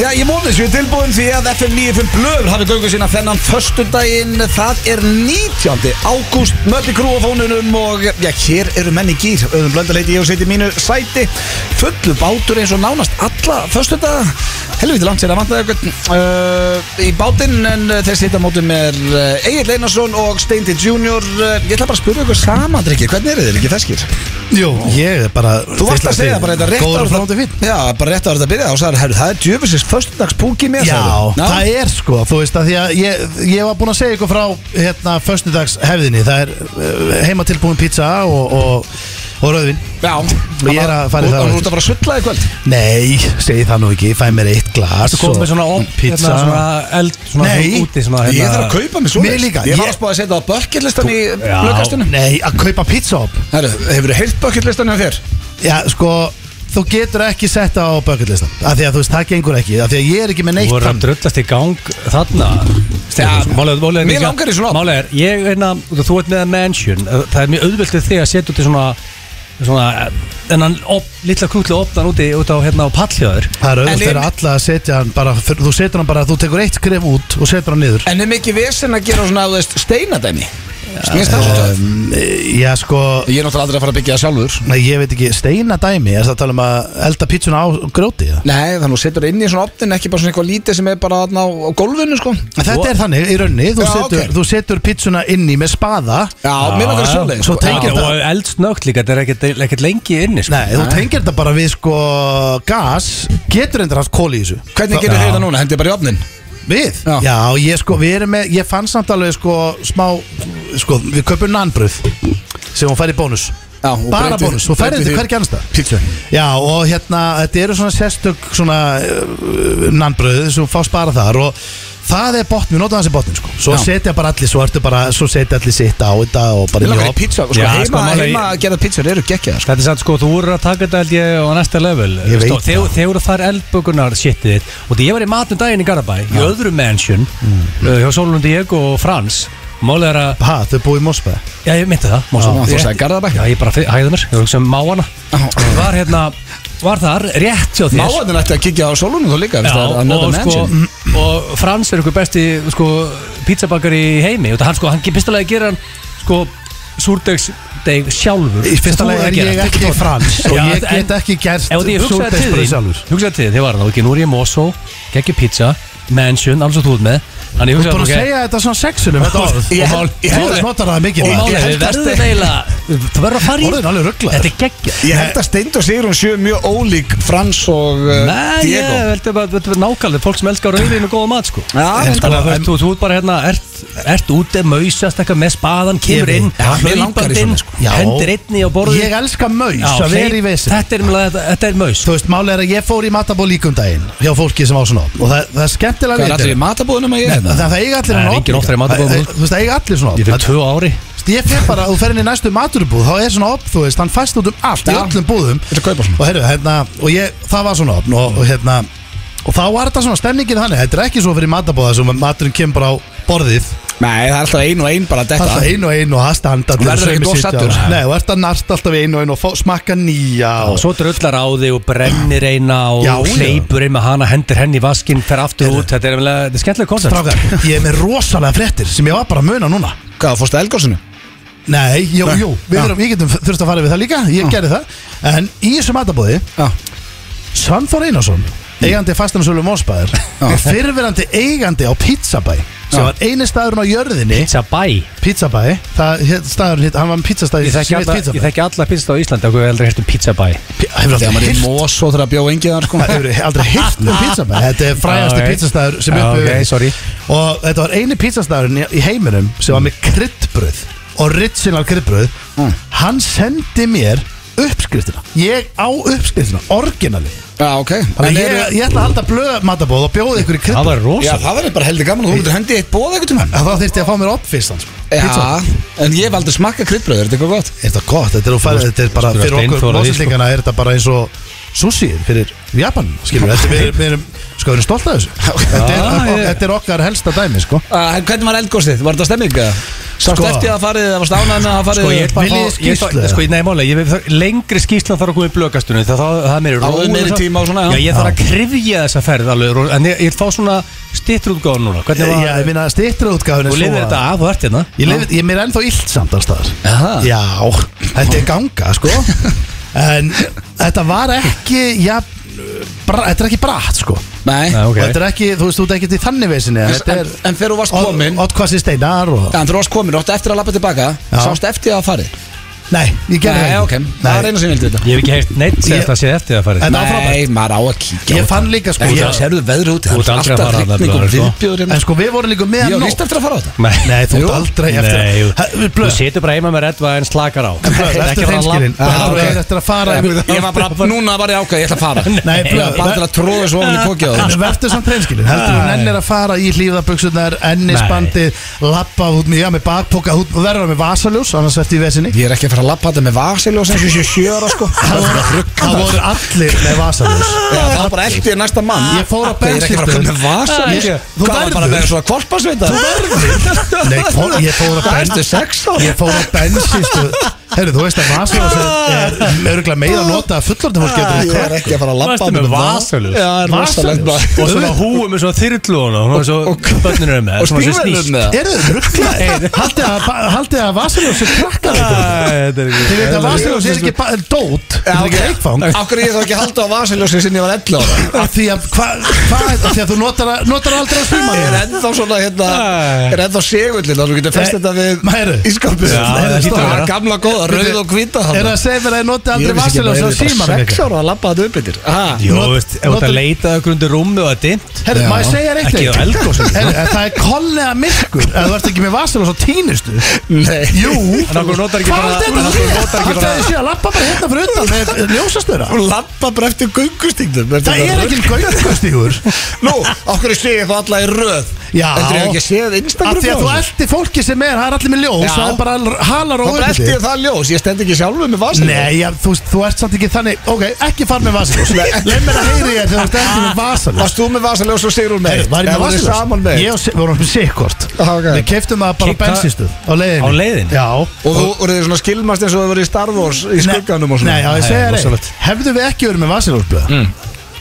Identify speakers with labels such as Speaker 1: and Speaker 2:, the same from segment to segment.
Speaker 1: Já, ég vonið sér tilbúin því að FM 95 Blöður hafi göngu sína þennan förstundaginn, það er 19. ágúst, mötti krúafónunum og já, hér eru menni gýr, auðvitað blöndaleiti ég og seti mínu sæti, fullu bátur eins og nánast alla förstundaga, helviti langt sér að vantaði eitthvað uh, í bátinn en uh, þeir sita á móti með uh, Egil Einarsson og Steindi Junior, uh, ég ætla bara að spura ykkur saman, drikki, hvernig eru þeir ekki feskir?
Speaker 2: Jú, ég er bara
Speaker 1: Þú varst að segja bara þetta rétt
Speaker 2: Góður
Speaker 1: áður
Speaker 2: frá þetta fín
Speaker 1: Já, bara rétt ára þetta byrjaði og sagði, herru, það er djöfisins föstudagspúki mér
Speaker 2: Já,
Speaker 1: sagði.
Speaker 2: það er sko, þú veist að því að ég, ég var búinn að segja ykkur frá hérna föstudags hefðinni, það er eh, heimatilbúin pizza og, og, og rauðvin
Speaker 1: Já,
Speaker 2: Ég er að fara í það á
Speaker 1: Og þú ert
Speaker 2: eftir.
Speaker 1: að fara að sulla í kvöld
Speaker 2: Nei, segi það nú ekki, ég fæ mér eitt glas
Speaker 3: Þú komið með svona op,
Speaker 2: pizza
Speaker 3: hérna, svona eld, svona
Speaker 2: Nei,
Speaker 3: úti, hérna, svona,
Speaker 1: Ég þarf að kaupa mig svo
Speaker 2: uh, Mér líka,
Speaker 1: Ég var
Speaker 2: ég-
Speaker 1: að spáði að setja á bucketlistan í
Speaker 2: Já,
Speaker 1: blöggastinu
Speaker 2: Nei, að kaupa pizza op
Speaker 1: Herru, hefur þú heilt bucketlistan hjá þér?
Speaker 2: Já, sko, þú getur ekki sett það á bucketlistan Af því að þú veist, það gengur ekki Af því að ég er ekki með
Speaker 3: Þú
Speaker 2: neitt
Speaker 3: voru að drullast í gang þarna
Speaker 1: Já, mér langar í svona op.
Speaker 3: Málega er, ég er hérna, þú- þú ert með að mansion Eh, Það er mjög auðvelt við þig að setja út í svona Svona, eh, en hann Lilla krútlu opnar úti út á hérna á pallhjöður
Speaker 2: Það er
Speaker 1: En
Speaker 2: auðvitað
Speaker 1: inn-
Speaker 2: alla að setja hann bara Þú setur hann bara, þú tekur eitt skref út og setur hann niður
Speaker 1: En er mikið vesen að gera svona, þú veist, steinadæmi Snýst það svona
Speaker 2: um, Já, sko
Speaker 1: Ég er náttúrulega aldrei að fara að byggja það sjálfur
Speaker 2: Nei, ég veit ekki, steina dæmi Er það að tala um að elda pítsuna á gróti eða?
Speaker 1: Nei, þannig að setur inn í svona opnin Ekki bara svona eitthvað lítið sem er bara þarna á, á gólfinu, sko
Speaker 2: En Þetta er þannig, í raunni, þú,
Speaker 1: Já,
Speaker 2: setur,
Speaker 1: ok.
Speaker 2: þú setur pítsuna inni með spaða
Speaker 1: Já, mér langar að svoleiðis,
Speaker 2: Svo
Speaker 1: sko.
Speaker 2: tengir
Speaker 1: Já.
Speaker 2: það-
Speaker 3: Og eldsnögt líka, þetta er ekkert- ekkert lengi inni sko.
Speaker 2: Nei, þú tengir þetta bara við sko gas Getur endur haft kóli í þessu
Speaker 1: Hvernig gerir þið það núna? Hendið bara í opnin
Speaker 2: Við?
Speaker 1: Já.
Speaker 2: Já, ég sko, við erum með, ég fann samt alveg sko smá, sko, við köpum nanbröð sem hún fær í bónus
Speaker 1: Já, og
Speaker 2: Bara
Speaker 1: breytið-
Speaker 2: bónus, þú
Speaker 1: breytið
Speaker 2: færði þetta
Speaker 1: því-
Speaker 2: hvergi annars það
Speaker 1: Pítsu
Speaker 2: Já, og hérna, þetta eru svona sérstök svona uh, nanbröð sem hún fást bara þar og það er botn, við notum þessi botn sko Svo
Speaker 1: Já.
Speaker 2: setja bara allir, svo ertu bara, svo setja allir sitt á þetta og bara
Speaker 1: Mér langar
Speaker 2: í
Speaker 1: í pítsu Sko,
Speaker 3: Já, sko,
Speaker 1: heima,
Speaker 3: málega-
Speaker 1: heima að gera pítsur eru geggjaðar, sko.
Speaker 3: Þetta er satt sko, þú voru að taka þetta held ég á næsta level
Speaker 2: Ég veit
Speaker 3: Stó-
Speaker 2: það.
Speaker 3: Þegar þegar voru þar eldbökunar shitið þitt Og því ég var í matnum daginn í Garabæ Í öðru mansion
Speaker 2: Mm.
Speaker 3: uh, Hjá Sólund Diego og Frans Málega er að,
Speaker 2: Ha, þau búið í Mosfæ
Speaker 3: já ég myndi það Má
Speaker 1: Já, þú sagði Garðabæ.
Speaker 3: Já ég bara fi- hægði mér, ég var sem máana Ég Var hérna, var þar rétt hjá þér
Speaker 1: Máarnir ætti að kikja á sólunum þá líka
Speaker 3: Já, og, sko,
Speaker 1: sko,
Speaker 3: og Frans er einhver besti sko, pizzabakar í heimi og það hann sko, hann pistalega gerir hann sko, súrdegsdeg sjálfur
Speaker 2: Í fyrsta lagi er ég ekki frans og
Speaker 3: Já,
Speaker 2: ég
Speaker 3: en-
Speaker 2: get ekki gert
Speaker 3: Ef því ég hugsaði til
Speaker 2: súrdeigsbrauð
Speaker 3: þín
Speaker 2: sjálfur
Speaker 3: Hugsaði til þín, þið var það ekki Nú er ég Mosó, geggjur pizza, mansion Alls og þú ert með Þannig ég
Speaker 2: Þú er
Speaker 3: hugsaði
Speaker 2: búin að segja þetta svona sexunum þetta orð
Speaker 1: Ég
Speaker 2: Og
Speaker 1: held-
Speaker 2: mál-
Speaker 1: ég
Speaker 2: Þú
Speaker 1: held-
Speaker 2: notar það mikið
Speaker 3: Og
Speaker 2: maður.
Speaker 3: málega,
Speaker 1: held
Speaker 3: við
Speaker 1: að
Speaker 3: verðum
Speaker 1: Steinn-
Speaker 3: eiginlega Þú verður að fara í
Speaker 2: Orðin alveg rugglaður.
Speaker 3: Þetta er geggjur
Speaker 1: Ég held að Steind og Sigrun séu mjög ólík Frans og uh,
Speaker 3: Nei, ég
Speaker 1: Diego
Speaker 3: heldur bara Þetta er nákvæmlega Fólk sem elskar rauðin og góða mat sko
Speaker 1: Já,
Speaker 3: En
Speaker 1: en-
Speaker 3: Þannig að þú veist, þú- þú ert bara hérna Ert, ert úti, mausast eitthvað með spaðan Kemur
Speaker 2: Ég
Speaker 3: inn,
Speaker 2: veit.
Speaker 1: Já, mér langar í
Speaker 3: hlaupandi inn,
Speaker 1: svona, sko.
Speaker 2: Já.
Speaker 3: Hendir einni á
Speaker 2: Ég
Speaker 3: borðið
Speaker 2: elska maus
Speaker 3: Já,
Speaker 2: að vera í
Speaker 3: hleyp-
Speaker 2: vesin
Speaker 3: Þetta er nefnilega- þetta- þetta er maus
Speaker 2: Þú veist, málið er að ég fór í mataból líkum daginn hjá fólki sem á svona op. og það, það er skemmtilega
Speaker 1: Hvað er allir í matabúðunum að ég er
Speaker 2: Það,
Speaker 1: það?
Speaker 2: það eiga allir
Speaker 3: Það er
Speaker 2: svona op
Speaker 3: engin oftar í matarboð en
Speaker 2: Það-
Speaker 3: þú.
Speaker 2: það- Þú veist, það eiga allir svona op
Speaker 3: Ég fyrir
Speaker 2: Það-
Speaker 3: tvö ári
Speaker 2: þú veist, Ég fer bara, þú fer inn í næstu maturubúð þá er svona op, þú veist, hann fæst út um allt í
Speaker 1: Já.
Speaker 2: öllum búðum
Speaker 1: Þetta er kaupa svona
Speaker 2: og herru, hérna, og ég, það var svona opn og, og hérna, og þá var þetta svona stemningin þannig, þetta er ekki svo fyrir matabóða sem að maturinn kemur bara á borðið
Speaker 1: Nei, það er alltaf ein og ein bara að
Speaker 2: alltaf
Speaker 1: detta
Speaker 2: einu og einu og það standa allir
Speaker 1: Verður
Speaker 2: og
Speaker 1: ekkert
Speaker 2: sömu
Speaker 1: of
Speaker 2: sitja
Speaker 1: saddur?
Speaker 2: á- Nei, og ert að narta alltaf í einu og einu og fá, smakka nýja
Speaker 3: og
Speaker 2: og
Speaker 3: svo drullar á þig og brennir eina og
Speaker 2: Já, já.
Speaker 3: hleypur einn með hana, hendir henni í vaskinn, fer aftur út, þetta er vel- þetta er skemmtilega koncept
Speaker 2: Strákar, ég er með rosalega fréttir sem ég var bara að muna núna
Speaker 1: Hvað, fórstu að Elgásinu?
Speaker 2: Nei, jú,
Speaker 1: Nei.
Speaker 2: jú, við
Speaker 1: Já.
Speaker 2: erum, ég getum þurft að fara við það líka, ég
Speaker 1: Já.
Speaker 2: gerði það En í þessu matabóði,
Speaker 1: Já
Speaker 2: Svanþór Einarsson, eigandi fastanasölu Mósbæður
Speaker 1: Já.
Speaker 2: Og fyrrverandi eigandi á Pizzabæ Sem
Speaker 1: Já.
Speaker 2: var eini staðurinn á jörðinni,
Speaker 3: Pizza bæ,
Speaker 2: Pizzabæ Það, hér, staðurinn, hitt, hann var með pizzastæði
Speaker 3: ég þekki alla, ég þekki alla pizza á Íslandi, okkur heldur hérstu pizza bæ
Speaker 2: Hefur
Speaker 1: Þegar
Speaker 2: aldrei
Speaker 1: maður er í
Speaker 2: hirt
Speaker 1: Mosó þegar að bjóða engið þar sko
Speaker 2: Það hefur aldrei hirt um pizzabæ Þetta er frægasti
Speaker 3: Já, ok.
Speaker 2: pizzastæður sem
Speaker 3: Já,
Speaker 2: upp hefur
Speaker 3: ok,
Speaker 2: verið.
Speaker 3: sorry.
Speaker 2: Og þetta var eini pizzastæðurinn í- í heiminum sem var með kryddbröð Original kryddbröð Hann sendi mér uppskriftina Ég á uppskriftina, orginali
Speaker 1: Já, ok En
Speaker 2: Þannig að
Speaker 1: eru-
Speaker 2: ég, ég ætla að halda blöð matabóð og bjóða ykkur í
Speaker 3: það
Speaker 2: kryddbröð
Speaker 3: var
Speaker 1: Já,
Speaker 3: rosa
Speaker 1: það verður bara heldur gaman og Þú myndir hendi eitt bóð eitthvað tíma
Speaker 2: Þá þyrfti ég að fá mér oppfistan
Speaker 1: Já, en ég hef aldrei smakka kryddbröður, er þetta eitthvað gott?
Speaker 2: Er þetta gott, þetta er, þú færð, þetta er bara
Speaker 3: Þú
Speaker 2: fyrir
Speaker 3: spyrir
Speaker 2: okkur
Speaker 3: Steinþór að því, sko.
Speaker 2: mósendingana er þetta bara eins og sushi fyrir Japan, skilur þetta er, við, erum- við erum, sko, við erum stolt af þessu þetta, er,
Speaker 3: Já, ég-
Speaker 2: þetta er okkar helsta dæmi, sko
Speaker 1: Ah, Uh, hvernig var eldgósið? Var þetta stemming? eða? Sást
Speaker 2: Sko.
Speaker 1: eftir að farið eða varst ánægð með að farið
Speaker 3: Sko ég er bara
Speaker 2: Viljið
Speaker 3: að fá- ég er
Speaker 2: skýrslu
Speaker 3: bara-
Speaker 2: eða?
Speaker 3: Sko ég nefnilega Ég vil þar- lengri skýrslan þarf að koma í blökastunni Það, það, það er meiri
Speaker 1: Áður
Speaker 3: ró-
Speaker 1: meiri
Speaker 3: það-
Speaker 1: tíma og svona, já.
Speaker 3: Já ég þarf að krifja þessa ferð alveg ró- En ég, ég vil fá svona stittur útgáðan núna Hvernig
Speaker 2: Já, ég
Speaker 3: var
Speaker 2: minna stýttur útgáfun
Speaker 3: Þú lifir þetta af og ert hérna
Speaker 2: Ég, lifið, ég mér er ennþá illt samt alls staðar
Speaker 1: Jaha.
Speaker 2: Já, þetta er ganga sko En þetta var ekki já, bra, Þetta er ekki bratt sko
Speaker 1: Nei
Speaker 3: Já, ok.
Speaker 2: Og Þetta er ekki, þú veist, þú ert ekkert í þannig vesinni Þetta
Speaker 1: Ah, En,
Speaker 2: er
Speaker 1: en þegar þú varst komin En
Speaker 2: Ottkvassi steinar og
Speaker 1: þegar þú varst komin, þú átti eftir að lappa tilbaka
Speaker 2: Já.
Speaker 1: Sást eftir að farið
Speaker 2: Nei, ég gerði
Speaker 1: Nei,
Speaker 2: það
Speaker 1: ok,
Speaker 2: ekki.
Speaker 1: það er eina sem ég vildi þetta
Speaker 3: Ég hef ekki heyrt neitt
Speaker 2: Ég-
Speaker 3: segja þetta að sé eftir að farið
Speaker 2: En-
Speaker 3: En,
Speaker 2: var
Speaker 1: Nei,
Speaker 2: frábært.
Speaker 1: maður á að kíkja
Speaker 2: Ég fann líka, sko,
Speaker 1: Ég
Speaker 2: ég-
Speaker 1: serðu veðri úti
Speaker 3: Þú
Speaker 1: Það
Speaker 3: ert
Speaker 1: er
Speaker 3: aldrei að
Speaker 1: alltaf
Speaker 3: fara
Speaker 1: rigning og
Speaker 3: þarna, sko.
Speaker 1: viðbjóður hérna.
Speaker 2: En sko, við vorum líka með
Speaker 1: Ég á
Speaker 2: nóg.
Speaker 1: víst eftir að fara á þetta
Speaker 2: Nei, þú ert aldrei eftir að-
Speaker 3: Nei,
Speaker 2: Ha,
Speaker 3: jú.
Speaker 2: við blöð.
Speaker 3: Þú situr bara heima með reddva en slakar á
Speaker 2: Blöð, Vertu
Speaker 3: Ekki fara að
Speaker 2: hreinskilinn
Speaker 3: labba-
Speaker 1: Já,
Speaker 2: Þú
Speaker 1: ok.
Speaker 2: er eftir að fara
Speaker 1: Ég var bara, núna var ég ákveð, ég ætla að fara
Speaker 2: Nei,
Speaker 1: Ég var
Speaker 2: blöð.
Speaker 1: bara til að tróða svo ofan í kokið á
Speaker 2: En
Speaker 1: þeim
Speaker 2: verður samt hreinskilin, heldur hún ennir að fara í hlýðaböksunar, ennisbandið, labbað út með, já, með bakpoka, út, og verður með vasaljós, annars verður í vesinni.
Speaker 1: Ég er ekki að fara að lappa þetta með vasiljósa eins og sé sjöra sko
Speaker 2: Það voru, það voru allir með vasaljós.
Speaker 1: Já, það er bara eftir næsta mann
Speaker 2: Ég fór á
Speaker 1: Ég er ekki að fara að koma með vasa
Speaker 2: Ég- þú
Speaker 1: Hvað var bara að
Speaker 2: verður.
Speaker 1: vera svona kvarpasveita Þú verður
Speaker 2: Nei, fór, ég fór á
Speaker 1: Það ertu
Speaker 2: bensin,
Speaker 1: sex á
Speaker 2: ég fór á bensinstu, herru, þú veist að vasaljós er, er örgulega meira að nota að fullorðin fólk getur
Speaker 1: Ég
Speaker 2: í
Speaker 1: er ekki að fara að lappa
Speaker 3: Varstu með vasaljós?
Speaker 1: Já, rosalegt
Speaker 2: Vasaljós?
Speaker 1: bara.
Speaker 3: Og svona húi með svona þyrlu og hún er svo börnir eru með
Speaker 1: Og
Speaker 3: svona sem
Speaker 1: stígvélum
Speaker 3: snýst.
Speaker 1: með það.
Speaker 2: Eru þið rugglaðið? Haldið að, haldið að vasaljós er krakkar
Speaker 3: Æ, þetta er
Speaker 2: Þið veit
Speaker 3: ekki
Speaker 2: að vasaljós er ekki ba- dót, þetta er ekki reikfang.
Speaker 1: Akkur ég þá ekki að halda á vasiljósi sinni ég var 11 ára
Speaker 2: Af því að, hva, hva, af því að þú notar, að- notar aldrei að svima
Speaker 1: Ég er ennþá svona hérna
Speaker 3: Æ.
Speaker 1: Er ennþá segullin Þannig að þú getur fest þetta
Speaker 2: Mæru.
Speaker 1: við Ískalpið
Speaker 3: Já,
Speaker 1: Það
Speaker 3: það
Speaker 1: er
Speaker 3: hlýtur að
Speaker 1: stóra
Speaker 3: vera.
Speaker 1: gamla góða Rauð og hvita
Speaker 2: Er það
Speaker 1: þarna.
Speaker 2: að segja fyrir að ég noti
Speaker 1: Ég
Speaker 2: aldrei
Speaker 1: vissi ekki, um
Speaker 2: vasaljós
Speaker 1: bara,
Speaker 2: að
Speaker 1: eru
Speaker 2: síma
Speaker 1: bara sex ára að lappa þetta upp yfir Ha?
Speaker 3: Jó,
Speaker 2: Not-
Speaker 3: veist, ef þú ert
Speaker 2: notar-
Speaker 3: að leita okkur undir rúmi og það er dimmt
Speaker 2: Herru,
Speaker 1: Já.
Speaker 2: maður segja eitt
Speaker 3: Ekki á
Speaker 2: eitt.
Speaker 3: eldgosinu.
Speaker 2: Herru, en Það er kollega myrkur Ef þú ert ekki með vasaljós á tínustu
Speaker 1: Nei
Speaker 2: Jú
Speaker 3: En okkur notar ekki
Speaker 2: Hvað
Speaker 3: bara-
Speaker 2: er þetta
Speaker 3: en
Speaker 2: að
Speaker 3: okkur
Speaker 2: segja?
Speaker 3: notar ekki
Speaker 2: Alltaf
Speaker 3: bara-
Speaker 2: þessi að lappa bara hérna fyrir utan með ljósastöra
Speaker 1: Þú lappa bara eftir göngustíknum
Speaker 2: Það er ekki gaukastígur
Speaker 1: Nú, okkur sé ég þá alla í röð
Speaker 2: Já.
Speaker 1: Heldur ég ekki að sé það
Speaker 2: Af
Speaker 1: Instagram
Speaker 2: því að þú
Speaker 1: frá þessu?
Speaker 2: eldi fólki sem er, það er allir með ljós
Speaker 1: Já.
Speaker 2: Það er bara halar og
Speaker 1: Þá brelti
Speaker 2: uppbytið
Speaker 1: ég það ljós Ég stend ekki sjálfur með vasiljósi
Speaker 2: Nei, já, þú, veist, þú ert samt ekki þannig Ok, ekki far með vasaljós Leif mér að heyri ég þegar þú ert ekki með vasaljós
Speaker 1: Varst þú með vasaljós og Sigrún með?
Speaker 2: Heyrðu, Var ég
Speaker 1: Eða
Speaker 2: með
Speaker 1: voruð þið saman
Speaker 2: vasaljós?
Speaker 1: með?
Speaker 2: Ég og Sig- við vorum með sikkort
Speaker 1: Ah, ok.
Speaker 2: Við keftum það bara á
Speaker 3: Keypta-
Speaker 2: bensinstuð Á leiðinni
Speaker 3: Á leiðinni?
Speaker 2: Já
Speaker 1: Og þú voruð þið svona skilmast eins og þið voruð í Star Wars í
Speaker 2: Nei,
Speaker 1: skugganum og svona
Speaker 2: Nei, já, ég segja
Speaker 3: Nei,
Speaker 2: þér eitt
Speaker 3: rosalegt.
Speaker 2: Hefðu við ekki verið með vasaljós mm.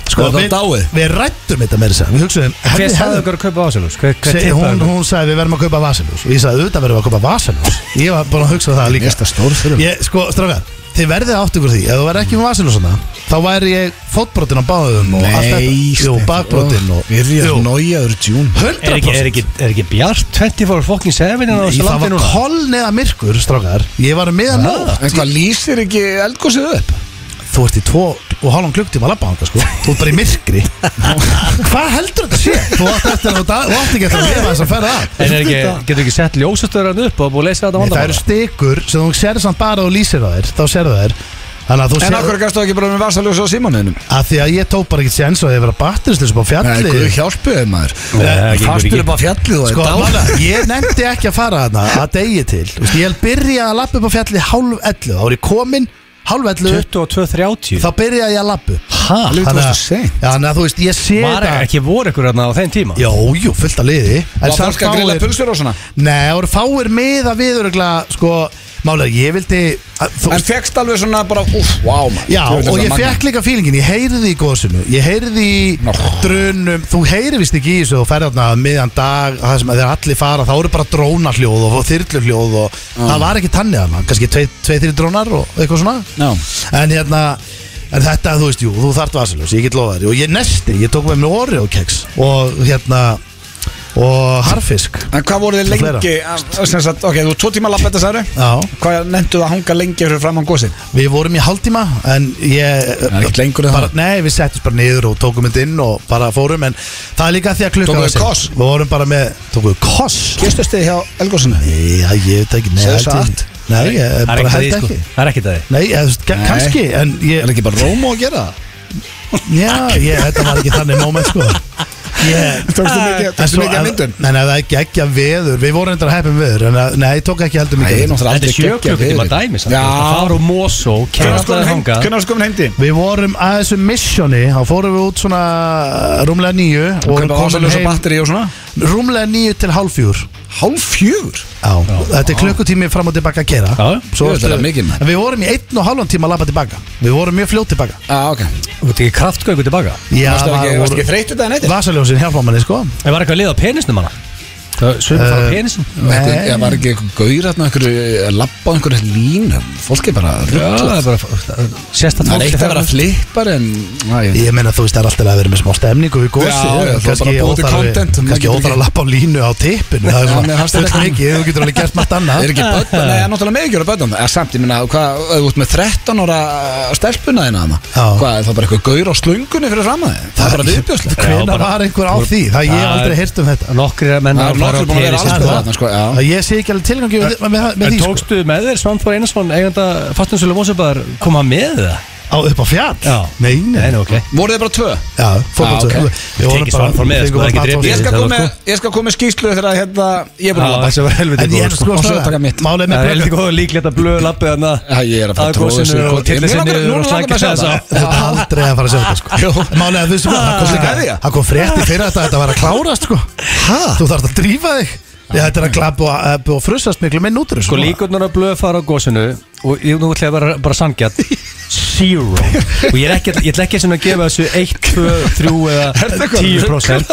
Speaker 1: Er það dáið?
Speaker 2: Við rættum þetta með þess að segja. Við hugsaðum
Speaker 3: Hver
Speaker 2: hefði-
Speaker 3: sagði
Speaker 2: hefði-
Speaker 3: okkur að kaupa vasaljós? Hver, hver
Speaker 2: segi- Hún,
Speaker 3: tippaði okkur?
Speaker 2: hún sagði við verðum að kaupa vasaljós Og ég sagði auðvitað verðum við að kaupa vasaljós Ég var bara að hugsa það líka
Speaker 1: Mesta stór fyrir
Speaker 2: Ég, sko, strafgar, þið verðið átt ykkur því Ef þú verð ekki með vasilúsana Þá væri ég fótbrotin á báðum og allt þetta. Jú, bakbrotin og
Speaker 1: Virja
Speaker 2: Jú,
Speaker 1: nójaður djún
Speaker 2: 100%
Speaker 3: Er ekki, er, ekki, er ekki bjart 24 fucking 7 inn
Speaker 2: Í,
Speaker 3: á þessu
Speaker 2: Það
Speaker 3: landi
Speaker 2: var
Speaker 3: núna? Ah.
Speaker 2: kolniða myrkur, strafgar Ég var með að nótt
Speaker 1: En hvað lýsir ekki eldgósið upp?
Speaker 2: Þú ert í tvo og hálfum klukktíma að labba hanga, sko Þú ert bara í myrkri Hvað heldur þetta sé? Þú átt eftir að þú þú átt ekki eftir að lifa þess að ferða að
Speaker 3: En er ekki, getur ekki sett ljósastöðurinn upp og búið að leysa þetta
Speaker 2: Það eru
Speaker 3: vandamála?
Speaker 2: stikur sem þú sér samt bara og lýsir á þér Þá sérðu þær Þannig að þú
Speaker 1: En okkur
Speaker 2: sér
Speaker 1: gæstu ekki bara með vasaljósa á símanuðinum?
Speaker 2: að því að ég tók bara ekki séns og ég verið að batterislis upp á
Speaker 1: Nei,
Speaker 2: fjalli
Speaker 1: guð hjálpiði maður
Speaker 3: það gengur
Speaker 1: Fastur
Speaker 3: ekki.
Speaker 1: upp á fjallið og er
Speaker 2: Sko,
Speaker 1: dáinn.
Speaker 2: mála, ég nefndi ekki að fara þarna að degi til Þú veist, Ég held byrja að lappa upp á fjalli hálf 11 Þá er ég komin hálf 11
Speaker 3: 22-30
Speaker 2: Þá byrja ég að lappa upp
Speaker 3: Hæ?
Speaker 1: Alveg
Speaker 2: Þannig að-
Speaker 1: varstu seint.
Speaker 2: Já, Þannig að þú veist, ég sé
Speaker 3: Var
Speaker 2: þetta
Speaker 3: ekki voru ykkur þarna á þeim tíma?
Speaker 2: Jó, jú, fullt að liði
Speaker 1: Var fólk að grilla pulsur og svona?
Speaker 2: Nei, það voru fáir miða við örugla Sko, málega, ég vildi að, þú,
Speaker 1: En fekkst alveg svona bara, úf, vá maður
Speaker 2: Já,
Speaker 1: Djöfull er
Speaker 2: og
Speaker 1: það
Speaker 2: ég
Speaker 1: magnað.
Speaker 2: fekk líka fílingin, ég heyrði í góðsynu, ég heyrði í
Speaker 1: Nó.
Speaker 2: drunum, þú heyrir vist ekki í þessu og ferði þarna miðjan dag, það sem að þeir allir fara, þá eru bara drónahljóð og þyrluhljóð og
Speaker 1: Ah.
Speaker 2: það var ekki tannig þarna, kannski tvei, tvei, þrjir drónar og eitthvað svona.
Speaker 1: Já.
Speaker 2: En hérna, en þetta, þú veist, jú, þú þart vasaljós, ég get lofað þér og ég nesti, ég tók með mér Oreo keks og hérna, og harfisk,
Speaker 1: En hvað voruð þið
Speaker 2: Og fleira.
Speaker 1: lengi? að- sem sagt, Ok, þú tvo tíma lappa þetta særu
Speaker 2: já,
Speaker 1: Hvað nefndu að hanga lengi fyrir framann gósið?
Speaker 2: við vorum í hálftíma en ég...
Speaker 1: er ekkert lengur en
Speaker 2: bara,
Speaker 1: það.
Speaker 2: Nei, við settum bara niður og tókum þetta inn og bara fórum en það er líka því að klukka
Speaker 1: Tókuðu
Speaker 2: var seint.
Speaker 1: koss?
Speaker 2: Við vorum bara með, tókum við koss?
Speaker 1: Kistust þið hjá elgósinu?
Speaker 2: Nei, já, ég veit ekki, nei,
Speaker 1: Segðu
Speaker 2: held ég-
Speaker 1: satt.
Speaker 2: Nei, ég
Speaker 3: Það er
Speaker 2: Eh, bara
Speaker 3: ekkert að
Speaker 2: held
Speaker 3: því sko
Speaker 2: ekki
Speaker 3: Það er ekkert að því
Speaker 2: Nei, ég, þú veist,
Speaker 1: Nei.
Speaker 2: nei. kannski, en ég,
Speaker 1: Er ekki bara Rómo að gera það?
Speaker 2: já, ég, þetta var ekki þannig moment, sko Ég,
Speaker 1: Tókstu mikið-
Speaker 2: En
Speaker 1: tókstu
Speaker 2: svo-
Speaker 1: mikið af
Speaker 2: en-
Speaker 1: myndum?
Speaker 2: Nei, nei, það er ekki ekki að veður, við vorum endur að heppum veður, en að, nei, ég tók ekki
Speaker 1: Nei,
Speaker 2: heldur
Speaker 1: ég
Speaker 2: mikið
Speaker 1: er
Speaker 2: af veður.
Speaker 1: náttúrulega
Speaker 3: Þetta
Speaker 1: aldrei
Speaker 3: er sjöklukkutíma dæmi samt.
Speaker 1: Já
Speaker 3: Það fara úr Mosó, kemur
Speaker 1: Hvernig
Speaker 3: alltaf
Speaker 1: skoðum
Speaker 3: þangað
Speaker 1: heimdi?
Speaker 2: Við vorum að þessu missioni, þá fórum við út svona eh, rúmlega nýju og
Speaker 1: Hvernig
Speaker 2: vorum
Speaker 1: skoðum
Speaker 2: komin
Speaker 1: heimdi?
Speaker 2: heim
Speaker 1: batteri og svona
Speaker 2: rúmlega nýju til hálfjúr
Speaker 1: Hálf fjögur?
Speaker 2: Já, þetta er klukkutími fram og tilbaka að gera
Speaker 3: Já,
Speaker 1: ég veit það mikið, maður.
Speaker 2: En við vorum í einn og halvan tíma að labba tilbaka Við vorum mjög fljótt tilbaka
Speaker 1: Já, Ah, ok
Speaker 3: Þú veit ekki kraftgöngu tilbaka
Speaker 2: Já,
Speaker 1: Varstu
Speaker 2: það
Speaker 1: ekki, varstu
Speaker 2: voru
Speaker 1: ekki þreytur þetta neitt?
Speaker 2: vasaljósin hjálpa manni sko
Speaker 3: Það var eitthvað að liða á penisnum hana Sveinu fara á penisnum
Speaker 2: Nei.
Speaker 1: Það var ekki eitthvað gaurarn og einhverju labba á einhverju línum Fólk er bara
Speaker 3: Já, það
Speaker 1: ruglað
Speaker 3: er bara Sérst að
Speaker 1: Það er
Speaker 3: fólk
Speaker 1: eitt að vera flippar en Æ, ég-
Speaker 2: Ég meina þú veist það er alltaf að vera með smá stemningu við gósi
Speaker 1: Já, já, þú
Speaker 2: kannski
Speaker 1: bara búið til
Speaker 2: óþarfi-
Speaker 1: content, þú
Speaker 2: kannski
Speaker 1: getur
Speaker 2: óþar að
Speaker 1: ekki-
Speaker 2: lappa á línu á tippinu
Speaker 1: Já,
Speaker 2: Það er
Speaker 1: mér
Speaker 2: svona
Speaker 1: fannst þetta
Speaker 2: full
Speaker 1: ekki-
Speaker 2: mikið, þú getur alveg gert margt annað
Speaker 1: Er ekki börn, nei, náttúrulega með ekki verið börn Það er samt, ég minna, hvað, ef þú ert með 13 ára uh, stelpuna þína þarna
Speaker 2: Já.
Speaker 1: Hvað, er það bara eitthvað gaur á slöngunni fyrir fram að þið Það er bara viðbjörslega
Speaker 3: Já,
Speaker 2: Hvenær
Speaker 3: bara-
Speaker 2: var einhver á því? Það ég hef aldrei heyrt um þetta
Speaker 3: Nokkri menn
Speaker 1: Það er
Speaker 3: fara á
Speaker 1: nokkur búin að vera
Speaker 3: penisinn.
Speaker 1: alls
Speaker 2: sko.
Speaker 1: konar þarna, sko, já
Speaker 2: Það Ég sé ekki alveg tilgangi með, með, með
Speaker 3: En
Speaker 2: því sko.
Speaker 3: tókstu með þér Svanþór Einarsson eiganda fastinsölu mósebæðar koma með það?
Speaker 2: á, Upp á fjall?
Speaker 3: Já.
Speaker 2: Nei, nei,
Speaker 3: Nei, nei, ok
Speaker 1: Voru þið bara tvö?
Speaker 2: Já, fótboltu
Speaker 1: Já, ok.
Speaker 2: Við vorum
Speaker 3: Tekið
Speaker 2: bara-
Speaker 3: Svanþór með,
Speaker 2: fengum
Speaker 3: sko, það er ekki
Speaker 2: bara
Speaker 1: Ég
Speaker 2: Svanþór.
Speaker 3: drepið.
Speaker 1: skal
Speaker 3: það var
Speaker 1: koma með-
Speaker 3: sko.
Speaker 1: ég skal koma með skýslu þegar að hérna, ég er búin að labba
Speaker 3: var helviti
Speaker 2: En ég er sko
Speaker 1: Og svo
Speaker 2: að
Speaker 1: taka mitt.
Speaker 2: Málið er
Speaker 3: Það
Speaker 2: með
Speaker 3: er helviti góð líklegt að blöða lappið hann
Speaker 1: Já, ég er að fara að tróða þessu
Speaker 3: og
Speaker 1: Ég-
Speaker 3: tilla
Speaker 1: mér
Speaker 3: sér
Speaker 1: langar-
Speaker 3: niður
Speaker 1: núna
Speaker 3: og
Speaker 1: langar mig
Speaker 3: slækja
Speaker 1: að sjá
Speaker 3: þess
Speaker 1: það.
Speaker 3: að
Speaker 2: Þú ert aldrei að fara að sjá þetta
Speaker 1: Jú.
Speaker 2: sko Málega þú veist hvað, það kom
Speaker 1: Kveðja.
Speaker 2: líka Það kom frétti fyrir þetta að þetta var að klárast sko Þú þarf að drífa þig Já, þetta er að glabba og, ebba og frussast miklu minn út úr þessu,
Speaker 3: Sko
Speaker 2: sko.
Speaker 3: líkurnar að blöða fara á gósinu og ég nú ætla ég að vera bara sangjart Zero Og ég er ekki, ég ætla ekki sem að gefa þessu 1, 2, 3 eða 10%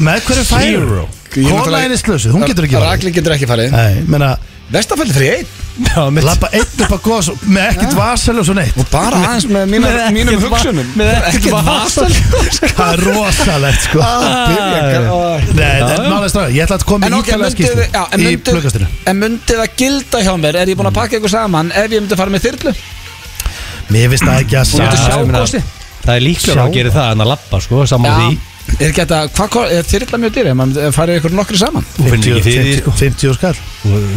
Speaker 2: Með hverju færu?
Speaker 3: Zero.
Speaker 2: Kona henni slösu, hún getur ekki farið
Speaker 1: Ragli getur ekki farið
Speaker 2: Nei, menna,
Speaker 1: Vestafell fyrir einn
Speaker 3: Já, mitt
Speaker 2: labba einn upp að góða svo Með ekkert vasal og svo neitt
Speaker 1: Og bara aðeins með mínar,
Speaker 3: Með ekkert
Speaker 1: mínum
Speaker 3: va-
Speaker 1: hugsunum
Speaker 3: með ekkert
Speaker 1: vasal
Speaker 2: Það er rosalegt sko
Speaker 1: Ah,
Speaker 2: Nei, en málega stráð, ég ætla að koma
Speaker 1: En
Speaker 2: í
Speaker 1: ok,
Speaker 2: ítalega
Speaker 1: myndið
Speaker 2: skýrslu
Speaker 1: já, en
Speaker 2: Í
Speaker 1: myndið-
Speaker 2: plöggastinu
Speaker 1: En myndið að gilda hjá mér Er ég búin að pakka ykkur saman Ef ég myndi að fara með þyrlu
Speaker 2: Mér finnst það ekki að
Speaker 1: myndi
Speaker 2: sa-
Speaker 1: sjá gosið.
Speaker 3: Það er líklega að
Speaker 2: Sjá.
Speaker 3: gera það en að lappa sko, saman því
Speaker 1: Er ekki þetta Hvað ko- er þyrla mjög dýri Man farið ykkur nokkri saman
Speaker 3: Þú finnir
Speaker 2: 50
Speaker 3: ekki fyrir því, sko.
Speaker 2: 50 skall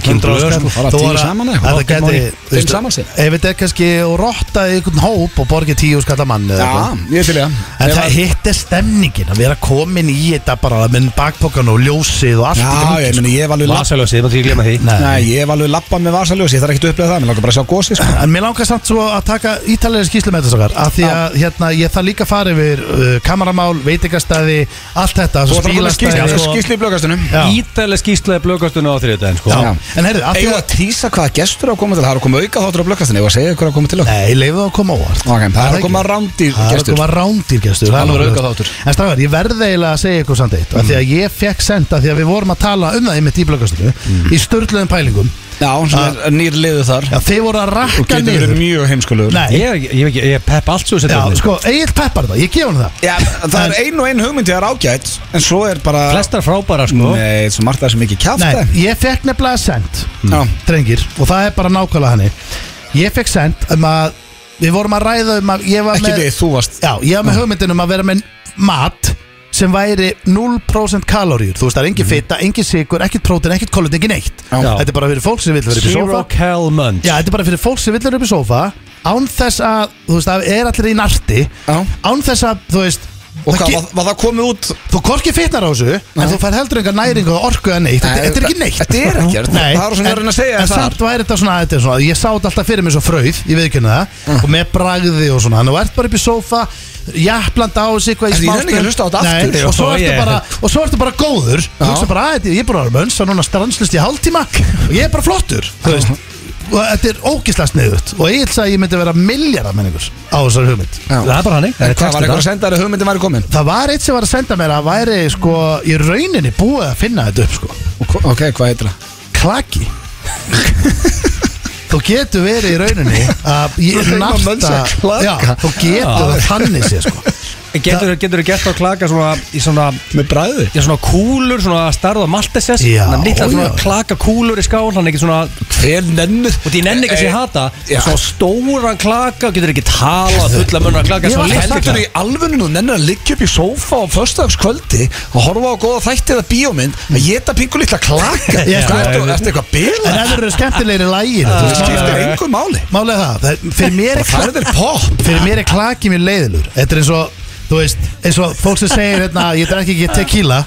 Speaker 3: Kyndur á
Speaker 2: 100 skall
Speaker 3: sko
Speaker 1: Bara
Speaker 2: Þó
Speaker 1: tíu
Speaker 2: að-
Speaker 1: saman eða eitthvað.
Speaker 2: að það
Speaker 1: Átta
Speaker 2: gæti
Speaker 1: mánuði.
Speaker 2: þú veist,
Speaker 1: Fimm saman sér.
Speaker 2: Ef þetta er kannski og rotta í einhvern hóp og borgið 10 skall að mann eða
Speaker 1: Já,
Speaker 2: eitthvað.
Speaker 1: ég til ég
Speaker 2: En það hitt er stemningin að vera komin í þetta bara með bakpokkan og ljósið og allt í
Speaker 1: Já,
Speaker 2: gangi,
Speaker 1: ég
Speaker 2: sko.
Speaker 1: meni ég hef alveg lapp-
Speaker 3: Vasaljósið, maður ekki glemma því
Speaker 2: Nei.
Speaker 1: Nei, ég hef alveg lappa með vasaljósi Ég þarf ekki að upplega það Mér langar bara að sjá gósi sko.
Speaker 2: En mér langar samt svo að taka ítalegri skýslu með þess okkar að því að hérna, ég þarf líka að fara yfir uh, kameramál, veitingastæði allt þetta,
Speaker 1: Þú ætlar að koma með skýrslu
Speaker 2: bílastæði,
Speaker 1: ég skal Skýrslu í blöggastunum
Speaker 2: Já.
Speaker 3: Ítalega skýrslaði blöðgastunni á þriðdæðin sko
Speaker 2: Já. En heyrðu, að því
Speaker 1: Eða
Speaker 2: að
Speaker 1: að týsa hvaða gestur er að koma til Það er að koma auka þáttur á blöggastunni Ég var að segja ykkur að koma til okkar
Speaker 2: Nei, leiðu það að koma óvart
Speaker 1: Ok, það er að
Speaker 2: ekki.
Speaker 1: koma rándýr
Speaker 2: Það er að
Speaker 1: gestur.
Speaker 2: koma rándýrgestur það er
Speaker 1: Alveg
Speaker 2: alveg
Speaker 1: auka
Speaker 2: ljóst.
Speaker 1: þáttur.
Speaker 2: En strafgar, ég verð eiginlega að segja ykkur samt eitt mm. Því að ég fekk senda, því að við vorum að tala um það einmitt í blöggastunni
Speaker 1: Mm.
Speaker 2: Í störtluðum pælingum
Speaker 1: Já, sem er nýr liðu þar
Speaker 2: Já, þeir voru að
Speaker 1: Og
Speaker 2: rakka
Speaker 1: getur verið
Speaker 2: niður
Speaker 1: mjög heimskulegur
Speaker 2: Nei,
Speaker 3: Ég, ég, ég, ég, ég pepp allt svo sem
Speaker 2: já,
Speaker 3: þetta er.
Speaker 2: sko, Egil peppar það, ég gef hann það
Speaker 1: Já, það er ein og ein hugmynd ég er ágætt En svo er bara
Speaker 3: Flestar frábæra sko
Speaker 1: Nei, svo margt það sem ekki kjátt
Speaker 2: Nei, ég fekk nefnilega send
Speaker 1: Já,
Speaker 2: drengir og það er bara nákvæmlega hannig ég fekk sent um að við vorum að ræða um að ég var
Speaker 1: ekki
Speaker 2: með
Speaker 1: við, þú varst
Speaker 2: já, ég var með hugmyndin um að vera með mat sem væri 0% kaloríur þú veist það er engin fita, engin sigur, ekkert prótin, ekkert kolvetni, ekki neitt
Speaker 1: Mhm. Já.
Speaker 2: þetta er bara fyrir fólk sem vill vera upp í
Speaker 3: Zero
Speaker 2: sófa
Speaker 3: Cal Munch
Speaker 2: já, þetta er bara fyrir fólk sem vill vera upp í sófa án þess að, þú veist, það er allir í narti
Speaker 1: Já.
Speaker 2: án þess að, þú veist
Speaker 1: Og
Speaker 2: það
Speaker 1: hvað,
Speaker 2: ge-
Speaker 1: var, var það komið út
Speaker 2: þú korki fitnar á þessu en þú fær heldur enga næring og orku eða neitt þetta,
Speaker 1: Nei,
Speaker 2: þetta er ekki neitt
Speaker 1: þetta er ekkert.
Speaker 2: Nei,
Speaker 1: Það var svona
Speaker 2: en-
Speaker 1: að reyna að segja
Speaker 2: en
Speaker 1: það.
Speaker 2: samt væri þetta svona, þetta er svona ég sá þetta alltaf fyrir mig svo frauð ég veit það
Speaker 1: Mm.
Speaker 2: og með bragði og svona þannig að þú ert bara upp í sófa jafnland á þessu eitthvað í
Speaker 1: Þetta- ég reyni ekki að
Speaker 2: smástund.
Speaker 1: hlusta á þetta
Speaker 2: Nei,
Speaker 1: aftur.
Speaker 2: og svo
Speaker 3: Já,
Speaker 2: ertu
Speaker 3: ég-
Speaker 2: bara og svo ertu bara góður þú
Speaker 1: Já.
Speaker 2: veist bara að ég er bara að mönsa núna stanslist í hálftíma og ég er bara flottur þú veist og þetta er ógislega sniðut og ég að ég myndi vera miljardar menningur á þessari hugmynd
Speaker 3: Það er bara hannig Það
Speaker 1: En
Speaker 3: er
Speaker 1: Eh, hvað var
Speaker 3: textið
Speaker 1: eitthvað að
Speaker 3: það.
Speaker 1: senda þær að hugmyndin væri komin
Speaker 2: það var eitt sem var að senda mér að væri sko í rauninni búið að finna þetta upp sko
Speaker 1: Ok, hvað heitir það?
Speaker 2: klaki Þú getur verið í rauninni að ég
Speaker 1: Þú reynir að
Speaker 2: nafta
Speaker 1: mönsa klaka.
Speaker 2: já, Þú getur það þannig sér sko
Speaker 3: Getur þú gert að klaka svona í svona
Speaker 1: Með bræði
Speaker 3: Já, svona kúlur, svona starða maltesess
Speaker 2: Já,
Speaker 3: Þannig lítla svona
Speaker 2: já.
Speaker 3: klaka kúlur í skál Þannig ekki svona,
Speaker 1: Hver nennir
Speaker 3: og því nenni ekki að sé hata
Speaker 1: Eh, Já.
Speaker 3: Svona stóran klaka, getur ekki tala Fulla munna klaka,
Speaker 1: Ég var
Speaker 3: svona litla
Speaker 1: hættur í
Speaker 3: klaka
Speaker 1: alvörinu og nennir að liggja upp í sófa á föstudagskvöldi og horfa á góða þætti eða bíómynd að geta pingu litla klaka Það ertu
Speaker 2: Já, já, já.
Speaker 1: ertu eitthvað
Speaker 2: En
Speaker 1: bila
Speaker 2: ef þeir eru skemmtilegri lægin
Speaker 1: Það skiptir engu máli
Speaker 2: Málega það, það er- fyrir mér er
Speaker 1: Það er
Speaker 2: klaki
Speaker 1: þeir pop
Speaker 2: Fyrir mér er klaki mér leiðilur Þetta er eins og, þú veist, eins og fólk sem segir hérna, ég drekki ekki tequila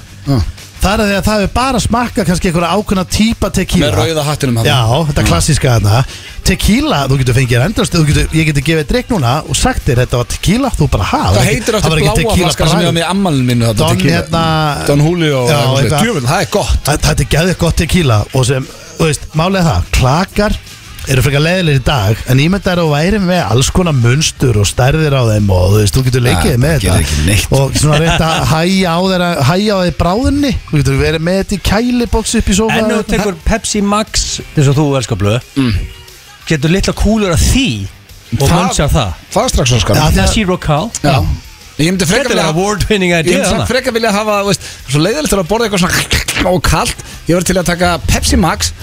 Speaker 2: Það er að því að það hefur bara smakkað kannski einhverja ákveðna típa tequila
Speaker 1: Með rauða hattinum þarna.
Speaker 2: Já, þetta klassíska þarna Tequila, þú getur fengið endast getur, Ég getur gefið drikk núna og sagt þér þetta var tequila Þú bara ha,
Speaker 1: Það heitir
Speaker 2: það
Speaker 1: eftir
Speaker 2: var ekki
Speaker 1: bláa
Speaker 2: tequila
Speaker 1: flaska sem ég
Speaker 2: bragð.
Speaker 1: var með ammalin mínu þetta
Speaker 2: Don,
Speaker 1: tequila.
Speaker 2: hérna
Speaker 1: Don Julio
Speaker 2: Já,
Speaker 1: og
Speaker 2: eitthvað.
Speaker 1: Djöfum, það er gott
Speaker 2: Þa- Þetta er gæðið gott tequila og sem, þú veist, málega það klakar eru frekar leiðilegir í dag en ímyndar og væri með alls konar munstur og stærðir á þeim og þú veist, þú getur leikið
Speaker 1: Ja,
Speaker 2: með
Speaker 1: það gerir ekki neitt.
Speaker 2: þetta og svona reynda að hæja á þeirra hæja á þeir bráðinni, þú getur verið með þetta í kæliboks upp í sofa
Speaker 3: En nú tekur Pepsi Max þess að þú elskar blöð
Speaker 1: Mm.
Speaker 3: getur litla kúlur að því og
Speaker 1: Það-
Speaker 3: munnsar það
Speaker 1: Það er strax svo skar
Speaker 2: Já,
Speaker 3: Það er Zero Cal
Speaker 1: Já Ég myndi frekar
Speaker 3: Þetta er
Speaker 1: vilja
Speaker 3: award winning
Speaker 1: Ég
Speaker 3: idea
Speaker 1: myndi samt
Speaker 3: þarna.
Speaker 1: frekar vilja hafa þú veist, það er Svo leiðilegt þegar að borða eitthvað svona Og kalt Ég var til að taka Pepsi Max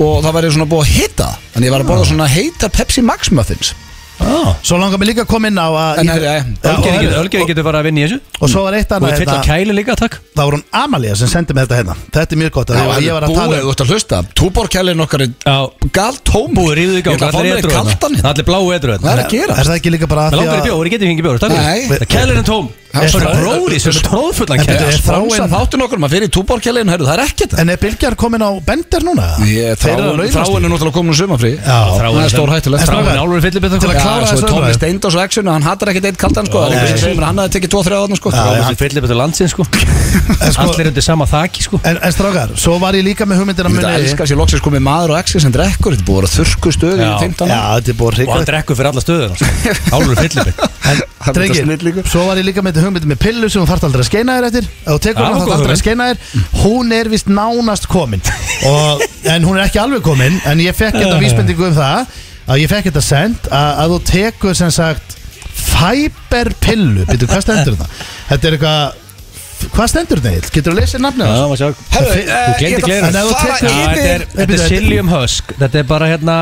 Speaker 1: Og það væri svona búið að hita Þannig ég var að borða svona heita Pepsi Max muffins
Speaker 2: Svo langar mér líka að koma inn á að
Speaker 1: En, ja, ja.
Speaker 2: Já, og-
Speaker 3: Ölgerið getur, getur bara að vinna í þessu
Speaker 2: og svo var eitt
Speaker 3: Og
Speaker 2: annað
Speaker 3: þetta
Speaker 2: hérna,
Speaker 3: kæli líka, takk
Speaker 2: það var hún Amalia sem sendi mig þetta hérna þetta er mjög gott,
Speaker 1: Já,
Speaker 2: að því
Speaker 1: það
Speaker 2: að ég
Speaker 1: er
Speaker 2: var að
Speaker 1: búið,
Speaker 2: tala
Speaker 1: þú
Speaker 2: um
Speaker 1: ert að hlusta Túborkælin okkar er
Speaker 3: Já,
Speaker 1: gal tóm
Speaker 3: búið ríðu í
Speaker 1: Ég
Speaker 3: gang,
Speaker 1: ætla að fá
Speaker 3: allir
Speaker 1: mér
Speaker 3: edru
Speaker 1: kaldan
Speaker 3: þarna.
Speaker 1: hérna.
Speaker 3: Allir bláu edru
Speaker 1: Hvað er
Speaker 3: þarna.
Speaker 1: að gera?
Speaker 2: er það ekki líka bara að
Speaker 3: Það
Speaker 2: því
Speaker 3: langar í
Speaker 2: að
Speaker 3: bjór, ég geti fengið bjór, takk
Speaker 1: Nei.
Speaker 3: fyrir Kælirinn tóm
Speaker 1: Það er
Speaker 3: Það
Speaker 1: bara-
Speaker 3: er bróðið sem tróðfullan
Speaker 2: En
Speaker 3: kæl
Speaker 2: byrju, er
Speaker 1: Þráin
Speaker 2: þráin
Speaker 1: þáttun okkur, maður fyrir túborkælin, hörðu, það er ekkert
Speaker 2: En er Bilgjar komin á bender núna?
Speaker 1: Ég-
Speaker 2: Þeir eru að
Speaker 1: Þráin
Speaker 2: launast
Speaker 1: þráin er náttúrulega komin úr sumafrí
Speaker 2: Já.
Speaker 1: Það er stór hættulegt
Speaker 2: En
Speaker 3: Þráin
Speaker 2: strákar,
Speaker 3: álur fyllibit
Speaker 2: til að klára
Speaker 1: Já,
Speaker 2: þessa
Speaker 1: svo er Tómi
Speaker 2: umræðu.
Speaker 1: Steindós og Action Hann hattar ekkert eitt kaldan sko Það er einhver sem segir mér að hann hafði tekið 2-3 áðan sko
Speaker 2: Já, já.
Speaker 3: Álur fyllibit er landsinn sko
Speaker 2: En sko-
Speaker 3: Allir undir sama þaki sko
Speaker 2: En, en strákar, svo var ég líka með hugmyndina
Speaker 1: Ég veit að elska þessi loksins komið maður og Action sem drekkur Þetta er búið að vera þurrku stöðu í
Speaker 3: Já.
Speaker 1: 15
Speaker 2: Já,
Speaker 1: ára.
Speaker 2: þetta er búið
Speaker 3: Og hann
Speaker 2: hrigalegt
Speaker 3: drekkur fyrir alla stöðuna sko. Álur fyllibit
Speaker 1: Það er þetta snill
Speaker 2: Drengir,
Speaker 1: líka.
Speaker 2: svo var ég líka með þetta hugmyndin með pillu sem hún þarf aldrei að skeina þér eftir Ef þú tekur
Speaker 3: Já,
Speaker 2: hana
Speaker 3: góð
Speaker 2: þarf aldrei að
Speaker 3: hugmynd.
Speaker 2: skeina þér Hún er vist nánast komin og, En hún er ekki alveg komin En ég fekk þetta vísbendingu um það Að ég fekk þetta send að, að þú tekur sem sagt Fæberpillu Býtu, hvað stendur það? Þetta er eitthvað Hvað stendur það? Getur þú lesið nafnið á þessu?
Speaker 3: Já, maður sjá
Speaker 1: Herðu,
Speaker 2: Þú
Speaker 1: eh, ég ætla að
Speaker 2: En
Speaker 3: gleymdi gleraugun.
Speaker 2: ef þú
Speaker 1: fara
Speaker 2: tekur-
Speaker 1: yfir-
Speaker 3: Já, Þetta er- þetta er Siljum Husk Þetta er bara hérna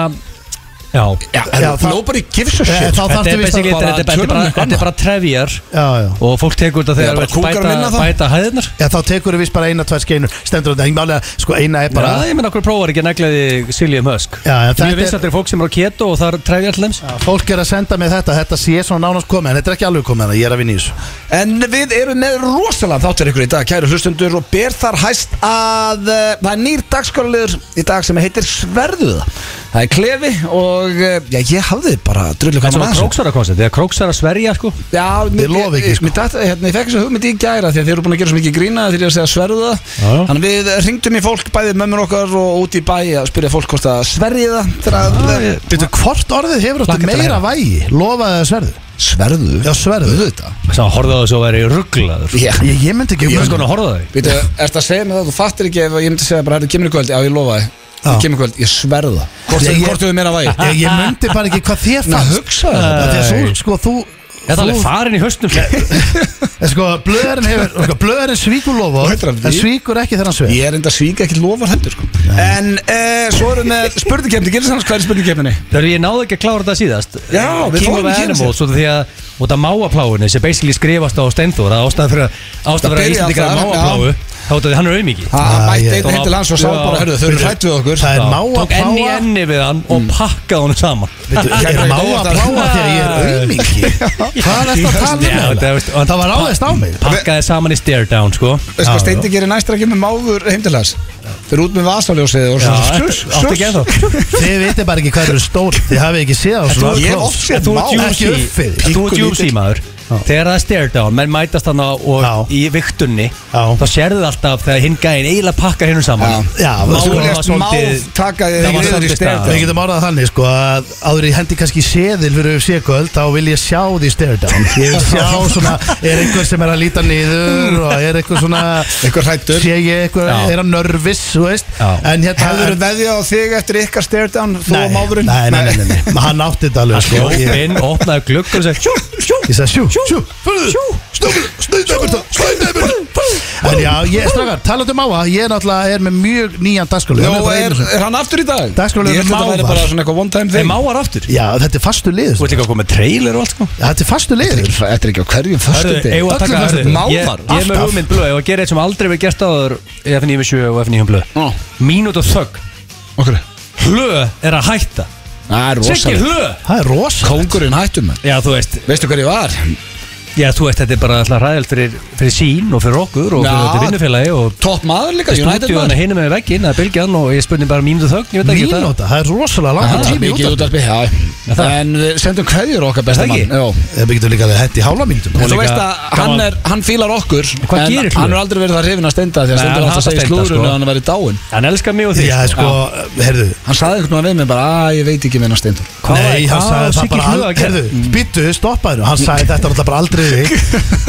Speaker 3: Já
Speaker 1: Já,
Speaker 2: Já,
Speaker 1: en
Speaker 2: það-
Speaker 1: Nobody gives a
Speaker 2: Eh,
Speaker 1: shit
Speaker 2: þá-
Speaker 3: Þetta
Speaker 2: þarftu víst
Speaker 3: er
Speaker 2: að
Speaker 3: basically-
Speaker 1: bara
Speaker 3: þetta er- þetta er
Speaker 1: tölum
Speaker 3: bara-
Speaker 1: eitthvað
Speaker 3: þetta er bara trefjar
Speaker 2: Já, já
Speaker 3: Og fólk tekur þetta
Speaker 1: Já,
Speaker 3: þegar
Speaker 1: bara
Speaker 3: vill
Speaker 1: kúkar minna
Speaker 3: bæta,
Speaker 1: þá.
Speaker 3: bæta hæðirnar
Speaker 2: Já, þá tekur við bara eina, tvær skeinur Stendur þetta, ég málega, sko eina er bara
Speaker 3: Já, ég menn okkur prófar ekki að negla því Siljum Husk
Speaker 2: Já, en þetta
Speaker 3: Mjög
Speaker 2: er-
Speaker 3: viss að þetta er fólk sem er á keto og það er trefjar til þeims
Speaker 2: Já, Fólk er að senda mig þetta, þetta sé svona nánast komið En þetta er ekki alveg komið, þannig að ég er að vinna í þessu
Speaker 1: En við erum með rosalega þáttir ykkur í dag Kæru hlustundur og ber þar hæst að eh, Það er nýr dagskorlegur í dag sem heitir Sverðuða Það er klefi og eh, Já, ég hafði bara drullu
Speaker 3: En
Speaker 1: gaman
Speaker 3: svona
Speaker 1: að þessu.
Speaker 3: króksara koncept, þegar króksara sverja sko
Speaker 1: Já, mér-
Speaker 2: lofa ekki,
Speaker 1: ég-
Speaker 2: sko.
Speaker 1: mér datt- hérna, Ég fekk þessu hugmynd í gæra því að þeir eru búin að gera svo mikið grína þegar ég er að segja sverða
Speaker 3: Já, já.
Speaker 1: Þannig við ringdum í fólk, bæði mömmur okkar og út í bæ að spyrja fólk hvort að sverja það þegar að
Speaker 2: Veitu, hvort orðið hefur
Speaker 3: Hlakka
Speaker 2: áttu
Speaker 3: til að
Speaker 2: meira
Speaker 3: heyra.
Speaker 2: vægi Lofaði það sverðu
Speaker 1: sverðu
Speaker 2: Já, sverðu.
Speaker 1: Auðvitað.
Speaker 3: Sá horfðu á þessu og væri rugglaður
Speaker 1: Já,
Speaker 2: Ég, ég myndi ekki
Speaker 3: Ég sko veist konar horfðu á því
Speaker 1: Býtu, ertu að segja mér það, þú fattir ekki ef ég myndi segja bara, herru, kemur í kvöld, já ég lofa þið,
Speaker 2: Já.
Speaker 1: ég kemur í kvöld, ég sverða Hvort
Speaker 2: Ég-
Speaker 1: þau-
Speaker 2: ég-
Speaker 1: hvort þau er meira vægi Eh,
Speaker 2: ég, ég myndi bara ekki hvað þér
Speaker 1: Ná,
Speaker 2: fannst
Speaker 1: hugsaðu
Speaker 2: Af
Speaker 1: þetta
Speaker 2: Því að svo, sko, þú
Speaker 3: Þetta er alveg farin í höstum
Speaker 2: En sko, blöðurinn hefur sko, Blöðurinn svíkur lofa
Speaker 1: Þú heitir hann
Speaker 2: En
Speaker 1: því?
Speaker 2: svíkur ekki þegar hann sver
Speaker 1: Ég er enda að svíka ekki lofar hendur sko. En uh, svo erum við spurningkefni, gildir hans hvað er spurningkefni?
Speaker 3: Þegar ég náði ekki að klára þetta síðast Eh,
Speaker 1: Já, við
Speaker 3: King
Speaker 1: fórum
Speaker 3: of
Speaker 1: ekki yfir
Speaker 3: Animals út af því að út af máapláinu sem basically skrifast á Steindór að ástæða fyrir að ástæða fyrir
Speaker 1: Það
Speaker 3: að
Speaker 1: byrjaði
Speaker 3: Íslandikar er
Speaker 1: þar,
Speaker 3: máapláu þá út af því að hann er auðmiki
Speaker 1: Það
Speaker 2: Ah,
Speaker 1: mætti
Speaker 2: ég-
Speaker 1: einn heim til hans og sá
Speaker 3: Já.
Speaker 1: bara, herru, þau eru
Speaker 2: Býtu,
Speaker 1: hrætt við okkur
Speaker 2: Það er
Speaker 3: Tók
Speaker 2: máapláa
Speaker 3: enni í enni við hann og pakkaði honum saman
Speaker 2: Veitu, Ég er
Speaker 1: Ég-
Speaker 2: máapláa þegar ég er auðmingi Hvað er þetta að tala um
Speaker 3: Já, þetta er-
Speaker 2: eiginlega?
Speaker 3: og-
Speaker 2: Það var áðist á mig
Speaker 3: Pakkaði saman í stare down sko
Speaker 1: Veist hvað Steindi gerir næst er að kemur máður heim til hans Þau eru út með vasaljósið og
Speaker 3: Já,
Speaker 1: svona
Speaker 3: áttu ekki ennþá
Speaker 2: Þið veitir bara ekki hvað eru stór Þið hafið ekki séð á svona
Speaker 1: Ég hef
Speaker 2: close.
Speaker 1: oft séð
Speaker 3: Þú
Speaker 1: má-
Speaker 3: ert
Speaker 2: ekki upp fyrir.
Speaker 3: UFC Þú ert
Speaker 1: Pínkulítið.
Speaker 3: UFC maður Þegar það er stare down, menn mætast hann og
Speaker 2: Já.
Speaker 3: í viktunni
Speaker 2: Já.
Speaker 3: þá sérðu það alltaf þegar hinn gæinn eiginlega pakkar hinnum saman
Speaker 1: Já.
Speaker 2: Já,
Speaker 3: Málið
Speaker 1: Þú
Speaker 2: sko,
Speaker 3: var
Speaker 1: lest
Speaker 3: svolítið-
Speaker 1: máð taka þig
Speaker 3: það var
Speaker 1: niður í
Speaker 3: svolítið
Speaker 1: stef.
Speaker 3: staðan.
Speaker 2: Við getum orðað þannig sko að áður í hendi kannski séðil fyrir UFC kvöld þá vil ég sjá því stare down Ég vil sjá svona, er einhver sem er að líta niður og er einhver svona
Speaker 1: Einhver hræddur.
Speaker 2: Sé ég einhver,
Speaker 3: Já.
Speaker 2: er hann nervis, þú veist
Speaker 3: Já.
Speaker 2: En hérna
Speaker 1: Hefur þau veðja á þig eftir ykkar stare down Þú og
Speaker 2: Nei,
Speaker 1: máðurinn
Speaker 2: nei, nei, nei, nei, nei. Hann átti þetta alveg
Speaker 3: Það
Speaker 2: sko
Speaker 3: hljóf
Speaker 2: Ég,
Speaker 3: inn, opnaði gluggur og sagði Sjú, sjú,
Speaker 2: ég sagði sjú, sjú, sjú En já, ég, strafgar, talandi um á að ég náttúrulega er með mjög nýjan dagskólu
Speaker 1: Nú er, er hann aftur í dag
Speaker 2: Dagskráin er
Speaker 1: Ég held að þetta væri
Speaker 2: mávar.
Speaker 1: bara svona eitthvað one time
Speaker 3: Þeir
Speaker 1: thing
Speaker 3: máar aftur
Speaker 2: Já, þetta er fastu sko. liður
Speaker 3: Þú ert líka að koma með trailer og allt sko
Speaker 2: Þetta er fastu liður
Speaker 1: Þetta er ekki á hverjum fyrstu
Speaker 3: eigum við að taka
Speaker 1: dag
Speaker 3: Ég-
Speaker 1: Mávar
Speaker 3: Ég er með
Speaker 2: alltaf.
Speaker 3: hugmynd blöð Ég var að gera eitt sem aldrei verið gert áður í F97 og F9 blöð
Speaker 1: Ó,
Speaker 3: Mínút og þögg
Speaker 1: Okkur
Speaker 3: Hlö er að hætta
Speaker 1: Það er
Speaker 3: Siggi
Speaker 1: rosalega
Speaker 3: hlö
Speaker 2: Það er rosa
Speaker 1: Kóngurinn hættum
Speaker 3: Já þú veist
Speaker 1: Veistu hver ég var?
Speaker 3: Já, þú veist, þetta er bara alltaf ræðilt fyrir, fyrir sín og fyrir okkur og fyrir
Speaker 1: Já.
Speaker 3: þetta vinnufélagi og
Speaker 1: Topp maður líka, United
Speaker 3: stúdíu hann
Speaker 1: maður
Speaker 3: hinum með vegginn að bylgjan og ég spurning bara mínútu þögn, ég veit ekki hvað-
Speaker 2: Mínúta, það er rosalega langt
Speaker 1: Það er
Speaker 2: tími í
Speaker 1: mikið
Speaker 2: útvarpi.
Speaker 1: útarpi, já
Speaker 3: það-
Speaker 1: En við sendum hverjur okkar besta
Speaker 3: Er það
Speaker 1: mann
Speaker 3: ekki?
Speaker 1: já.
Speaker 2: Það byggjum líka að hætti hálfa mínútum
Speaker 1: En þú
Speaker 3: líka
Speaker 1: veist að hann,
Speaker 3: gaman-
Speaker 1: er, hann fílar okkur
Speaker 3: Hvað
Speaker 1: En
Speaker 3: gerir
Speaker 1: hann
Speaker 3: Hlöður?
Speaker 1: er aldrei verið það hrifin að steinda Því að
Speaker 3: Nei,
Speaker 1: steinda er
Speaker 3: hann
Speaker 1: alltaf að
Speaker 3: hatar
Speaker 1: segja
Speaker 3: Steinda,
Speaker 1: slúðurinn
Speaker 3: sko.
Speaker 1: að hann væri dáin
Speaker 3: Hann elskar mig og þig
Speaker 2: Já, sko, herðu
Speaker 1: Hann saði einhvern veginn við mig bara að ég veit ekki meina steindur
Speaker 3: Hvað-
Speaker 2: Nei, hann
Speaker 3: hvað á
Speaker 2: sagði það
Speaker 3: Siggi
Speaker 2: bara
Speaker 3: Hlöðu að
Speaker 2: al-
Speaker 3: gera? Mm.
Speaker 2: Herðu, byttu, stoppaðu Hann sagði þetta er náttúrulega bara aldrei þig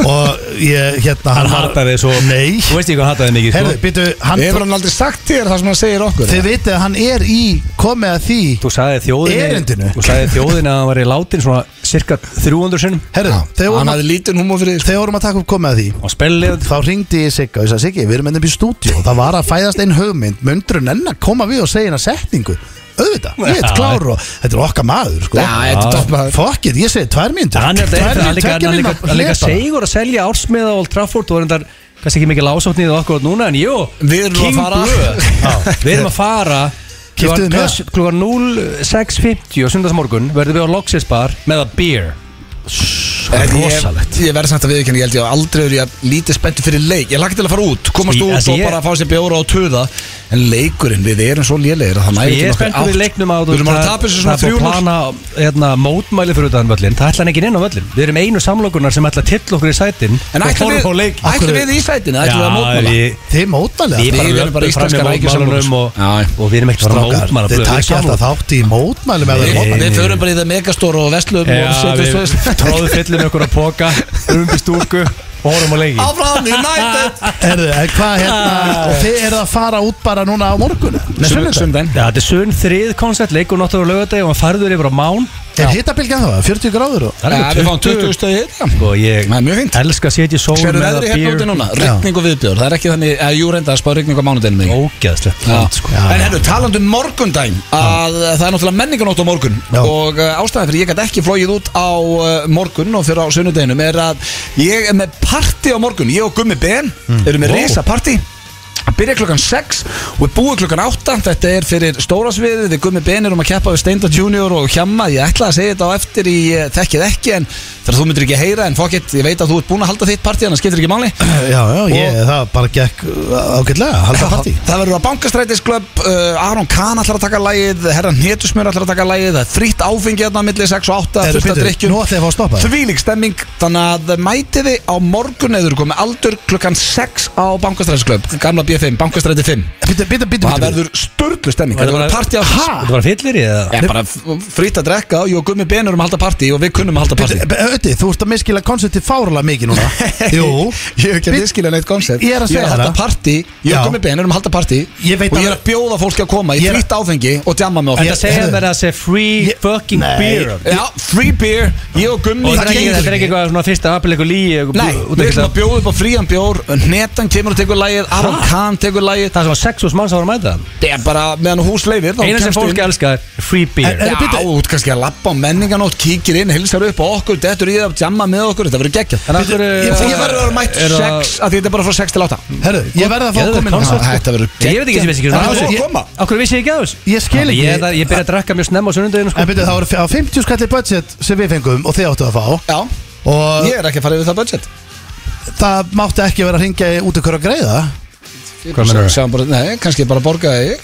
Speaker 2: Og ég, hérna
Speaker 3: Hann
Speaker 2: var-
Speaker 3: hatar þig svo
Speaker 2: Nei,
Speaker 3: Þú veist ekki hvað hatar þig mikið
Speaker 2: herðu,
Speaker 3: sko.
Speaker 2: byttu hann,
Speaker 1: Hefur hann aldrei sagt þér það sem hann segir okkur
Speaker 2: Þið vitið að hann er í Komið að því
Speaker 3: Þú sagði þjóðinni
Speaker 2: Erindinu.
Speaker 3: Þú sagði þjóðinni að hann var í látin svona cirka 300 sinnum
Speaker 2: Herðu, þegar
Speaker 1: Hann
Speaker 2: vorum að-
Speaker 1: hafði lítinn húmó fyrir sko. því,
Speaker 2: þegar vorum að taka upp komið að því
Speaker 3: og spellið
Speaker 2: Þá hringdi ég Sigga og ég sagði Siggi, við erum ennum í stúdíu Það var að fæðast einn hugmynd Möndur en enn að koma við og segja hérna setningu Auðvitað, ég er
Speaker 3: Já.
Speaker 2: klár og þetta er okkar maður sko.
Speaker 1: Já, þetta er topp maður
Speaker 2: Fuck it, ég segi tvær mínútur
Speaker 3: Hann er
Speaker 2: Tvær
Speaker 3: þetta hann
Speaker 2: mínútur,
Speaker 3: líka,
Speaker 2: tveggja
Speaker 3: hann líka,
Speaker 2: mínútna
Speaker 3: hann líka
Speaker 2: hleta.
Speaker 3: segur að selja ársmiða á Old Trafford og reyndar kannski ekki mikil ásóknið okkur núna en jú,
Speaker 1: Við erum að
Speaker 3: King
Speaker 1: fara.
Speaker 3: Blue. Já, Við erum að fara
Speaker 2: Keyptuð
Speaker 3: klukkan-
Speaker 2: miða?
Speaker 3: klukkan- klukkan 06.50 og sundagsmorgun verðum við á Loxis bar með að beer
Speaker 1: En ég,
Speaker 3: rosalegt.
Speaker 1: ég verði samt að viðkynna, ég held ég að aldrei verið ég lítið spennti fyrir leik Ég lagt til að fara út, komast
Speaker 3: Sko, ég-
Speaker 1: út
Speaker 3: altså,
Speaker 1: og
Speaker 3: ég-
Speaker 1: bara fá sér bjóra og töða En leikurinn, við erum svo lélegir að það nægir
Speaker 3: Ég
Speaker 1: til
Speaker 3: er
Speaker 1: okkar
Speaker 3: spenntur við leiknum á
Speaker 1: Við erum að tapa þessu svona
Speaker 3: Það er búið
Speaker 1: 3-0
Speaker 3: að plana hérna, mótmæli fyrir utan völlin Það ætla hann ekki inn á völlin Við erum einu samlokunar sem ætla að tilla okkur í sætin
Speaker 1: En ætlum við, ætlum við í sætinu, ætlum við að mótmála
Speaker 2: Þið mótmælega
Speaker 3: Við
Speaker 1: Við
Speaker 3: erum
Speaker 1: erum bara
Speaker 3: bara
Speaker 1: íslenskar
Speaker 3: fram í mótmælunum
Speaker 1: rækjusamlokur.
Speaker 3: og,
Speaker 1: Já.
Speaker 3: og við erum ekkert að fara að
Speaker 2: Þið
Speaker 3: mótmæla blöð, við erum
Speaker 2: takk ég alltaf
Speaker 3: samlokur.
Speaker 2: þátt í mótmæli með
Speaker 1: Við,
Speaker 2: þeim
Speaker 1: við förum bara í það megastór og veslum og
Speaker 3: Já,
Speaker 1: setjum
Speaker 3: við
Speaker 1: svo
Speaker 3: tróðum fyllum okkur að póka Rumbi stúku og horfum á leiki
Speaker 1: Áfram, United
Speaker 2: Herðu, en hvað hérna
Speaker 3: Ah.
Speaker 2: Og þið eru að fara út bara núna á morgun Nei, sunnudaginn.
Speaker 1: Sundin
Speaker 3: Já, þetta er sunn þrið koncert Leik og náttúrulega lögadegi og hann færður yfir á mán
Speaker 2: Er hittabilgja þá, 40 gráður og
Speaker 3: Það er
Speaker 1: Við fáum
Speaker 3: alveg
Speaker 1: 20 stöði hérna
Speaker 3: Og ég
Speaker 1: Það er mjög fint
Speaker 3: elska að setja sól
Speaker 1: Sér
Speaker 3: með
Speaker 1: er
Speaker 3: að
Speaker 1: veðri hérna úti
Speaker 3: beer
Speaker 1: núna Rigning og viðbjör Það er ekki þannig að jú reynda að spá rigning á mánudeginu mig
Speaker 3: Ógæðslegt
Speaker 1: Já.
Speaker 3: land, sko.
Speaker 1: En herru, talandu morgundæn að uh, það er náttúrulega menninganótt á morgun
Speaker 2: Já.
Speaker 1: og uh, ástæðan fyrir ég gæti ekki flóið út á uh, morgun og fyrir á sunnudeginum er að ég er með party á morgun ég og Gummi Ben eru með
Speaker 2: Vó.
Speaker 1: risa party byrja klukkan 6 og við búum klukkan 8 þetta er fyrir stóra sviðið við Gummi Ben erum að keppa við Steinda Junior og Hjamma ég ætla að segja þetta á eftir í uh, þekkið ekki en þar þú myndir ekki heyra en fokkitt ég veit að þú ert búin að halda þitt partí en það skiptir ekki máli
Speaker 2: Já, já, ég, það bara gekk ágætlega Halda partí
Speaker 1: Það verður að bankastrætisklöpp uh, Aron Kahn ætlar að taka lægið Herran Hnetusmjör ætlar að taka lægið Það er þrýtt áfengi hérna á milli 6 og 8
Speaker 2: Herðu,
Speaker 1: Fullt að
Speaker 2: býttu,
Speaker 1: drikkjum
Speaker 2: Nú ætlum ég að fá að stoppa það.
Speaker 1: Þvílík stemming Þannig að mætiði á morgun eður komið aldur klukkan 6 á bankastrætisklöpp Gamla B5, bankastræti 5
Speaker 2: Býttu, býttu, býttu,
Speaker 1: Og það
Speaker 2: býttu
Speaker 1: verður sturlu stemming
Speaker 3: Var
Speaker 1: Það
Speaker 3: það
Speaker 1: verður
Speaker 3: bara-
Speaker 1: partí á
Speaker 3: Þetta var fyllir í það
Speaker 1: Ég bara frýtt að drekka og ég og gummi benur um að halda partí og við kunnum að halda partí
Speaker 2: Býttu, Ötti, þú ert að miskila konceptið fárala mikið núna Jú
Speaker 1: Ég hef ekki að diskila neitt koncept
Speaker 2: Ég er að segja
Speaker 1: halda
Speaker 2: það.
Speaker 1: partí Ég
Speaker 2: Já.
Speaker 1: og gummi benur um að halda partí Og
Speaker 2: Ég
Speaker 1: ég
Speaker 2: veit
Speaker 1: er
Speaker 2: alveg-
Speaker 1: að bjóða fólki að koma Ég
Speaker 2: Ég er-
Speaker 1: frýtt áfengi og djamma með
Speaker 3: En
Speaker 1: okkur
Speaker 3: það segja
Speaker 2: Heyrðu.
Speaker 3: mér að segja free
Speaker 2: Ég-
Speaker 3: fucking
Speaker 2: Nei.
Speaker 3: beer
Speaker 1: Já, free beer, ég og Gummi
Speaker 3: Og það er ekki- þetta er ekki eitthvað svona fyrsta apel eitthvað líi
Speaker 1: Nei, við ætlum að bjóða upp á frían bjór Netan kemur og tekur lægið, Aron
Speaker 3: Ha?
Speaker 1: Kahn tekur lægið
Speaker 3: Það sem var sex hús manns að voru að mæta
Speaker 1: Það er bara meðan hús leifir þá
Speaker 3: Einar sem
Speaker 1: kemstu
Speaker 3: fólk
Speaker 1: inn.
Speaker 3: elskar er free beer
Speaker 2: En-
Speaker 1: Já,
Speaker 2: Herru, bíddu.
Speaker 1: þú ert kannski að lappa á menninganótt, kíkir inn, hilsar upp á okkur, dettur í það, jamma með okkur, þetta verður geggjað
Speaker 3: En af hverju-
Speaker 1: Ég ég verður að vera mætt
Speaker 3: Er það-
Speaker 1: 6, af því þetta er bara frá 6 til 8
Speaker 2: Herru, ég verði að fá að
Speaker 3: Geðveikt
Speaker 2: koma inn á
Speaker 3: koncept.
Speaker 2: það
Speaker 1: sko. Þetta verður
Speaker 3: Ég veit ekki sem vissi ekki um
Speaker 1: Það
Speaker 2: Það
Speaker 1: er
Speaker 2: er
Speaker 1: svo
Speaker 2: ég-
Speaker 1: að koma
Speaker 3: Akkur vissi ég ekki að þessu
Speaker 2: Ég skil ekki.
Speaker 3: Ég, ég byrja að drakka mjög snemma á sunnundeginu sko.
Speaker 2: En byrju, það voru á 50 skalli budget sem við fengum og þið áttu að fá
Speaker 1: Já,
Speaker 2: og
Speaker 1: ég er ekki að fara yfir það budget
Speaker 2: það mátti ekki vera að ringja út ykkur að greiða
Speaker 3: Hvað meinarðu?
Speaker 1: Sjáum bara- Nei, kannski bara borgaði ég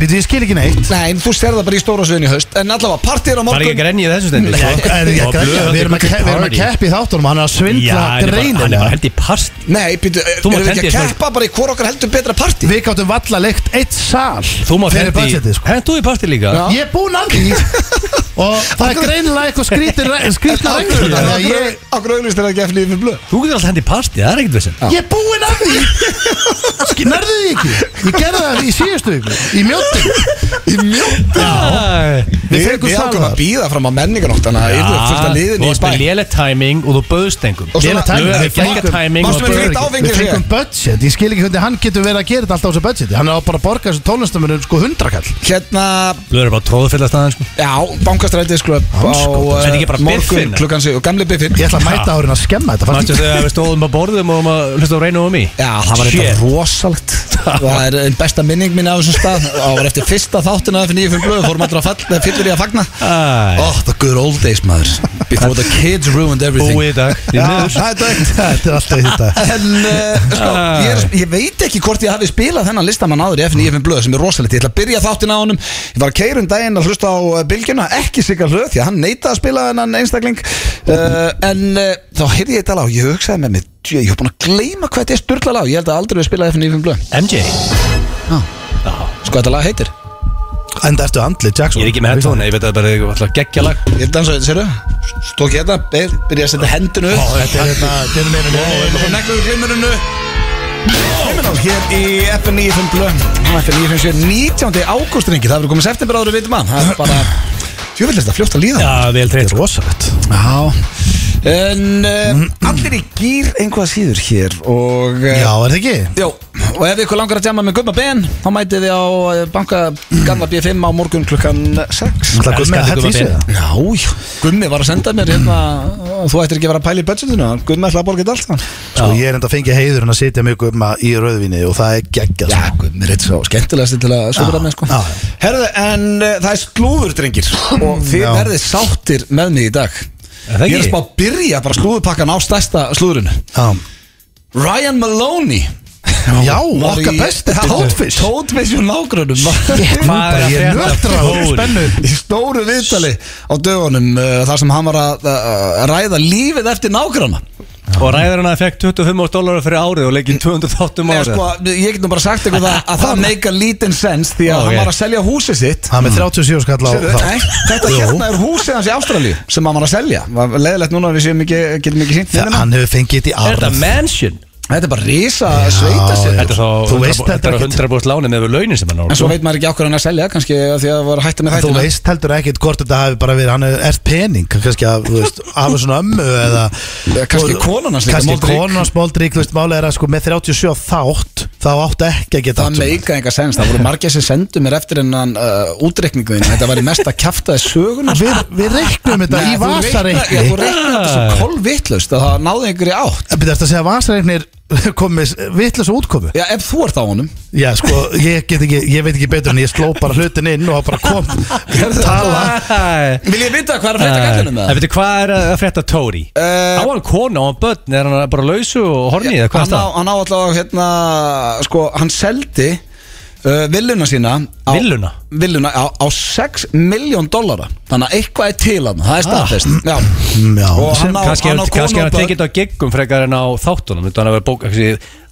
Speaker 2: Býttu, ég skil ekki neitt
Speaker 1: Nei, en þú sér það bara í stóra sviðin í haust En allavega, partíð á
Speaker 3: Var ekki
Speaker 1: morgun
Speaker 3: að grenja þessu sko. stendur
Speaker 2: Nei, en ég-
Speaker 3: Og blöð,
Speaker 2: Við erum að ke-
Speaker 3: þetta er
Speaker 2: við erum að
Speaker 3: party.
Speaker 2: keppi í þáttunum Hann er að
Speaker 3: Já,
Speaker 2: svindla
Speaker 3: hann er bara- hann er bara
Speaker 2: greinilega
Speaker 3: held í past
Speaker 1: Nei, býtu, er-
Speaker 3: Þú mátt
Speaker 1: erum við ekki
Speaker 3: hendi í
Speaker 1: að
Speaker 3: svona-
Speaker 1: keppa bara í hvor okkar heldur betra partí?
Speaker 2: Við gáttum valla leikt eitt sal
Speaker 3: Þú má
Speaker 2: fyrir
Speaker 3: hendi
Speaker 2: budgetið, sko.
Speaker 3: Hentu í pasti líka
Speaker 1: Já.
Speaker 2: Ég er búinn að því Og það er greinilega eitthvað skrítin skrítna reglur Þannig að ég-
Speaker 1: Akkur auðvist er það ekki eftir yfir blöð
Speaker 3: Þú getur alltaf hendi í pasti, það er ekkert vissin
Speaker 2: Ég er búinn að því Ski- Nærðu því ekki Ég gerði það í síðustu viku Í mjóttu Í mjóttu Við
Speaker 1: Við
Speaker 2: fengum
Speaker 1: við
Speaker 2: sal
Speaker 1: ákveðum að
Speaker 2: þar
Speaker 1: býða fram á menninganótt Þannig að það er fullt að liðin
Speaker 3: Þú
Speaker 1: í
Speaker 3: varst
Speaker 1: spæ
Speaker 3: með léle timing og þú bauðst engum
Speaker 1: Og svo-
Speaker 2: Léleg
Speaker 3: Þú
Speaker 2: timing,
Speaker 3: er
Speaker 2: við
Speaker 3: gegga
Speaker 2: fengum-
Speaker 3: timing
Speaker 1: Mástu
Speaker 3: og
Speaker 1: með frítt
Speaker 3: bauðir ekki.
Speaker 1: áfengi
Speaker 2: Við fengum budget, ég skil ekki hvernig hann getur verið að gera þetta alltaf á þessu budgeti Hann er á bara að borga þessu tónlistamönnum sko hundrakall
Speaker 1: Hérna,
Speaker 3: Blöður er bara tróðfyllast aðeins sko.
Speaker 1: já, bankastrætisklöp á
Speaker 2: Andskotans.
Speaker 1: eh,
Speaker 3: Þetta er ekki bara
Speaker 1: morgun
Speaker 3: biffinn?
Speaker 1: klukkan sig og gamli biffin
Speaker 2: Ég ætla að mæta árin að skemma þetta
Speaker 3: Manstu
Speaker 2: fannst-
Speaker 3: þegar við stóðum á borðum og vorum að hlusta á reynu um í
Speaker 1: Já, það var
Speaker 3: Shit.
Speaker 1: eitthvað rosalegt það er einn besta minning mín af þessum stað það var eftir fyrsta þáttina fyrir nýjum fyrir blöð fórum allir að falla, fyllir í að fagna
Speaker 3: Æ.
Speaker 1: oh, the good old days maður before the kids ruined everything
Speaker 3: Búið í dag því
Speaker 2: Já,
Speaker 3: miður.
Speaker 2: það er dægt Þetta er alltaf í þetta
Speaker 1: en uh, sko, ég, er, ég veit ekki hvort ég hafi spilað þennan listamann áður í FNIFN blöð sem er rosalegt, ég ætla að byrja þáttin á honum ég var að keyra um daginn að hlusta á eh, bylgjuna ekki sigga hlöð, því að hann neitaði að spila þennan einstakling uh, en uh, þá heyrði ég þetta lag og ég hugsaði með mér "Djú, ég hef búin að gleyma hvað þetta er styrla lag ég held að aldrei við spilaði FNIFN blöð
Speaker 3: MJ
Speaker 1: sko þetta lag heitir,
Speaker 2: Enda ertu andli, Jackson
Speaker 3: Ég er ekki með headphone, ég veit að það er bara alltaf geggja lag
Speaker 1: ég dansa þetta, sérðu stók ég þetta, beð- byrja að setja hendinu upp
Speaker 2: Þetta er þetta,
Speaker 3: hérna
Speaker 2: þetta er meira
Speaker 1: og negluðu glimurinu Criminal hér í FN95 Blöð FN95 sér 19. ágúst ringi það verður komið september áður við vitum að það er bara tjófællist að fljótt að líða
Speaker 3: Já, vel treyt
Speaker 2: Rosalegt
Speaker 1: Já. en uh, allir í gýr einhvað síður hér og eh,
Speaker 2: Já, er það ekki?
Speaker 1: Jó, og ef ykkur langar að djama með Gumma Ben þá mætið þið á eh, banka Gamla B5 á morgun klukkan 6
Speaker 2: Það er með
Speaker 3: Elskar þig,
Speaker 2: hætt
Speaker 3: Gumma
Speaker 2: í sig
Speaker 3: Ben.
Speaker 2: það
Speaker 1: Já, já, Gummi var að senda mér hérna, þú ættir ekki að vera að pæla í budgetinu Gummi ætla að borga þetta allt saman.
Speaker 2: Sko ég er enda að fengja heiður en að sitja mjög um í rauðvinni og það er geggjað sko.
Speaker 1: Já, Gummi er eitt svo skemmtilegast til að sopra
Speaker 2: Já,
Speaker 1: með sko
Speaker 2: já.
Speaker 1: Herðu, en uh, það er slúður, drengir Og þið
Speaker 2: Já.
Speaker 1: verðið sáttir með mig í dag
Speaker 3: Er það
Speaker 1: Ég er
Speaker 3: ekki?
Speaker 1: spá að byrja bara slúðupakkan á stærsta slúðurinu
Speaker 2: Já.
Speaker 1: Ryan Maloney
Speaker 2: Já,
Speaker 1: var
Speaker 2: okkar
Speaker 1: í-
Speaker 2: besti
Speaker 1: Toadfish
Speaker 2: Toadfish.
Speaker 1: Toadfish og nágrunum
Speaker 3: Hvað er að
Speaker 2: Ég er
Speaker 3: frétta?
Speaker 2: nötraður.
Speaker 3: Fór.
Speaker 2: Spennu.
Speaker 1: Í stóru viðtali á dögunum uh, Þar sem hann var að uh, ræða lífið eftir nágrana
Speaker 3: Og ræður hann að fekk 25 dólarar fyrir árið og leikinn 208
Speaker 1: Nei,
Speaker 3: árið
Speaker 1: sko, Ég get nú bara sagt eitthvað að, að það meika lítinn sens Því að
Speaker 3: Ó,
Speaker 1: hann
Speaker 3: ég.
Speaker 1: var að selja húsið sitt
Speaker 2: Það er með 37 skall á
Speaker 1: Mm. Sérðu, nei, Þetta
Speaker 2: Jú.
Speaker 1: hérna er húsið hans í Ástralíu sem hann var að selja Var Leðilegt núna að við séum ekki, getum ekki sínt
Speaker 2: Það-
Speaker 1: nefnina
Speaker 2: Hann hefur fengið þetta í
Speaker 3: Er
Speaker 2: arð
Speaker 3: þetta mansion?
Speaker 1: Þetta er bara risa sveita sér
Speaker 2: já.
Speaker 3: Þetta er þá
Speaker 2: Þú
Speaker 3: 100
Speaker 2: veist þetta
Speaker 3: þetta er
Speaker 2: ekkert.
Speaker 3: 100% lánið með launin sem hann á
Speaker 1: En svo veit maður ekki okkur hann er að selja kannski af því að það var hættið með
Speaker 2: En Þú
Speaker 1: þættina
Speaker 2: veist heldur ekkert hvort þetta hafi bara verið hann er ert pening, kannski að þú veist, hafa svona ömmu eða
Speaker 1: Ja, kannski konan hans líka,
Speaker 2: kannski
Speaker 1: moldrík.
Speaker 2: konan hans moldrík, þú veist, málega er að sko með 37 þátt, þá áttu ekki að geta
Speaker 1: Það meika enga sens, það voru margir sem sendu mér eftir hennan uh, útreikninguðin Þetta var í mesta kjaftaði söguna
Speaker 2: Við, við reiknum þetta í Ah. vasareikni
Speaker 1: Þú reiknaði þetta svo kolvitlaust að það náði einhverju átt
Speaker 2: Þú veist Eh, að segja að vasareiknir komið vitlis útkomu
Speaker 1: Já, ef þú ert á honum
Speaker 2: Já, sko, ég, get ekki, ég veit ekki betur en ég sló bara hlutin inn og það bara kom tala
Speaker 3: Æ.
Speaker 1: Vil ég vita hvað er að frétta gallinu með
Speaker 3: En
Speaker 1: það?
Speaker 3: veitu hvað er að frétta Tóri?
Speaker 1: Eh,
Speaker 3: Á hann konu, á hann börn, er hann bara lausu og horni eða hvað er
Speaker 1: hann á,
Speaker 3: það?
Speaker 1: hann á allavega hérna, sko, hann seldi uh, villuna sína á,
Speaker 3: Villuna?
Speaker 1: villuna á, á 6 miljón dollara þannig að eitthvað er til hann, það er staðfest já.
Speaker 2: Já.
Speaker 1: og
Speaker 3: Ah. Sem
Speaker 1: hann á,
Speaker 3: kannski
Speaker 1: hann á
Speaker 3: er- kannski er
Speaker 1: konu og
Speaker 3: hann
Speaker 1: börn
Speaker 3: tekið þetta á geggum frekar en á þáttunum Þannig að vera bók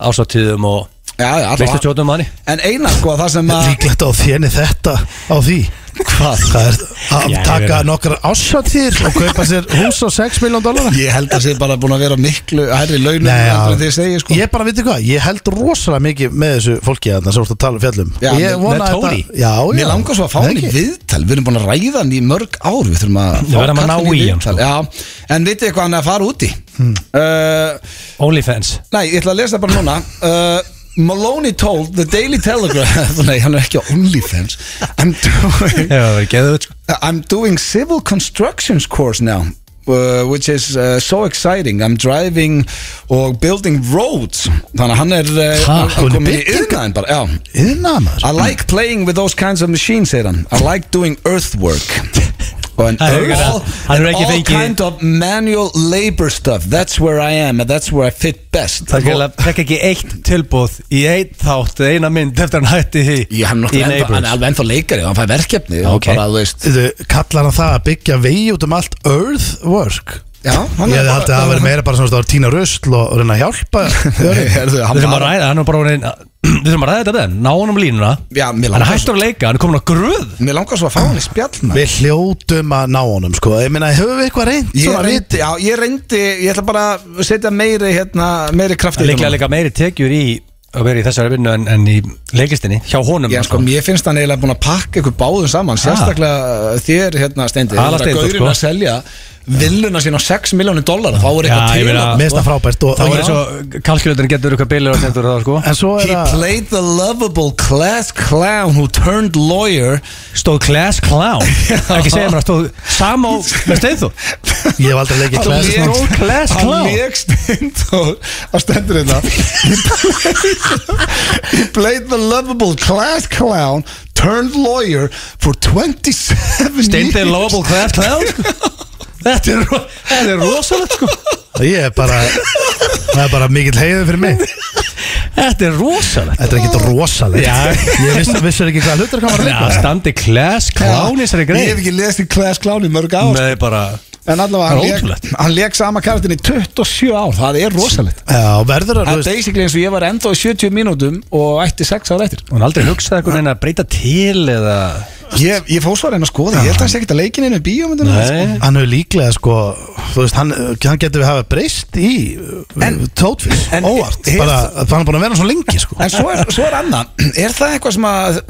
Speaker 3: ásáttíðum og
Speaker 1: já, já,
Speaker 3: veistu
Speaker 1: allavega.
Speaker 3: tjóðum manni
Speaker 1: en eina sko, það sem að
Speaker 2: Líklegt á þéni þetta á því Hvað? Það er að
Speaker 3: Já, ég veit
Speaker 2: taka
Speaker 3: það.
Speaker 2: nokkar ásatýr og kaupa sér hús á 6 miljón dólar
Speaker 1: ég held að sé bara búin að vera miklu herri launum
Speaker 2: Nei, já.
Speaker 1: heldur en þið segir sko
Speaker 2: Ég bara veit hvað, ég held rosalega mikið með þessu fólki þarna sem voru að tala um fjallum
Speaker 1: Já,
Speaker 2: Og
Speaker 1: með-
Speaker 2: ég vona
Speaker 3: með
Speaker 2: að
Speaker 3: Tóri.
Speaker 2: þetta- Já, já
Speaker 1: Mér langar svo að fá hann í
Speaker 2: Nei, ekki.
Speaker 1: viðtal Við erum búin að ræða hann í mörg ár Við þurfum að
Speaker 3: Við verðum að
Speaker 1: kallinn
Speaker 3: ná í hann,
Speaker 1: viðtal.
Speaker 3: sko.
Speaker 1: Já, En vitið þið hvað hann er að fara úti hmm.
Speaker 3: Onlyfans
Speaker 1: Nei, ég ætla að lesa bara núna uh, Maloney told the Daily Telegraph Nei, hann er ekki á OnlyFans I'm doing,
Speaker 3: Já, það verður geðuð sko
Speaker 1: I'm doing civil constructions course now Uh, which is uh, so exciting I'm driving og building roads þannig að hann er
Speaker 2: Ha,
Speaker 1: uh,
Speaker 2: hún er
Speaker 1: komin í
Speaker 2: byggingar-
Speaker 1: yfirnaðin bara já.
Speaker 2: Iðnaðarmaður.
Speaker 1: I like playing with those kinds of machines segir hann I like doing earthwork and
Speaker 3: Það er ekki-
Speaker 1: all,
Speaker 3: hann er
Speaker 1: and
Speaker 3: ekki
Speaker 1: all
Speaker 3: fengið-
Speaker 1: kind of manual labor stuff that's where I am and that's where I fit best
Speaker 3: Það er gæla, fekk ekki eitt tilbúð í einn þátt, eða eina mynd eftir hann hætti því
Speaker 1: Já, hann, er náttúrulega
Speaker 3: í
Speaker 1: ennþá- hann er
Speaker 3: Neighbours
Speaker 1: alveg ennþá leikari og hann fær verkefni
Speaker 3: Já,
Speaker 1: og
Speaker 3: ok.
Speaker 1: bara, þú veist
Speaker 2: Þú kallar hann það að byggja vegi út um allt earthwork
Speaker 1: Já, hann
Speaker 2: Ég hefði haldið að það væri meira bara svona að tína rusl og reyna að hjálpa
Speaker 1: Herðu, hann
Speaker 3: Við þurfum að
Speaker 1: bara-
Speaker 3: ræða, hann er bara orðin Við þurfum að ræða þetta við hann, ná hann um línuna
Speaker 1: Já, mér
Speaker 3: Hann er
Speaker 1: langar svo-
Speaker 3: hættur að leika, hann er komin á gröð
Speaker 1: Mér langar svo að fá hann í spjall maður.
Speaker 2: Við hljótum að ná honum sko Ég meina, höfum við eitthvað reynd
Speaker 1: Ég
Speaker 2: svona
Speaker 1: reyndi, já, ég reyndi Ég ætla bara að setja meiri, hérna, meiri kraft
Speaker 3: Það er
Speaker 1: í
Speaker 3: líklega
Speaker 1: þetta.
Speaker 3: líka meiri tekjur í að vera í þessari vinnu en, en í leiklistinni hjá honum
Speaker 1: Já, sko, mér finnst hann eiginlega búin að pakka ykkur báðum saman Sérstaklega ah. uh, þér, hérna, Steindi
Speaker 3: Ala Steindór,
Speaker 1: Gaurinn
Speaker 3: sko.
Speaker 1: að selja villuna sín á 6 miljónir dólar þá er
Speaker 3: Já,
Speaker 1: eitthvað
Speaker 3: ég
Speaker 1: til
Speaker 3: meina,
Speaker 1: þarna,
Speaker 2: Mér
Speaker 1: sko.
Speaker 2: finnst það frábært og,
Speaker 3: Þá
Speaker 2: og
Speaker 3: er eins og kalkulatorn getur eitthvað billir og sendur það sko
Speaker 2: En svo er
Speaker 1: He
Speaker 2: það
Speaker 1: played the lovable class clown who turned lawyer
Speaker 3: Stóð Class Clown Ekki segja mér að stóð Samó með steið þú
Speaker 2: Ég hef aldrei leikið
Speaker 1: Hann
Speaker 2: klæðis
Speaker 1: lék-
Speaker 3: Stóð Class
Speaker 1: Hann
Speaker 3: Clown
Speaker 1: leik stund og að stendur þetta He played the lovable class clown turned lawyer for 27
Speaker 3: Steindi
Speaker 1: years
Speaker 3: Lovable Class Clown sko. Þetta er, ro- þetta er rosalegt sko
Speaker 2: Ég er bara Það er bara mikill heiður fyrir mig
Speaker 3: Þetta er rosalegt
Speaker 2: Þetta er ekkit rosalegt
Speaker 3: Já.
Speaker 2: Ég viss, vissur ekki hvað hlutur kannar að
Speaker 3: Að
Speaker 2: leika
Speaker 3: standi Class Clown í þessari
Speaker 1: Ég hef
Speaker 3: greið
Speaker 1: ekki sko. lesið class clown í mörg ár
Speaker 3: Nei bara
Speaker 1: En allavega,
Speaker 3: Það er
Speaker 1: hann
Speaker 3: ótrúlegt.
Speaker 1: lék- hann leik sama karakterin í 27 ár Það er rosalegt
Speaker 2: Já, verður að
Speaker 1: Það
Speaker 2: þú
Speaker 1: er
Speaker 2: veist
Speaker 1: basically eins og ég var ennþá í 70 mínútum og ætti 6 ára eftir
Speaker 3: Hún aldrei hugsaði einhvern veginn að breyta til eða
Speaker 1: Ég, ég fór svo að reyna að skoða, ég held að það sé ekkert að leikin einu bíómyndinu
Speaker 3: Nei
Speaker 2: Hann hefur líklega sko Þú veist, hann, hann getur við hafa breyst í
Speaker 1: En-
Speaker 2: Tótfís,
Speaker 1: en-
Speaker 2: óvart
Speaker 1: Hefur-
Speaker 2: Bara, hann er búin að vera svo lengi sko
Speaker 1: En svo er, svo er annan, er það eitthvað sem að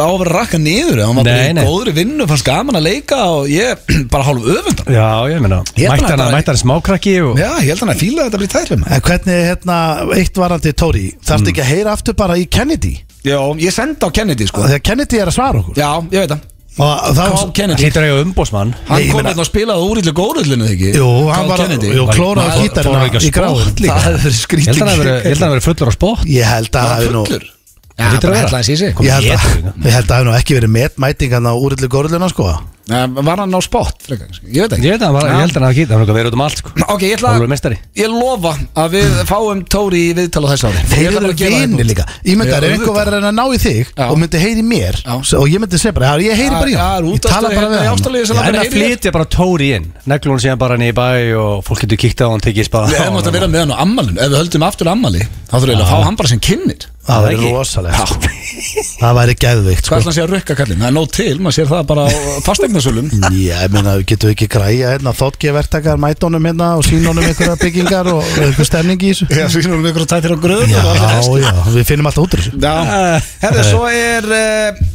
Speaker 1: á að vera rakka niður eða hann var bara
Speaker 3: Nei,
Speaker 1: í
Speaker 3: nei.
Speaker 1: góðri vinnu, fannst gaman að leika og ég bara hálf öfundan
Speaker 3: Já ég meina
Speaker 1: Ég bara-
Speaker 3: Mætti hann að mætti hann smákrakki og
Speaker 1: Já, ég held hann að fíla að þetta blir tæri með
Speaker 2: En hvernig, hérna, eitt varandi Tóri Þarftu
Speaker 1: Mm.
Speaker 2: ekki að heyra aftur bara í Kennedy
Speaker 1: Já, ég sendi á Kennedy sko
Speaker 2: Þegar Kennedy er að svara okkur
Speaker 1: Já, ég veit það,
Speaker 2: Og þá
Speaker 1: Carl Kennedy
Speaker 3: Hýttur eiga umbósmann
Speaker 1: Hann
Speaker 2: Nei, ég
Speaker 1: kom
Speaker 2: meina-
Speaker 1: hérna og spilaði úrillur góðrullinu þegar ekki
Speaker 2: Jú, hann
Speaker 1: Carl
Speaker 2: var að,
Speaker 1: Kennedy.
Speaker 2: jú, klóraði á
Speaker 1: Maður-
Speaker 3: gítar. fór hann
Speaker 2: gítarina
Speaker 3: ekki á
Speaker 2: í gráð
Speaker 3: sport
Speaker 1: Það hefði verið
Speaker 3: Ég
Speaker 1: skrítið
Speaker 3: held að hann hafi verið- ég held að hann hafi verið fullur á spott
Speaker 2: Ég held að
Speaker 1: Var
Speaker 2: hafi
Speaker 1: hann
Speaker 2: nú
Speaker 1: fullur? Já,
Speaker 3: Hlýtur að
Speaker 1: bara
Speaker 3: vera.
Speaker 1: hella hans í sig
Speaker 2: Ég held
Speaker 3: Ég
Speaker 2: að,
Speaker 3: held að-
Speaker 2: ég held að hafi nú ekki verið metmætingan á úrillu góriluna sko
Speaker 1: Nei, Var hann á spott, frekar, sko. ég veit ekki
Speaker 3: Ég veit að hann var, ég held að hann hafi gítið, hann var verið út um allt sko
Speaker 1: Ok, ég ætla
Speaker 3: Hann
Speaker 1: að
Speaker 3: var meistari
Speaker 1: Ég lofa að við fáum Tóri í viðtala þess ári Ég
Speaker 2: Þeir
Speaker 1: ætla bara
Speaker 2: eru
Speaker 1: að gefa
Speaker 2: vinni
Speaker 1: þeim-
Speaker 2: líka Ég myndi
Speaker 1: Já,
Speaker 2: að ef einhver
Speaker 1: auðvitað.
Speaker 2: væri að reyna að ná í þig
Speaker 1: Já.
Speaker 2: og myndi heyri í mér
Speaker 1: Já.
Speaker 2: s- og ég myndi segja bara, "Já, ég heyri bara í
Speaker 1: Já,
Speaker 2: hann
Speaker 1: er
Speaker 2: Ég
Speaker 1: útvarpið
Speaker 2: tala bara
Speaker 1: hérna í
Speaker 2: við hann
Speaker 1: Ástralíu sem langar
Speaker 3: Ég
Speaker 1: að
Speaker 3: er að
Speaker 1: heyra í þér?
Speaker 3: flytja bara Tóri inn Neglun síðan bara niður í bæ og fólk getur kíkt á hann, tekið spá
Speaker 1: Við hefum átt að vera með hann á ammalinu Ef við höldum aftur ammali Þá þurfum við að fá hann bara sem kynnir
Speaker 2: Það
Speaker 3: Það
Speaker 2: væri
Speaker 3: ekki.
Speaker 2: rosalegt sko.
Speaker 1: Hvað
Speaker 2: Það væri geðvikt sko.
Speaker 1: ætla hann sé að rukka kallin? Það er nóg til, maður sér það bara á fastegnasölum
Speaker 2: Já, ég meina, við getum ekki græja hérna, þóttgevertakar, mætónum hérna og sínónum einhverja byggingar og einhver stemning í þessu
Speaker 1: Já, því sem við ykkur að tættir á gröð
Speaker 2: Já, já, við finnum alltaf út úr þessu
Speaker 1: Já, herðu, svo er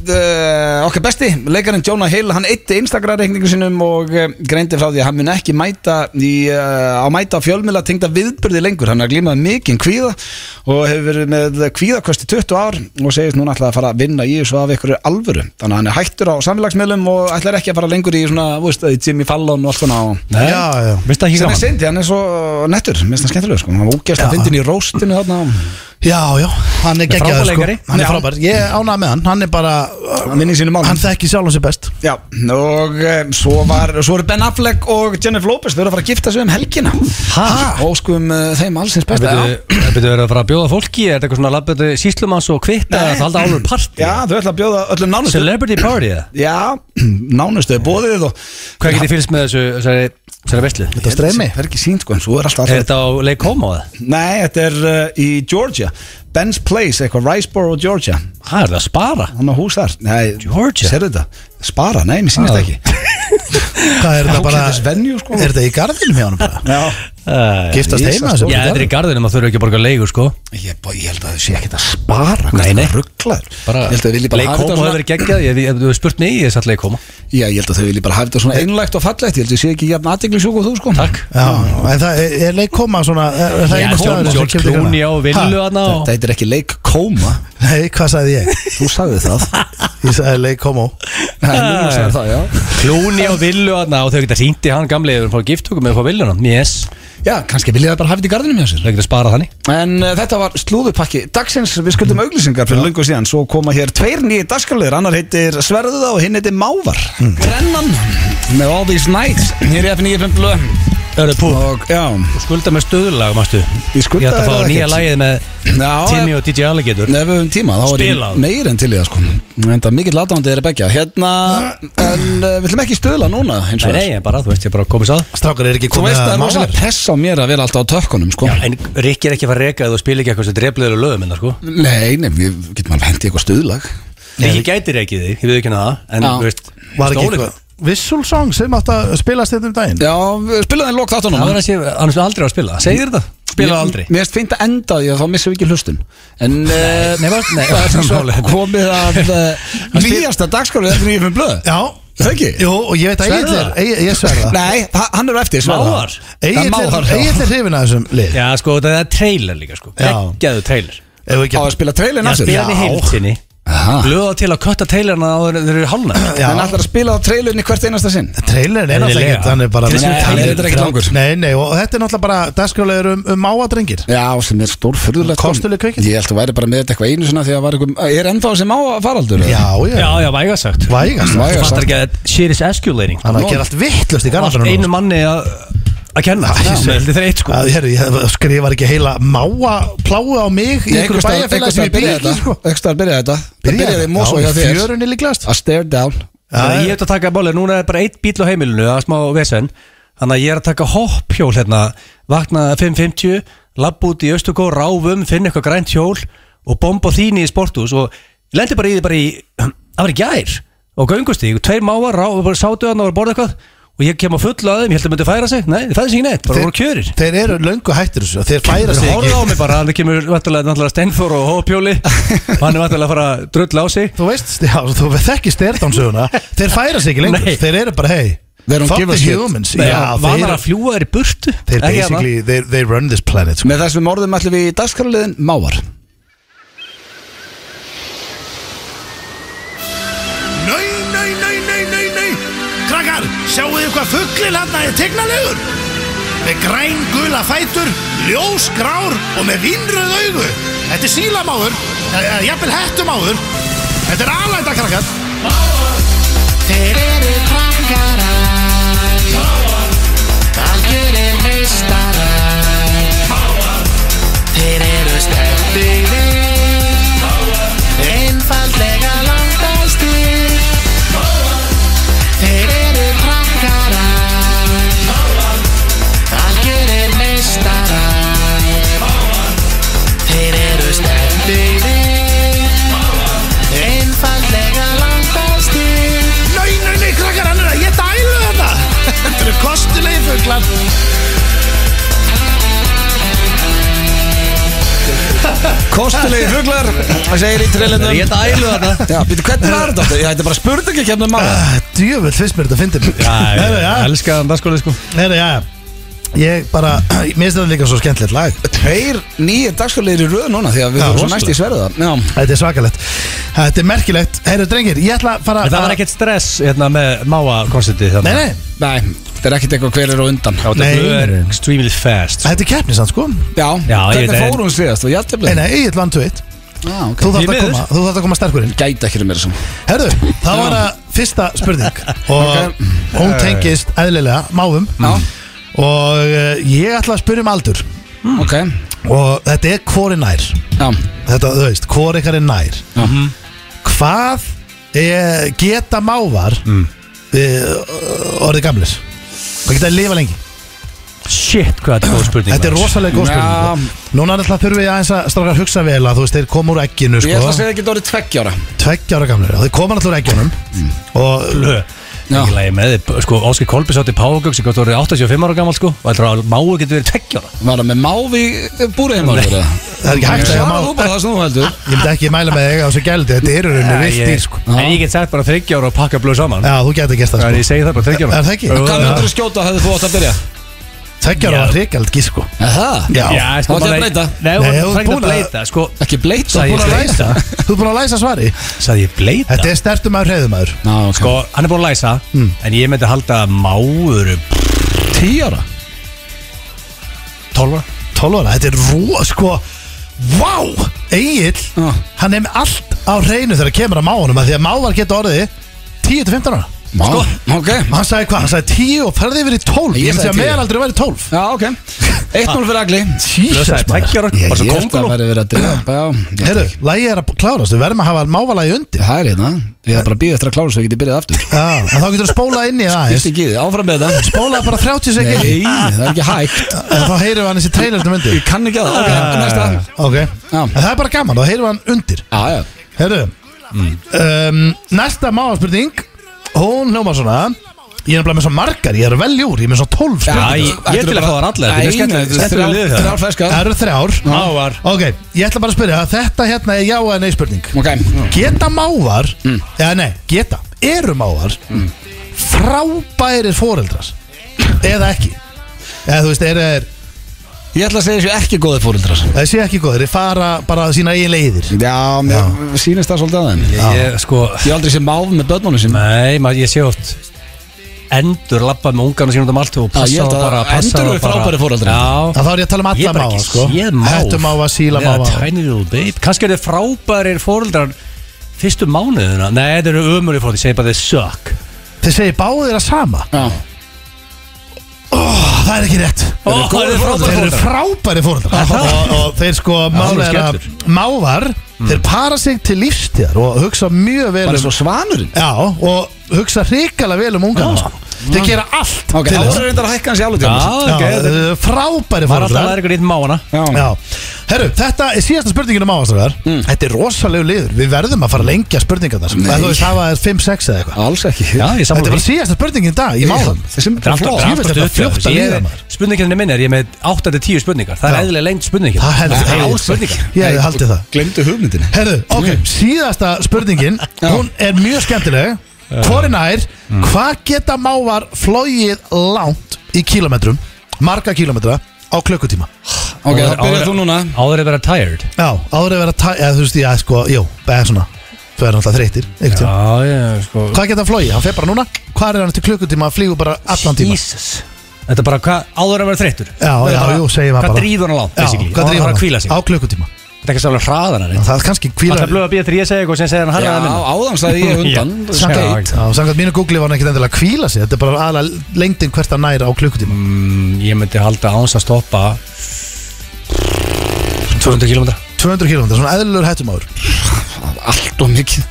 Speaker 1: uh, uh, okkar besti, leikarinn Jonah Hill hann eitti Instagram-reikningu sinum og uh, greindi frá því að hann mun ekki mæta í, uh, á mæta á fjölmjöla tengda viðbyrði lengur, hann er glímað mikinn kvíða og hefur verið með kvíðakosti 20 ár og segist núna ætlaði að fara að vinna í þessu af ykkur alvöru þannig að hann er hættur á samfélagsmiðlum og ætlar ekki að fara lengur í svona, þú veist, í Jimmy Fallon og allt svona og
Speaker 3: Nei,
Speaker 2: Já, já.
Speaker 3: minnst það ekki
Speaker 1: sem er
Speaker 3: gaman
Speaker 1: synd, því hann er svo nettur, minnst það skemmtilegur sko, hann var úgæst
Speaker 2: Já.
Speaker 1: að fyndin í róstinu þarna,
Speaker 2: Já, já, hann er
Speaker 3: Hann er
Speaker 2: geggjaður
Speaker 3: frábær
Speaker 2: sko
Speaker 3: leikari.
Speaker 2: Hann er
Speaker 1: Já.
Speaker 2: frábær, ég ánað með hann Hann er bara,
Speaker 1: hann minni í sínum málum
Speaker 2: hann þekki sjálf hans er best
Speaker 1: Já, og um, svo var svo eru Ben Affleck og Jennifer Lopez þau eru að fara að gifta sig um helgina
Speaker 3: Hæ?
Speaker 1: og sko um uh, þeim allsins besta já.
Speaker 3: Það betur verið að fara að bjóða fólki Er þetta eitthvað svona labbetu síslumanns og kvitta
Speaker 1: Nei.
Speaker 3: Það halda álur partí
Speaker 1: já, þau ætla að bjóða öllum nánustu
Speaker 3: Celebrity party eða?
Speaker 1: Já, nánustu, bóðið og
Speaker 3: Hvað getið fylgst með þessu, þessari, þessari veistlu?
Speaker 2: Þetta streymi
Speaker 1: Það er ekki sínt sko, en svo er alltaf
Speaker 3: Er þetta á Lake Como eða?
Speaker 1: Nei, þetta er uh, í Georgia Ben's Place, eitthvað, Riceboro, Georgia
Speaker 3: Hvað er það að spara?
Speaker 1: Hann á hús þar Nei,
Speaker 3: Georgia?
Speaker 1: Serðu þetta? Spara, nei, mér sýnist
Speaker 3: Ah.
Speaker 1: ekki
Speaker 2: Hvað er þetta bara,
Speaker 1: Ágætis venue, sko.
Speaker 2: er þetta í garðinum hjá hann bara?
Speaker 1: Já,
Speaker 3: Uh,
Speaker 2: Giftast
Speaker 1: Ég-
Speaker 2: heima þessu?
Speaker 3: Já, þetta er í garðinum að þurfa ekki að borga leigur sko
Speaker 1: ég, bó- ég held að þau sé ekkert að spara
Speaker 3: Nei, nei.
Speaker 1: Rugglaður
Speaker 3: bara,
Speaker 1: Ég held að þau vilji bara hafa
Speaker 3: Leikóma
Speaker 1: þetta
Speaker 3: hefur
Speaker 1: svona-
Speaker 3: verið geggjað, ég hef spurt mig, ég satt leikóma
Speaker 1: Já, ég held að þau vilji bara hafa þetta svona einlægt og fallegt Ég held að ég sé ekki jafn aðdeglisjúk og þú sko
Speaker 3: Takk
Speaker 2: Já, en það er- er leik koma svona er, er það
Speaker 3: Já,
Speaker 2: einu staðurinn sem kemur
Speaker 3: George
Speaker 2: til greina?
Speaker 3: Clooney á villu
Speaker 2: Ha?
Speaker 3: aðna og
Speaker 1: Þetta heitir ekki leik kóma
Speaker 2: Nei, hvað sagði ég?
Speaker 1: Þú sagði það
Speaker 2: Ég sagði leik koma
Speaker 1: Nei, núna sagði það, já
Speaker 3: Clooney á villu aðna og þau geta hringt í hann gamli eða fá giftökum eða fá villuna Yes,
Speaker 1: Já, kannski vilja það bara hafa þetta í gardinu með
Speaker 3: þau
Speaker 1: sér
Speaker 3: geta sparað þannig
Speaker 1: En uh, þetta var slúðupakki Dagsins, við skuldum auglýsingar fyrir löngu síðan Svo koma hér tveir nýju dagskallir Annar heitir Sverðuða og hinn heitir Mávar
Speaker 3: Hmm.
Speaker 1: Brennan með All These Nights Hér er F9.5 blöð
Speaker 3: Öru pú,
Speaker 1: Og já,
Speaker 3: og skulda með stöðulag, mástu
Speaker 1: Ég skulda
Speaker 3: Ég ætla að
Speaker 1: þér
Speaker 3: fá
Speaker 1: það
Speaker 3: nýja
Speaker 1: ekkert.
Speaker 3: lagið með
Speaker 1: Já,
Speaker 3: Timmy og DJ Alligator
Speaker 1: Ef við höfum tíma, þá er ég
Speaker 3: Spilað.
Speaker 1: meir en til í það sko En það mikill aðdáandi er að begja Hérna, en uh, við ætlum ekki stöðla núna hins
Speaker 3: Ah. Nei,
Speaker 1: vegar.
Speaker 3: nei, bara, þú veist, ég bara komið sáð
Speaker 2: Strákar er ekki
Speaker 1: Þú
Speaker 2: komið
Speaker 1: veist það er
Speaker 2: að mávar
Speaker 1: rosalega press á mér að vera alltaf á tökkunum sko.
Speaker 3: En Rikki er ekki að fara að reka eða þú spila ekki eitthvað sem drefluður og lögum en sko
Speaker 1: Nei, nei, við getum alveg hendið eitthvað stuðlag
Speaker 3: Rikki gæti rekið því, ég veit ekki hana það En,
Speaker 1: Já.
Speaker 3: þú veist,
Speaker 2: Var ekki
Speaker 3: stóri-
Speaker 2: eitthvað Vissúl song sem átt að spilast þetta um daginn
Speaker 1: Já, við spilaðum það í lok þáttunum
Speaker 3: Það var að sé, hann er aldrei að spila, segir þetta? Spila aldrei
Speaker 1: Mér finnst fint að enda því að þá missum við ekki hlustun En eh,
Speaker 3: Nei, var- nei,
Speaker 1: það er sem
Speaker 3: málið.
Speaker 1: svo komið að eh,
Speaker 3: Hann spil-
Speaker 1: nýjasta dagskálu Þetta er nýjum blöð
Speaker 2: Já,
Speaker 1: Það ekki?
Speaker 2: Jú, og ég veit að
Speaker 3: Sverðu
Speaker 2: Egil er,
Speaker 3: það?
Speaker 2: Egil- ég sverða
Speaker 1: Nei, ha- hann er á eftir svara.
Speaker 3: Mávar?
Speaker 1: Það er
Speaker 2: Egil
Speaker 1: Mávar,
Speaker 2: er,
Speaker 1: já.
Speaker 2: Egil er hrifin að þessum lið
Speaker 3: Já, sko, það er trailer líka, sko
Speaker 2: Já.
Speaker 3: Geggjaðu trailer
Speaker 2: Ef við
Speaker 1: Á að
Speaker 2: ekki
Speaker 1: spila trailin
Speaker 3: Já,
Speaker 1: aftur?
Speaker 3: spila hann í heiltinni
Speaker 1: Aha.
Speaker 3: Löða til að kötta trailerna á þeir eru hálna
Speaker 2: Já.
Speaker 1: Þannig ætlar að spila á trailinni hvert einasta sinn
Speaker 2: Trailerin er náttúrulega
Speaker 3: Eðlilega.
Speaker 2: ekkert, hann er bara
Speaker 3: Nei,
Speaker 1: hann er reyndar ekkert langur.
Speaker 2: Nei, nei, og þetta er náttúrulega bara dagskrálegur um, um máadrengir
Speaker 1: Já, sem er stór fyrðulegt
Speaker 2: Kostuleg kveikindi.
Speaker 1: Ég held að væri bara með þetta eitthvað einu svona Því að var eitthvað, er ennþá sem á faraldur
Speaker 2: Já, já,
Speaker 3: Já, já, vægasagt
Speaker 2: Vægast
Speaker 1: Vægast.
Speaker 2: Hann
Speaker 3: Þú fattar ekki að shit is escalating
Speaker 2: er að gera allt vittlust í
Speaker 3: Allt
Speaker 2: garðanum
Speaker 3: einu manni að að kenna Sem heldur þeir eitt, sko
Speaker 2: að, herri, ég skrifar ekki heila máa pláu á mig í einhverju bæjarfélag sem ég byrja
Speaker 1: byrja
Speaker 2: ekki
Speaker 1: þetta
Speaker 2: sko.
Speaker 1: Ekstar byrja þetta Það byrjaði í Mosó hjá
Speaker 2: Já,
Speaker 1: þér
Speaker 2: fjörunni líklegast
Speaker 1: A stare down
Speaker 3: Þannig að ég hef að taka bólið, núna er bara eitt bíl á heimilinu, það er smá vesen Þannig að ég er að taka hopphjól hérna, vakna 5.50, lapp út í Östugó, ráfum, finn eitthvað grænt hjól og bomba þín í sporthús og ég lendi bara í því bara í, það var í gær og göngustíg, tveir mávar, rá, bara sátu þarna og voru að borða eitthvað og ég kem á fulla að þeim, ég held að myndi færa sig, nei, það fæði sig ekki neitt, bara
Speaker 2: Þeir-
Speaker 3: voru kjörir.
Speaker 2: Þeir eru löngu hættir þessu Þeir færa
Speaker 3: Þeir
Speaker 2: sig
Speaker 3: horfa á
Speaker 2: ekki
Speaker 3: mig bara, þannig kemur vantarlega Stenþór og hoppjóli og hann er vantarlega að fara að drulla á sig.
Speaker 2: Þú veist, já, þú þekkir styrdánsöguna Þeir færa sig ekki lengur
Speaker 3: Nei.
Speaker 2: Þeir eru bara, hey
Speaker 1: They don't
Speaker 2: Fuck
Speaker 1: give a
Speaker 2: the
Speaker 1: shit.
Speaker 2: humans
Speaker 3: Þeir,
Speaker 2: Já, þeir,
Speaker 3: vanar að fljúa þeir í burtu.
Speaker 2: þeir
Speaker 3: ekki hérna.
Speaker 2: basically they, they run this planet sko.
Speaker 1: Með þessum orðum ætlum við í dagskaraliðin Mávar
Speaker 4: Nei, nei, nei, nei, nei, nei Krakkar, sjáu þið hvað fugglinn hann er tegnalegur Með græn gula fætur, ljós grár og með vinnröð augu Þetta er sílamáður, eða eða jafnvel hettumáður Þetta er alæta krakkar Þeir eru krakkarar Algjörir meistarar Þeir eru stefnir Einfallega langbæstir Þeir eru krakkarar Algjörir meistarar Þeir eru stendir Einfallega langbæstir Nei, nei, nei, krakkar, hann er að ég dælu þetta Þetta eru kostulegi fuglar
Speaker 1: Kostulegi fuglar Það segir í trailinum
Speaker 3: Ég ætla að ælu þarna
Speaker 1: Já, býttu, hvernig var þetta? aftur? Já, Þetta er bara spurning ekki hefnum Mávar
Speaker 2: Ah, Djöfull fyrst mér þetta fyndir
Speaker 3: Já, ég elska Ah, hann dagsskóli sko
Speaker 2: Herra, já Ég bara, mér finnst þetta líka svo skemmtilegt lag
Speaker 1: Tveir nýjir dagskaraliðir í röð núna Því að við
Speaker 2: Já,
Speaker 1: vorum svo
Speaker 2: rosalega.
Speaker 1: næst í sverða Já,
Speaker 2: Þetta er svakalegt Þetta er merkilegt Herru drengir, ég ætla að fara
Speaker 3: En það var ekkert stress hérna með máa koncerti
Speaker 2: Nei,
Speaker 3: þannig
Speaker 2: nei,
Speaker 1: nei, þetta er ekkit eitthvað hver er á undan
Speaker 3: Já,
Speaker 2: Nei.
Speaker 3: þetta er extremely fast sko.
Speaker 2: þetta er keppnisann sko
Speaker 1: Já,
Speaker 3: Já, ég
Speaker 1: hvernig
Speaker 3: veit-
Speaker 1: fór hún síðast? Var
Speaker 2: Nei,
Speaker 1: jafntefli?
Speaker 2: nei, ég ætla hann 2-1
Speaker 1: Já, Ah, ok.
Speaker 2: Þú
Speaker 3: Því
Speaker 2: þarft að
Speaker 3: miður.
Speaker 2: koma, þú þarft að koma sterkurinn
Speaker 1: Gæti ekki meira saman
Speaker 2: Herru, það var að fyrsta spurning Og hún tengist eðlilega máfum
Speaker 1: Já,
Speaker 2: Og eh, ég ætla að spyrja um aldur
Speaker 1: ok
Speaker 2: Og þetta er hvori nær
Speaker 1: Já,
Speaker 2: Þetta, þú veist, hvori ykkar er nær
Speaker 1: já
Speaker 2: Hvað eh, geta mávar mm. Orðið gamlir Hvað geta að lifa lengi
Speaker 3: Shit, hvað þetta er góð spurning
Speaker 2: Þetta er
Speaker 3: maður.
Speaker 2: rosalega góð
Speaker 1: Já.
Speaker 2: spurning sko. Núna er alltaf þurfum við aðeins að strákar hugsa vel að þú veist, þeir koma úr egginu
Speaker 1: Ég ætla að
Speaker 2: sko,
Speaker 1: segja ekki þetta orðið tveggjára
Speaker 2: Tveggja ára gamlir og þeir koma alltaf úr eggjunum
Speaker 1: Mm.
Speaker 2: Og
Speaker 1: Já,
Speaker 3: Ég lægi með þið, sko, Óskar Kolbis átti Págögg sem gott orðið 85 ára gammal sko og heldur að máu getur verið tveggjára
Speaker 1: var það með mávi búrið heim árið
Speaker 2: það er ekki hægt að segja
Speaker 1: Svara
Speaker 2: máv
Speaker 1: þú bara það sem þú heldur
Speaker 2: Ég myndi ekki mæla með þig á þessu gældi Þetta eru rauninni vilt dýr sko
Speaker 3: En ég get sagt bara þryggjára og pakka blöð saman
Speaker 2: Já, þú getur gert það
Speaker 3: En
Speaker 2: sko
Speaker 3: ég segi það bara þryggjára
Speaker 2: Er það ekki?
Speaker 1: Hvað myndur þú skjóta hefði þú átt að byrja?
Speaker 2: Tveggjar var hrikald gísk sko
Speaker 1: Það?
Speaker 2: Já,
Speaker 3: Já,
Speaker 1: Þá
Speaker 3: sko
Speaker 1: ætla ég að
Speaker 3: maður-
Speaker 1: breyta.
Speaker 3: Nei,
Speaker 2: Nei,
Speaker 3: þú
Speaker 2: þú
Speaker 3: ætla
Speaker 2: ert
Speaker 3: ekki
Speaker 2: búin
Speaker 3: að
Speaker 2: að-
Speaker 3: bleita sko
Speaker 1: Ekki bleit
Speaker 2: þú
Speaker 1: Sæ
Speaker 2: er búin að
Speaker 3: Ég
Speaker 2: læsa Þú er búin að læsa svari
Speaker 3: Sæði ég bleita
Speaker 2: Þetta er Mm. stertum maður hreðumæður
Speaker 1: Ná, ok
Speaker 3: Sko, hann er búin að læsa En ég myndi halda að máur
Speaker 1: Tíjara?
Speaker 3: 12 ára
Speaker 2: 12 ára, þetta er rúa sko Vá, Egil
Speaker 1: Já.
Speaker 2: Hann er með allt á hreinu þegar kemur að máunum Því að mávar geta orðið 10-15 ára Sko,
Speaker 1: Má Ok
Speaker 2: Hann sagði hvað, hann sagði 10 og ferði yfir í 12
Speaker 1: Ég
Speaker 2: Ég myndi
Speaker 1: sagði
Speaker 2: að
Speaker 1: 10.
Speaker 2: meðalaldri væri 12
Speaker 1: Já, ok 1-0 fyrir agli
Speaker 2: Jesus,
Speaker 3: Blöðsaði
Speaker 2: maður.
Speaker 3: tveggjára
Speaker 2: Ég-
Speaker 3: Bara svo
Speaker 1: Ég held að
Speaker 3: konguló
Speaker 1: verði verið að drepa Já
Speaker 2: Herru, lægi er að klárast, við verðum að hafa mávalagi undir
Speaker 1: Það er hérna Ég hef bara býð eftir að klára svo ég geti byrjað aftur
Speaker 2: Já, en þá getur þú spólað inn í það aðeins
Speaker 1: Fyrst ekki í þið Áfram með þetta
Speaker 2: Spólað bara 30 sekund
Speaker 1: Nei, það er ekki hægt Ah.
Speaker 2: En þá heyrir við hann þessi trailertum undir
Speaker 1: Ég kann ekki að það Ok, næsta
Speaker 2: Ok, en það er bara gaman, þá heyrir við hann undir
Speaker 1: Já, já
Speaker 2: Herru um, Næsta máspurning Hún hljóma svona Ég er nefnilega með svo margar, ég er að velja úr Ég er með svo 12
Speaker 3: Já,
Speaker 2: spurningar
Speaker 3: ég- ég til að fá þar allar, þetta er skemmtilegt- skemmtilega lið það.
Speaker 1: Þrjá
Speaker 2: Það
Speaker 1: fleskar
Speaker 2: eru þrjár
Speaker 3: Mávar
Speaker 2: Ok, ég ætla bara að spyrja Þetta hérna er já eða nei spurning
Speaker 1: Ok
Speaker 3: Mm.
Speaker 2: Geta mávar Eða nei, geta Eru mávar frábærir foreldrar eða ekki eða þú veist, eru þeir
Speaker 1: Ég ætla að segja þessu ekki góði fóröldrar
Speaker 2: það sé ekki góður, þeir fara bara sína eigin leiðir
Speaker 3: Mm.
Speaker 1: Já, mér sýnist það svolítið að þeim Ég
Speaker 3: Ég, sko,
Speaker 1: hef aldrei sé máf með börnunum sín
Speaker 3: nei, maður, ég sé oft endur lappa með ungarna sínum út um allt og
Speaker 1: Já, ég
Speaker 3: passa
Speaker 1: held
Speaker 3: þá
Speaker 1: að
Speaker 3: bara passa
Speaker 1: endur
Speaker 3: þá
Speaker 1: eru
Speaker 3: bara-
Speaker 1: frábærir foreldrar.
Speaker 3: Já
Speaker 2: að þá er ég að tala um alla
Speaker 3: Ég hef bara
Speaker 2: máva
Speaker 3: ekki
Speaker 2: sko.
Speaker 3: séð máv
Speaker 2: hettumáva,
Speaker 3: Eða
Speaker 2: sílamáva
Speaker 3: Tiny little babe Kannski eru þið frábærir fóreldrar Fyrstu mánuðina Nei, þeir eru ömulir fóreldrar Ég segi bara þeir suck
Speaker 2: þeir segir báðir að sama
Speaker 1: Já,
Speaker 2: Ó, það er ekki rétt
Speaker 3: Ó, þeir eru frábærir
Speaker 2: Þeir eru
Speaker 3: foreldrar.
Speaker 2: frábæri foreldrar
Speaker 3: það?
Speaker 2: og, og þeir sko
Speaker 3: það er Mm.
Speaker 2: málega mávar þeir para sig til lífstíðar og hugsa mjög vel
Speaker 1: bara
Speaker 2: um
Speaker 1: svo svanurinn
Speaker 2: Já, og hugsa hrikalega vel um ungana sko. Þeir gera allt
Speaker 1: Ok,
Speaker 2: til
Speaker 1: þá
Speaker 2: þess
Speaker 1: er reyndar að hækka hans í álið
Speaker 3: Já,
Speaker 2: Já,
Speaker 3: ok,
Speaker 2: þeir eru Frábæri
Speaker 3: Var alltaf að
Speaker 2: foreldrar
Speaker 3: læra ykkur nýtt mána
Speaker 1: Já,
Speaker 2: Já, herru, þetta er síðasta spurningin um ávastraðar
Speaker 3: Mm.
Speaker 2: Þetta er rosalegu liður, við verðum að fara að lengja spurningarnar
Speaker 1: Nei.
Speaker 2: Það þú veist, það var 5-6 eða eitthvað
Speaker 1: alls ekki
Speaker 3: Já, ég
Speaker 2: Þetta er
Speaker 3: samla
Speaker 2: bara síðasta spurningin í dag, í máðum
Speaker 1: Þessum
Speaker 3: Þetta er alltaf-
Speaker 2: Djöfull,
Speaker 3: alltaf
Speaker 2: þetta er
Speaker 3: dökkur.
Speaker 2: fljótt að
Speaker 3: Ég-
Speaker 2: líða, maður.
Speaker 3: Spurningin minni er ég er með 8-10 spurningar Það
Speaker 2: Já.
Speaker 3: er eðlilega lengt spurningin
Speaker 2: Það hefði
Speaker 3: er
Speaker 2: hefði-
Speaker 3: ál spurningar
Speaker 2: Ég hefði haldið það
Speaker 1: Glemdu hugmyndinni
Speaker 2: Herðu, ok, síðasta spurningin Hún er mjög skemmtileg Hvor er nær,
Speaker 3: Mm.
Speaker 2: hvað geta mávar flóið langt í kílometrum Marga kílometra á klukkutíma
Speaker 1: Ok, þá byrjar þú núna
Speaker 3: Áður er vera tired
Speaker 2: Já, áður að vera tæ, eða þú veist, já, sko, jú, eða svona Þau eru náttúrulega þreytir, einhvern tíma
Speaker 3: Já, já, sko
Speaker 2: Hvað geta hann flóið? Hann fer bara núna Hvað er hann til klukkutíma? Hann flýgur bara allan tíma
Speaker 3: Jesus Þetta er bara hvað Áður er vera þreyttur
Speaker 2: Já,
Speaker 3: Þetta er
Speaker 2: já,
Speaker 3: bara-
Speaker 2: jú, segir maður
Speaker 3: Hvað
Speaker 2: bara.
Speaker 3: drýður hann langt,
Speaker 2: Já,
Speaker 3: basically
Speaker 2: hvað
Speaker 3: Hann
Speaker 2: drífur
Speaker 3: var að
Speaker 2: hann?
Speaker 3: kvíla sig
Speaker 2: Á klukkutíma
Speaker 3: Þetta er ekki svolítið hraðan hann
Speaker 2: Það er kannski
Speaker 3: Það er
Speaker 2: kvílar
Speaker 3: blöð að býja þegar ég segja eitthvað sem segja hann harðan að
Speaker 1: Já,
Speaker 3: minna
Speaker 1: áðan sagði ég undan
Speaker 3: Já.
Speaker 1: Samt
Speaker 3: Já,
Speaker 1: eitt.
Speaker 3: ekki.
Speaker 2: Já, samkvæmt mínu Google var hann ekkert endilega að kvíla sig Þetta er bara aðalega lengdin hvert að næra á klukkutíma
Speaker 3: Mm, Ég myndi halda áns að stoppa 200 km
Speaker 2: 200 km, svona eðlur hættumáður
Speaker 1: Allt og mikið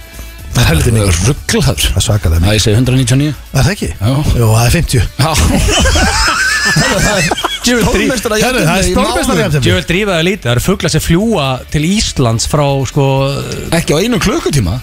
Speaker 2: Það er heldur mikið
Speaker 1: Rugglaður
Speaker 2: Það er svakalega
Speaker 1: Já, ég segi 199
Speaker 2: Er það ekki?
Speaker 1: Já.
Speaker 2: Jú, það er 50
Speaker 1: Já Stórmestara
Speaker 2: Herru, það er stórmestari
Speaker 3: Ég
Speaker 2: jafntefni
Speaker 3: vil drífa það lítið, það eru fugla sem fljúa til Íslands frá sko
Speaker 1: Ekki á einu klukkutíma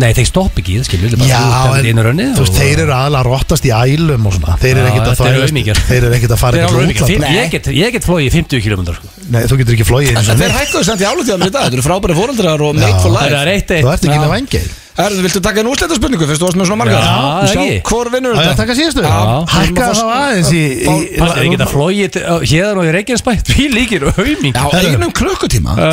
Speaker 3: Nei, þeir stoppa ekki, í það skilur við
Speaker 2: Já,
Speaker 3: en
Speaker 2: en þú veist, þeir eru aðalega að rottast í ælum og svona Þeir eru
Speaker 3: Já,
Speaker 2: ekkert að
Speaker 3: þetta eru
Speaker 2: þvælast-
Speaker 3: aumingjar.
Speaker 2: Þeir eru ekkert að
Speaker 3: Þeir
Speaker 2: fara
Speaker 3: eru
Speaker 2: ekkert
Speaker 3: alveg
Speaker 2: útlanda
Speaker 3: mikið, ég get, ég get flóið í 50 km sko.
Speaker 2: Nei, þú getur ekki flóið einu
Speaker 1: En
Speaker 2: sinni.
Speaker 1: þeir hækkaðu samt í álutíðanum í dag Þetta eru frábæri fóreldrar og
Speaker 2: Já.
Speaker 1: made for
Speaker 3: Það
Speaker 1: life
Speaker 3: er eitt
Speaker 2: Þú
Speaker 3: eitt
Speaker 2: ert ekki
Speaker 1: Já.
Speaker 2: með vangið
Speaker 1: Erðu, viltu taka einu úrslita spurningu Fyrst þú varst með svona margar
Speaker 3: Já,
Speaker 1: Við
Speaker 3: það
Speaker 1: sjáum
Speaker 3: ekki.
Speaker 1: Hvor vinnur
Speaker 2: Það er
Speaker 1: þetta
Speaker 2: að taka síðustu
Speaker 1: Já.
Speaker 2: Hækka þá aðeins í, í,
Speaker 3: Það er ekki að flóið hérna og í Reykjanesbæ Því líkir og hauming
Speaker 1: Já,
Speaker 2: Herru.
Speaker 1: einum klukkutíma
Speaker 3: Æ.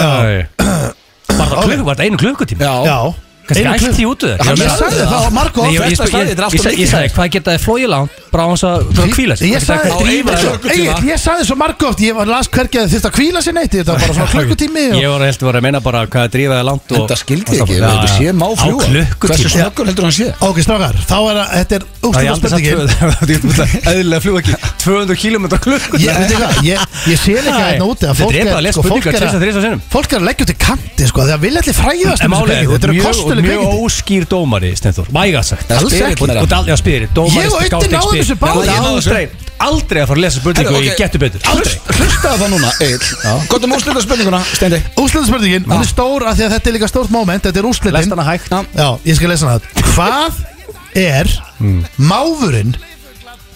Speaker 3: Var það klukk- var þetta einu klukkutíma?
Speaker 1: Já
Speaker 2: Já
Speaker 3: Kannski
Speaker 2: Einu
Speaker 3: ætti
Speaker 2: klukk-
Speaker 3: ég út úr
Speaker 1: Já,
Speaker 3: það
Speaker 2: Ég sagði það á margóð
Speaker 3: Nei, ég, ég,
Speaker 1: Þetta
Speaker 3: ég,
Speaker 1: sagði,
Speaker 3: ég,
Speaker 1: þetta er allt
Speaker 3: ég,
Speaker 1: of
Speaker 3: sag- ég
Speaker 1: mikið.
Speaker 3: sagði hvað getaði flóið langt bara á þess að bara kvíla sig
Speaker 2: Ég sagði,
Speaker 1: hvað drífa
Speaker 2: Egill,
Speaker 1: þig.
Speaker 2: Egill, ég sagði svo margóft Ég var las hvergi að þið þurft að kvíla sér neitt Þetta var bara svona klukkutími og-
Speaker 3: Ég var að heldur að meina bara hvað drífaði langt og-
Speaker 1: Þetta skildi ég
Speaker 3: og-
Speaker 1: ekki,
Speaker 3: Já,
Speaker 1: þetta
Speaker 3: já.
Speaker 1: sé má fljúa
Speaker 3: Á
Speaker 1: Hversu
Speaker 3: klukkutíma
Speaker 1: snöggur heldur hann sé?
Speaker 2: Ok, strákar, þá er að Þetta er úrstæða spurningin
Speaker 3: Æðilega fljúa ekki 200 km
Speaker 2: Ég,
Speaker 3: klukkutíma
Speaker 2: veitu hvað, ég, ég sé líka
Speaker 3: Nei.
Speaker 2: hérna úti að
Speaker 3: Þetta
Speaker 2: fólk
Speaker 3: er bara að
Speaker 2: er,
Speaker 3: lesa
Speaker 2: sko, fólk
Speaker 3: spurningar
Speaker 2: er,
Speaker 3: tvisvar, þrisvar sinnum.
Speaker 2: að, fólk er að leggja út í kanti sko, því að vilja allir fræðast
Speaker 3: En
Speaker 2: um þessi
Speaker 3: málið er,
Speaker 2: kveikindi. Þetta
Speaker 3: þú ert
Speaker 2: eru kostuleg
Speaker 3: mjög, þú ert mjög
Speaker 2: kveikindi
Speaker 3: óskýr dómari Stenþór, vægast sagt
Speaker 1: Það er
Speaker 3: Alls
Speaker 1: spyrill
Speaker 3: ekki.
Speaker 1: meira.
Speaker 3: Þú ert al- Já, spyrir, dómari
Speaker 2: Ég og Unni náðum þessu báðir.
Speaker 3: Þú
Speaker 1: Ég
Speaker 3: ert
Speaker 1: náði þessu.
Speaker 3: aldrei, aldrei að fara að lesa spurningu
Speaker 1: Herru,
Speaker 3: í
Speaker 1: ok.
Speaker 3: getur betur
Speaker 1: Aldrei. Hlustaðu það núna, Egil Gott um úrslita spurninguna, Steindi
Speaker 2: Úrslitaspurningin, hún er stór af því að þetta er líka stórt moment Þetta er úrslitin
Speaker 3: Ah. Lest hana hægt
Speaker 1: Já.
Speaker 2: Já, ég skal lesa hana Hvað er
Speaker 3: Hmm.
Speaker 2: máfurinn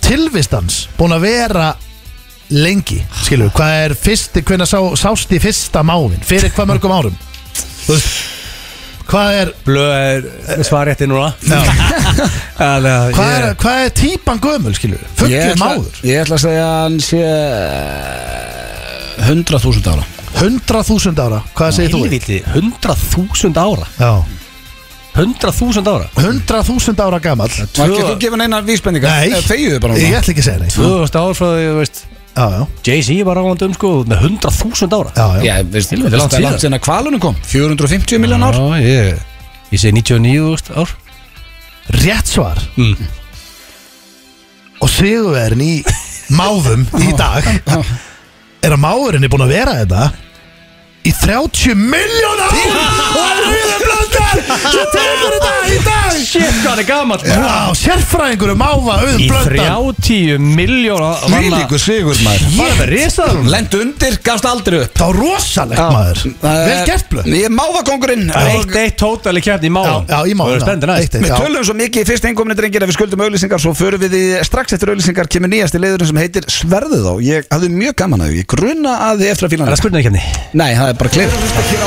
Speaker 2: tilvistans búin að vera lengi Skilur, hvað er fyrsti, hvenær sá, sást í fyrsta máfin Fyrir hvað mörgum árum Þú veist, Hvað er,
Speaker 3: Blöð er svarjætti núna Þannig
Speaker 2: hvað er,
Speaker 3: að
Speaker 2: hvað er típan gömul skilur Fuggið máður
Speaker 1: Ég ætla að segja að hann sé 100.000 ára
Speaker 2: 100.000 ára, hvað segir þú?
Speaker 3: Helviti, 100.000 ára
Speaker 2: Já,
Speaker 3: 100.000 ára
Speaker 2: 100.000 ára gamall
Speaker 1: Var ekki þú gefin einar vísbendingar?
Speaker 2: Nei,
Speaker 1: Þegiðu bara
Speaker 2: ég
Speaker 1: núna
Speaker 2: ætla ekki að segja neitt
Speaker 3: 2000 ára frá því, þú veist
Speaker 2: Já, já,
Speaker 3: Jay-Z var álandum sko með 100.000 ára
Speaker 2: já, já.
Speaker 1: Já, veist,
Speaker 3: Helviti,
Speaker 1: þetta er
Speaker 3: langt síðan.
Speaker 1: Eh, langt síðan að kvalunum kom Ah. 450 miljón ár
Speaker 3: Já, ég Ég segi 99.000 ár
Speaker 2: rétt svar og sigurverðin í máfum í dag er að máfurinn er búin að vera þetta í 30 miljónar og er rauðið blöndar sem tekur þetta í dag
Speaker 3: Shit, hvað hann er gammal
Speaker 2: Vá, sérfræðingur um máfa auðum
Speaker 3: Í
Speaker 2: blöndar
Speaker 3: 30 miljóna
Speaker 1: Þvílíkur sigur maður
Speaker 3: Var þetta risaður hún?
Speaker 1: Lend undir, gafst aldrei upp
Speaker 2: þá rosalegt maður
Speaker 1: Það
Speaker 2: vel
Speaker 1: er-
Speaker 2: gert blönd
Speaker 1: Ég er máfagongurinn
Speaker 3: Eitt eitt tótali kefni í málan
Speaker 2: Já, já, í málan,
Speaker 3: Það er
Speaker 2: já,
Speaker 3: stendur næst
Speaker 2: eitt, eitt.
Speaker 1: Við
Speaker 2: Já.
Speaker 1: tölum svo mikið í fyrst einkomni drengir að við skuldum auðlýsingar svo förum við í strax eftir auðlýsingar kemur nýjasti leiðurinn sem heitir Sverðið á Ég hafði mjög gaman að því, ég grunna að þið eftir að fíla
Speaker 3: Er um
Speaker 1: hana
Speaker 3: það spurningi kefni?
Speaker 1: Nei, það er bara klifur Hér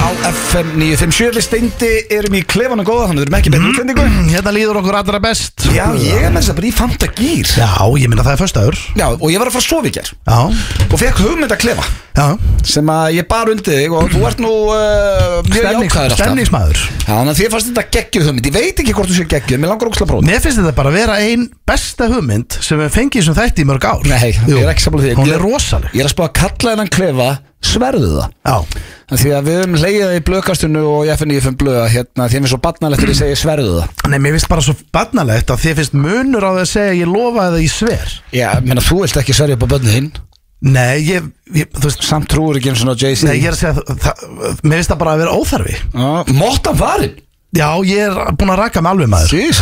Speaker 1: á FM 957 á FM 957 listi Steindi erum í klefana góða Þannig við erum ekki betur útlendingu
Speaker 2: Hérna líður okkur allra best
Speaker 1: Já, ég er með þess að bara í fanta gýr
Speaker 2: Já, ég minna það er föstaður
Speaker 1: Já, og ég var að fara að sofa í ger
Speaker 2: Já,
Speaker 1: Og fekk hugmynd að klefa
Speaker 2: já
Speaker 1: Sem að ég bar undir þig Og þú ert nú uh, mjög
Speaker 2: Stemnings-
Speaker 1: jákvæður alltaf
Speaker 2: Stemningsmaður
Speaker 1: Já, þannig að þér fannst þetta geggjuð hugmynd Ég veit ekki hvort þú sé geggjuð Mér langar ógslag bróð
Speaker 2: Mér finnst þetta bara að vera ein besta hugmynd sem við fengið sem þætti í mörg ár
Speaker 1: Nei,
Speaker 2: Jú.
Speaker 1: ég er ekki samlega því
Speaker 2: Hún er rosaleg
Speaker 1: Ég er að spá að kalla hennan klefa Sverðu það
Speaker 2: Já,
Speaker 1: Af Því að við höfum leiðið í blöðkastunnu og í FNIFM blöða hérna, því að við svo barnalegt er ég segi sverðu það.
Speaker 2: Nei, mér finnst bara svo barnalegt að þið finnst munur á því að segja ég lofa eða ég sver
Speaker 1: Já, menna þú vilt ekki sverja upp á börnu þín.
Speaker 2: Nei, ég, ég þú veist
Speaker 1: Samt trúur ekki eins og ná Jay-Z.
Speaker 2: Nei, ég er að segja, það, það, mér finnst það bara að vera óþarfi
Speaker 1: Já, Mottan varinn.
Speaker 2: Já, ég er búin að raka með alveg maður
Speaker 1: Jís.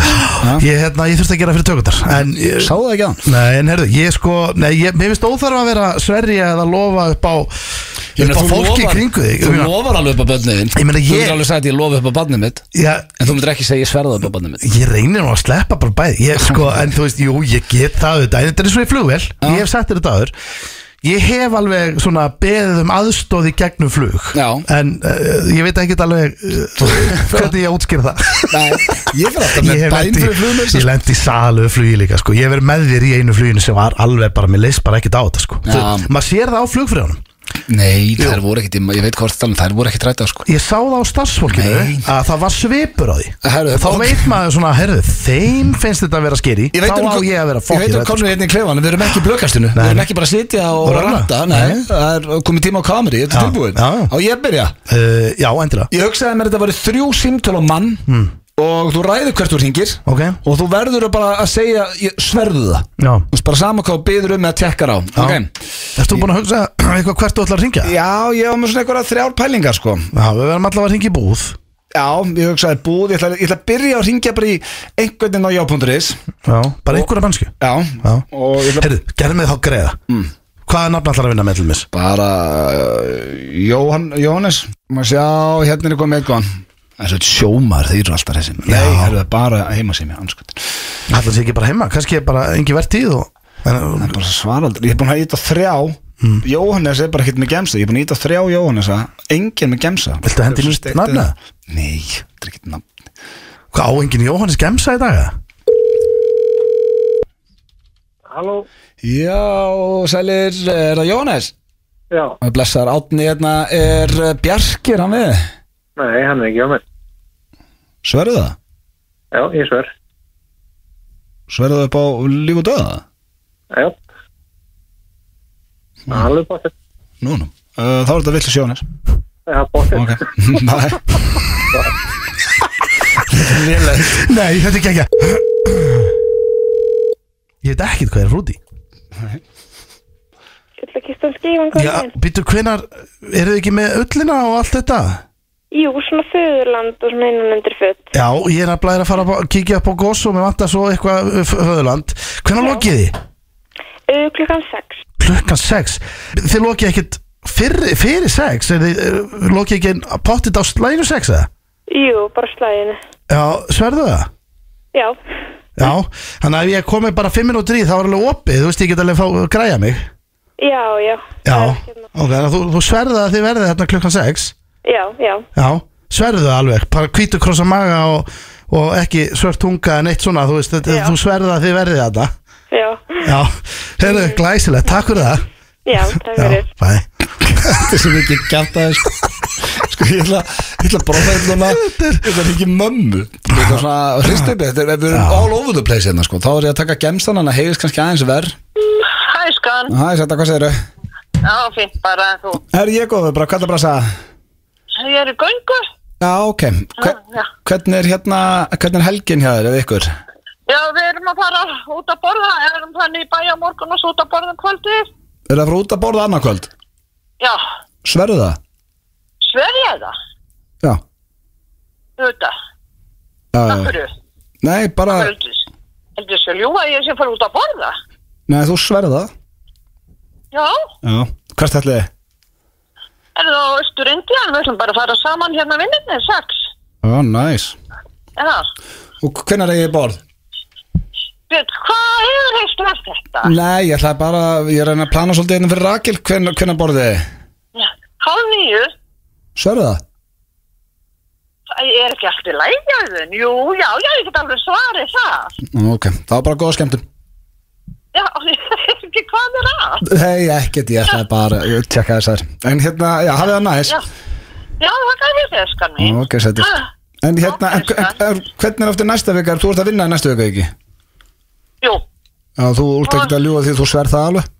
Speaker 2: Ég, hérna, ég þurfti að gera fyrir tökundar En, ég-
Speaker 1: Sáðu það ekki að hann?
Speaker 2: nei, en herðu, ég sko Nei, ég, mér finnst óþarfi að vera sverja eða lofa upp á upp á fólki í kringu þig
Speaker 1: Þú
Speaker 2: Ég meina,
Speaker 1: lofar alveg upp á börnu þín.
Speaker 2: Ég meina,
Speaker 1: Þú
Speaker 2: ég-
Speaker 1: getur alveg sagt ég lofa upp á barnið mitt,
Speaker 2: Já,
Speaker 1: en þú myndir ekki segja sverða upp á barnið mitt.
Speaker 2: Ég reynir nú að sleppa bara bæði ég, sko, En þú veist, jú, ég get það auðvitað En Þetta er eins og í flugvél, ég hef sett þér þetta aður Ég hef alveg svona beðið um aðstóð í gegnum flug
Speaker 1: Já.
Speaker 2: En uh, ég veit ekkert alveg uh, Hvernig ég útskýr það
Speaker 1: Nei, ég fyrir alltaf
Speaker 2: Ég
Speaker 1: með bæn
Speaker 2: hef lent í-
Speaker 1: fyrir sko. flugum.
Speaker 2: ég lendi í salu flugi líka sko. Ég hef verið með þér í einu fluginu sem var alveg bara Mér leist bara ekkert á þetta sko.
Speaker 1: Já.
Speaker 2: Þú- Maður sér það á flugfrjónum
Speaker 1: Nei, þær voru ekkit, í- ég veit hvort
Speaker 2: um
Speaker 1: þannig, þær voru ekkit rætað sko.
Speaker 2: Ég sá það á starfsfólkinu
Speaker 1: Nei.
Speaker 2: að það var svipur á því
Speaker 1: Herru,
Speaker 2: Þá
Speaker 1: ok.
Speaker 2: veit maður svona, herðu, þeim finnst þetta að vera skeri
Speaker 1: Ég veit
Speaker 2: Þá
Speaker 1: um
Speaker 2: á
Speaker 1: kom-
Speaker 2: ég að vera
Speaker 1: Ég veit
Speaker 2: fokkin
Speaker 1: um komum við hérna í klefan Við erum ekki í blökastinu Við erum
Speaker 2: nei.
Speaker 1: ekki bara að sitja og
Speaker 2: Og
Speaker 1: og
Speaker 2: ralla.
Speaker 1: ranta Nei,
Speaker 2: Nei.
Speaker 1: það er komið tíma á kameri Þetta
Speaker 2: Já,
Speaker 1: er tilbúin
Speaker 2: já.
Speaker 1: Á ég að byrja
Speaker 2: Uh, já, endilega
Speaker 1: Ég hugsaði mér að þetta var þrjú símtöl á mann
Speaker 2: Hmm.
Speaker 1: Og þú ræður hvert þú hringir
Speaker 2: Ok.
Speaker 1: Og þú verður að bara að segja ég Sverðu það
Speaker 2: Já.
Speaker 1: Þú veist bara sama hvað þú byður um eða tekkar á
Speaker 2: Já.
Speaker 1: Ok
Speaker 2: Erst þú búin að hugsa eitthvað hvert þú ætlar að ringja?
Speaker 1: Já, ég var með svona einhverja þrjár pælingar sko
Speaker 2: Já, við verðum allavega að ringja í búð
Speaker 1: Já, ég hugsaði búð Ég ætla, ég ætla að byrja að ringja bara í einhvern veginn á já.is
Speaker 2: Já, bara einhverja mannsku
Speaker 1: Já,
Speaker 2: Já.
Speaker 1: og ég ætla
Speaker 2: Herru, gerðu mig þá greiða mm. Hvaða nafn ætlar að vinna með til mis?
Speaker 1: bara uh, Jóhann, Jóhannes maður sjá, hérna er komið eitthvað það er svo sjómar, þeir eru alltaf þessi nei,
Speaker 2: Já.
Speaker 1: það eru bara heima sem ég anskutin
Speaker 2: Ætlar sé ekki bara heima, kannski er bara engi vertíð og... en,
Speaker 1: bara svaraldur, ég er búin að íta þrjá
Speaker 2: Mm.
Speaker 1: Jóhannes er bara ekkert með gemsa ég er búin að íta þrjá Jóhannesa, enginn með gemsa
Speaker 2: Viltu hendi nýtt nafn, eða?
Speaker 1: Nei, þetta er ekkert nafn
Speaker 2: Hvað á enginn Jóhannes gemsa í dag? eða?
Speaker 5: Halló,
Speaker 1: Já, sælir, er það Jóhannes?
Speaker 5: já,
Speaker 1: Blessar, átni hérna er eh, Bjarkir, hann við
Speaker 5: nei, hann er ekki á mér.
Speaker 1: Sverðu það?
Speaker 5: Já, ég sver.
Speaker 1: Sverðu það upp á líf og döða?
Speaker 5: Já. Það er alveg bóttið.
Speaker 1: Nú, nú, uh, þá er þetta villu Jóhannes
Speaker 5: Það er bóttið.
Speaker 1: Ok, bye Lélegt
Speaker 2: Nei, þetta er ekki ekki Ég veit ekkert hvað er frúti
Speaker 6: Ég ætla að kýsta um skífan hvað
Speaker 2: Já,
Speaker 6: er
Speaker 2: býttu hvenar Eru þið ekki með ullina og allt þetta?
Speaker 6: Jú, svona föðurland og svona innan undir fött.
Speaker 2: Já, ég er að blæra að fara að kíkja upp á gos og mér vantar svo eitthvað uh, f- föðurland Hvenær lokið þið?
Speaker 6: Uh, klukkan 6.
Speaker 2: Klukkan 6 Þið lokið ekkert fyrir, fyrir 6 er Þið eh, lokið ekki pottit á slæðinu 6 eða?
Speaker 6: Jú, bara slæðinu.
Speaker 2: Já, sverðu það?
Speaker 6: Já.
Speaker 2: Já, þannig að ef ég komið bara 5 minútur í þá er alveg opið, þú veist ég get alveg að fá græja mig
Speaker 6: Já, já.
Speaker 2: Já,
Speaker 6: Það er
Speaker 2: ok,
Speaker 6: hérna.
Speaker 2: þannig að þú, þú sverðu að þið verðið hérna klukkan 6
Speaker 6: Já, já.
Speaker 2: Já, sverðu það alveg, bara hvítu krossa maga og, og ekki svört tunga en eitt svona, þú veist, þetta,
Speaker 6: Já.
Speaker 2: þú sverðu að þið verðið þetta
Speaker 6: Já.
Speaker 2: Já, heyrðu, glæsilegt, takk fyrir það
Speaker 6: Já, takk
Speaker 2: Já,
Speaker 6: fyrir.
Speaker 2: bæ
Speaker 1: Þetta er svo mikið gæft aðeins Sko ég ætla Ég ætla að bróða þetta núna Þetta er ekki mömmu Þetta er svona Hrist upp Þetta er Við erum all over the place hérna sko Þá er ég að taka gemstan Þannig að hegist kannski aðeins verð
Speaker 7: Hæ skan,
Speaker 1: Hæ, þetta hvað segirðu?
Speaker 7: já fint bara en þú
Speaker 1: Er ég góður bara Hvað er bara að segja?
Speaker 7: Ég er í göngu
Speaker 1: Já, ok Hver,
Speaker 7: Já, já.
Speaker 1: Hvernig er hérna Hvernig er helgin hjá þér Eða ykkur?
Speaker 7: Já við erum að fara út að borða Við erum þannig í bæja morgun og svo út að borða um kvöldið
Speaker 1: Er það frá út að borða annarkvöld?
Speaker 7: Já,
Speaker 1: Sverðu það?
Speaker 7: sver ég það
Speaker 1: Já
Speaker 7: Þú veit það,
Speaker 1: Já,
Speaker 7: af
Speaker 1: já.
Speaker 7: hverju
Speaker 1: Nei, bara
Speaker 7: Heldur þessu ljúga að ég sé að fara út að borða
Speaker 1: Nei, þú sverða
Speaker 7: Já,
Speaker 1: Já Hvert ætliði?
Speaker 7: er það á Östur Indian Við ætlum bara að fara saman hérna vinninni, sex
Speaker 1: Já, næs
Speaker 7: Já,
Speaker 1: Og hvenær er ég borð?
Speaker 7: veit, hvað hefur heist allt þetta?
Speaker 1: Nei, ég ætlaði bara, ég er að reyna að plana svolítið hérna fyrir Rakel, hvenær, hvenær borðið þið?
Speaker 7: Já, Hálf nýju
Speaker 1: Sverðu það?
Speaker 7: ég er ekki alltaf lægjaðun. Jú, já, já, ég get alveg svarið það.
Speaker 1: Ok, það var bara góða skemmtum
Speaker 7: Já, ég veit ekki hvað er að.
Speaker 1: Nei, ekkert, ég ætlaði bara að tjekka þess þær En hérna, já, hafið það næs
Speaker 7: Já, já það gæði þér, skan mín.
Speaker 1: Ok, sætist
Speaker 7: Ah,
Speaker 1: En hérna,
Speaker 7: ok,
Speaker 1: en, en, en, hvernig er aftur næsta vika? Þú ert að vinna í næsta vika, ekki?
Speaker 7: Jú,
Speaker 1: Já, þú ert ekki að ljúga því þú sverð það alveg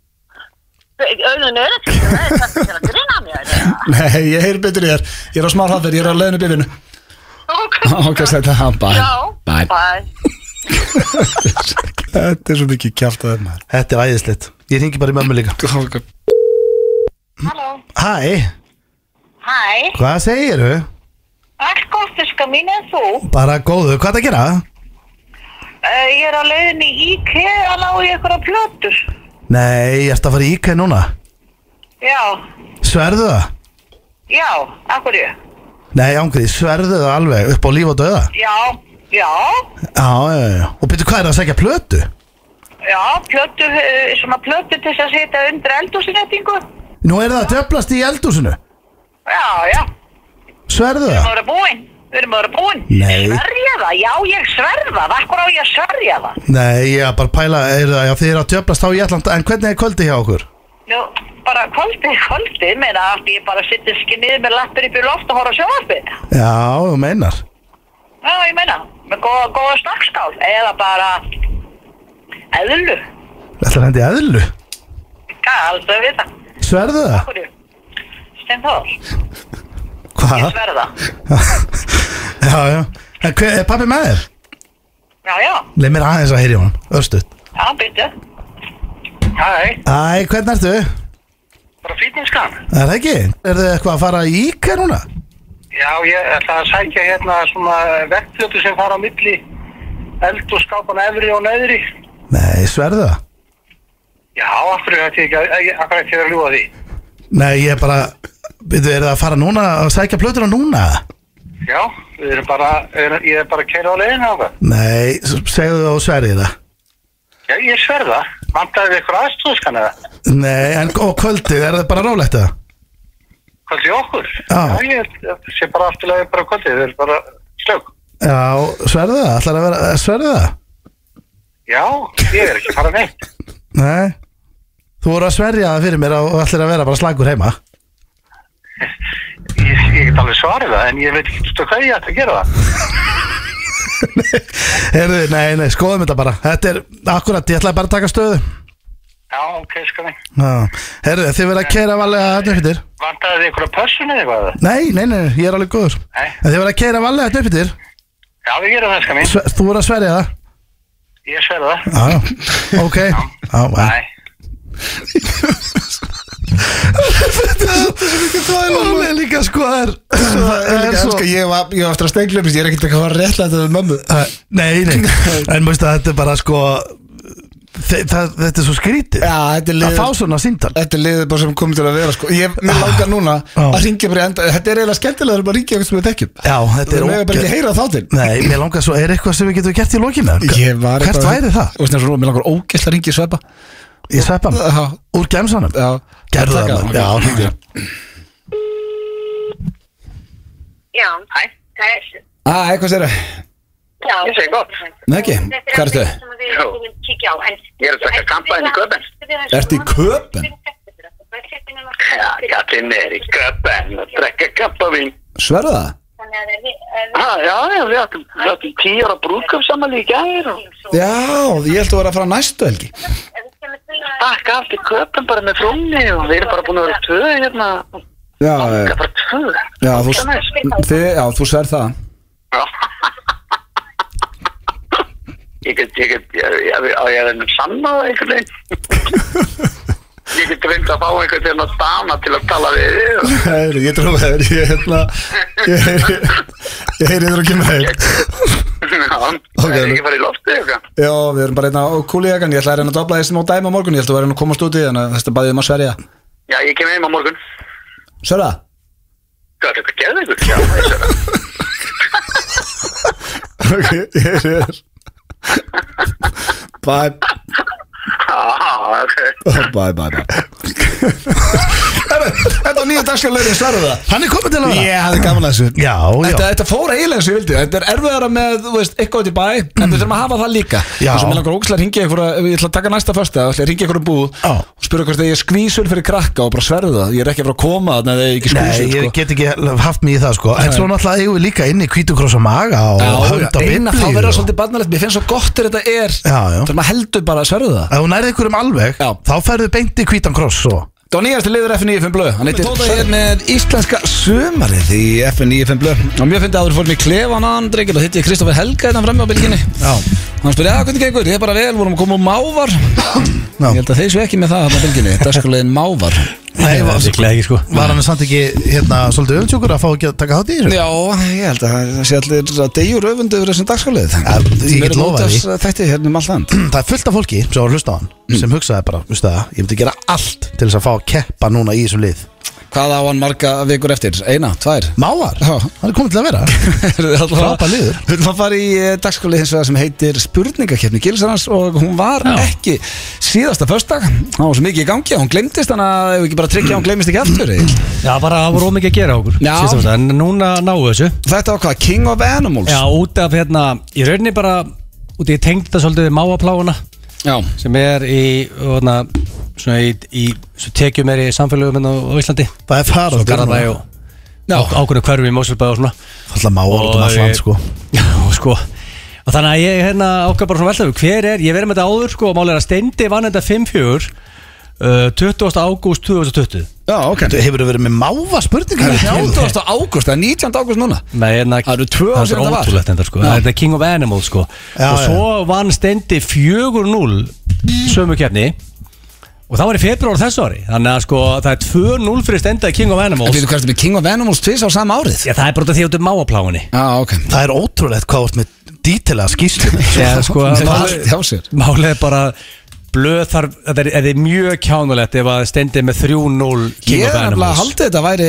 Speaker 7: auðvitað er ekki, það er kannski til að grina mér.
Speaker 1: Nei, ég heyr betur í þér Ég er á smá hafður, ég er á leiðinu bifinu
Speaker 7: Ok,
Speaker 1: Ok, sætist, bæ
Speaker 7: Já,
Speaker 1: Bye.
Speaker 7: bye.
Speaker 1: Þetta er svo mikið kjátt að þeim
Speaker 2: Þetta er æðislegt Ég ringi bara í mömmu líka
Speaker 7: Halló,
Speaker 2: Hæ,
Speaker 7: hæ,
Speaker 2: hvað segirðu?
Speaker 7: allt gott, skan mín en þú?
Speaker 2: Bara góðu, hvað er að gera?
Speaker 7: Uh, ég er á leiðinni í IKEA að ná í einhverja plötur.
Speaker 2: Nei, ég ert að fara í IK núna
Speaker 7: Já,
Speaker 2: Sverðu það?
Speaker 7: já, akkur ég.
Speaker 2: Nei, ángrið, sverðu það alveg upp á líf og döða
Speaker 7: Já, já,
Speaker 2: Já, já, já Og byrju, hvað er það að segja plötu?
Speaker 7: já, plötur, uh, svona plötur til þess að setja undir eldhúsinettingu.
Speaker 2: Nú er það að döblast í eldhúsinu
Speaker 7: Já, já,
Speaker 2: Sverðu
Speaker 7: við erum
Speaker 2: það?
Speaker 7: að vera búin, við erum að vera búin.
Speaker 2: Nei.
Speaker 7: Sverja það, já, ég sverja það, akkur á ég að sverja það?
Speaker 2: Nei, ég er bara að pæla, er það, já, þið eru að döblast á í allan En hvernig er kvöldi hjá okkur?
Speaker 7: Nú, bara kvöldið, kvöldið, meina að ég bara sitt ekki niður með lappir upp í loft og horfa á sjónvarpið.
Speaker 2: Já, þú meinar
Speaker 7: Já, ég meina, með góða, góða snakkskál eða bara eðlu,
Speaker 2: Þetta er hendi eðlu
Speaker 7: hvað aldrei við það,
Speaker 2: Sverðu það?
Speaker 7: hverju? Steinþór,
Speaker 2: Hvað?
Speaker 7: ég sverða.
Speaker 2: Já, já En hver, er pappi með þér?
Speaker 7: Já, já,
Speaker 2: Leif mér aðeins að heyri hún, örstuð
Speaker 7: já, byrju. Hæ,
Speaker 2: Æ, hvernig ertu?
Speaker 7: bara fýtingskan.
Speaker 2: Er það ekki? Er þið eitthvað að fara í IK núna?
Speaker 5: Já, ég ætla að sækja hérna svona vektfljótu sem fara á milli eld og skápan efri og neðri.
Speaker 2: Nei, sverðu það?
Speaker 5: Já, af hverju ætti ég ekki að, ég- af hverju ætti ég að vera að ljúga því?
Speaker 2: Nei, ég er bara Byrðu, er það að fara núna að sækja plötuna núna?
Speaker 5: Já, við erum bara, er, ég er bara að keira á leiðinu á það.
Speaker 2: Nei, s- segðu það og sverðið það
Speaker 5: Já, ég sverða. Vandaði við ykkur aðstúðskan eða?
Speaker 2: Nei, en og kvöldið, er það bara rólegt það?
Speaker 5: Kvöldi okkur?
Speaker 2: Já.
Speaker 5: Já, ég ég sé bara aftur leiðin bara kvöldið, við erum bara slögg.
Speaker 2: Já, sverðu það, ætlar að vera, sverðu það?
Speaker 5: Já, ég er ekki að fara neitt.
Speaker 2: Nei Þú voru að sverja það fyrir mér og ætlar að vera bara slagur heima
Speaker 5: Ég, ég get alveg svarið það, en ég veit ekki út af hvað ég ætti að gera það.
Speaker 2: Herðu, nei, nei, skoðum þetta bara Þetta er, akkurat, ég ætlaði bara að taka stöðu
Speaker 5: Já, ok, skan ég.
Speaker 2: Já. Herðu, þið verða að keira valega þetta uppbyttir
Speaker 5: Vandaði við ykkur að pössunni eða eitthvað?
Speaker 2: Nei, nei, nei, ég er alveg góður
Speaker 5: Nei.
Speaker 2: En Þið verða að keira valega þetta uppbyttir
Speaker 5: Já, við gerum það, skan ég.
Speaker 2: Þú voru að sverja það
Speaker 5: Ég sverða það.
Speaker 2: Já, já, ok Já, já.
Speaker 5: Nei.
Speaker 2: Hún er líka sko það er- það
Speaker 1: Ég
Speaker 2: er sko,
Speaker 1: elska,
Speaker 2: svo-
Speaker 1: Ég var ég var eftir að steinglefis, ég er ekkert eitthvað að rétla þetta við mömmu
Speaker 2: Æ, Nei, nei, en múiðst að þetta er bara sko þe- það- Þetta er svo skrítið
Speaker 1: Já, þetta er
Speaker 2: Að
Speaker 1: liður
Speaker 2: fá svona síntal
Speaker 1: Þetta er liður bara sem komið til að vera sko Ég mér langar núna
Speaker 2: Já.
Speaker 1: að ringja bara í enda Þetta er eiginlega skemmtilega að bara ringja eitthvað sem við tekjum
Speaker 2: Já, þetta
Speaker 1: Þetta
Speaker 2: er
Speaker 1: er bara ekki
Speaker 2: ógeð-
Speaker 1: að heyra þá til
Speaker 2: Nei, mér langar svo, er eitthvað sem við getum gert í lokinu?
Speaker 1: Ég var
Speaker 2: Hvert
Speaker 1: eitthvað-
Speaker 2: væri það?
Speaker 1: Þú veist, eins og nú, Mér langar ógæst að ringja í sveppa
Speaker 2: Ég sveppa hann
Speaker 1: Já.
Speaker 2: Úr gemsanum?
Speaker 1: Já,
Speaker 2: Gerðu það,
Speaker 1: Taka
Speaker 2: maður. Já, hringdu.
Speaker 7: Já, hæ, hæ,
Speaker 1: Æ, hvað sér það?
Speaker 7: já. Ég segi gott.
Speaker 1: Nei ekki, hvað ertu?
Speaker 7: Já. Ég er að taka
Speaker 5: hérna
Speaker 7: kampaðin í köpen.
Speaker 1: Ertu í Köben?
Speaker 7: Já, já.
Speaker 5: Kattinn er í köpen að drekka kampavín.
Speaker 1: Sverðu það?
Speaker 5: Ah, já, já, við áttum, við áttum tíu ára brúkum saman í gæðir og
Speaker 1: Já, ég held að vera að fara næstu helgi
Speaker 5: takk allt í köpen bara með frúnni og við erum bara búin að vera tvö hérna.
Speaker 1: Já,
Speaker 5: Það er
Speaker 1: já,
Speaker 5: bara tvö.
Speaker 1: já, þú,
Speaker 5: Það er næst.
Speaker 1: þið, já, þú sverð það
Speaker 5: Já. Ég get, ég get, ég, ég, ég, á ég er ennum sannað einhvern veginn. Ég get reynd að fá einhvern veginn að dana til að tala við þig og
Speaker 1: Heyri, ég trú að það er, ég hérna Ég heyri, ég heyri þér að kemur heim
Speaker 5: Já,
Speaker 1: Ok,
Speaker 5: það er
Speaker 1: nú-
Speaker 5: ekki farið í loftið eitthvað.
Speaker 1: Já, við erum bara einna á kúlíakan Ég ætla að reyna að dobla þessi nóg dæmi á morgun Ég ætla að vera að komast út í þannig að þetta bæði um að sverja
Speaker 5: Já, ég kem heim á morgun.
Speaker 1: Sverða?
Speaker 5: Hvað er þetta geðið ykkur? Já, ég sé það.
Speaker 1: Ok, ég heyri þér Bye
Speaker 5: Já, ok. Ah,
Speaker 1: Bye, bye, bye Herra, Þetta var nýja dagskalaugur, ég svarði það
Speaker 2: Hann er komið til að vera
Speaker 1: Ég hafði gaman að þessu
Speaker 2: Já, já
Speaker 1: Þetta, þetta fór eiginlega sem ég vildi Þetta er erfiðara með, þú veist, eitthvað út í bæ En við þurfum að hafa það líka
Speaker 2: Mm. Já.
Speaker 1: Og svo með langar ógæslega að ringja ykkur að- Ég ætla að taka næsta fösta Ég ætla að ringja ykkur um búð
Speaker 2: Já.
Speaker 1: Og spyrja hvort að ég er skvísul fyrir krakka Og bara sverðu það Ég er ekki að fara að koma þarna Þegar ég er ekki
Speaker 2: Nei,
Speaker 1: skvísul
Speaker 2: ég
Speaker 1: sko.
Speaker 2: get ekki haft mig í það sko En
Speaker 1: Nei.
Speaker 2: svo náttúrulega eigum við líka inni kvítukrossa maga og hönd á
Speaker 1: Já, eina þá verður það
Speaker 2: biblíu
Speaker 1: svolítið barnalegt Mér finnst svo gott þegar þetta er
Speaker 2: Já, já.
Speaker 1: Þegar maður heldur bara að sverðu það
Speaker 2: Ef hún nærði ykkur um alveg,
Speaker 1: Já.
Speaker 2: þá færðu beint í kvítan kross svo
Speaker 1: Það var nýjast liður FN95 Blöð Hann heitir Tóta hér með íslenska sömarið í FN95 Blöð Og mér finnst að þú fórum í klefan aðan drengil Og hitti ég Kristoffer Helga þetta frammi á bylginni
Speaker 2: Já,
Speaker 1: Hann spurði að hvernig gengur, ég er bara vel, vorum að koma úr mávar
Speaker 2: já
Speaker 1: Ég held að þeir séu ekki með það hann á bylginni, dagskalegin mávar
Speaker 2: Nei, var,
Speaker 3: Siklega ekki sko
Speaker 2: var hann samt ekki hérna svolítið öfntjúkur að fá ekki að taka hát í þessu?
Speaker 1: Já, ég held að það sé allir að degjur öfundu yfir þessum dagskalegið
Speaker 2: Ja, ég get lofað því.
Speaker 1: Þetta hérna um allt land
Speaker 2: Það er fullt af fólki sem var að hlusta á hann
Speaker 1: Mm.
Speaker 2: sem hugsaði bara, veistu það, ég myndi gera allt til þess að fá að keppa núna í þessu lið
Speaker 1: Hvað á hann marga vikur eftir? Eina, tvær?
Speaker 2: Mávar,
Speaker 1: Já.
Speaker 2: hann er komið til að vera
Speaker 1: Frápa
Speaker 2: Frábær liður.
Speaker 1: Við ætlum að fara í dagskalið hins vegar sem heitir spurningakefni Gilsarans og hún var ekki síðasta föstdag Hún var svo mikið í gangi að hún glemdist Þannig að ef við ekki bara tryggja að hún glemist ekki aftur eh. Egill.
Speaker 3: Já, bara það voru ómikið að gera okkur
Speaker 1: Já.
Speaker 3: síðasta föstudag, En núna náu þessu
Speaker 1: Þetta var hvað? King of Animals?
Speaker 3: Já, út af hérna Í rauninni bara Út í tengd það svolítið við máapláuna
Speaker 1: Já.
Speaker 3: Sem er í hérna, Svona í, í Svo tekjum er í samfélögum hérna á Íslandi
Speaker 2: Það er farað
Speaker 3: Svo Garðabæ og
Speaker 1: Já.
Speaker 3: ákveðinu hverfi í Mósulbæ og svona
Speaker 2: Alltaf mávar út um
Speaker 3: Og-
Speaker 2: allt land sko
Speaker 3: Já, sko Og þannig að ég hérna ákveð bara svona veltaðu Hver er, ég verið með þetta áður sko Og málega steindi vann þetta 5-4 uh, 20. ágúst 2020
Speaker 1: Já, ok
Speaker 2: Þú hefur verið með hérna? máva
Speaker 1: Það
Speaker 2: spurningar
Speaker 1: er 14. ágúst, það er 19. ágúst núna
Speaker 3: Nei, hérna,
Speaker 1: Það eru tvö ár
Speaker 3: það
Speaker 1: síðan
Speaker 3: er
Speaker 1: það var.
Speaker 3: ótrúlegt þetta sko
Speaker 1: Já.
Speaker 3: Það er King of Animals sko
Speaker 2: Já,
Speaker 3: Og
Speaker 2: já.
Speaker 3: svo vann stendi 4-0 Sömu kefni Og það var í februar þessu ári Þannig að sko það er 2-0 fyrir stenda í King of
Speaker 1: En
Speaker 3: Animals
Speaker 1: við þú hverstu með King of Animals tvis á sama árið
Speaker 3: Já, það er bara út af því að þetta er máapláinni
Speaker 1: Já, ok
Speaker 2: Það er ótrúlegt hvað þú ert með dítilega skýrslu
Speaker 3: Já, sko,
Speaker 1: Það er
Speaker 3: málið-
Speaker 1: allt hjá sér
Speaker 3: Málið er bara Blöð þarf, þetta er, þetta er mjög kjánulegt ef að stendi með 3-0 King
Speaker 1: Ég
Speaker 3: of
Speaker 1: er nefnilega að
Speaker 3: Animals
Speaker 1: haldi þetta væri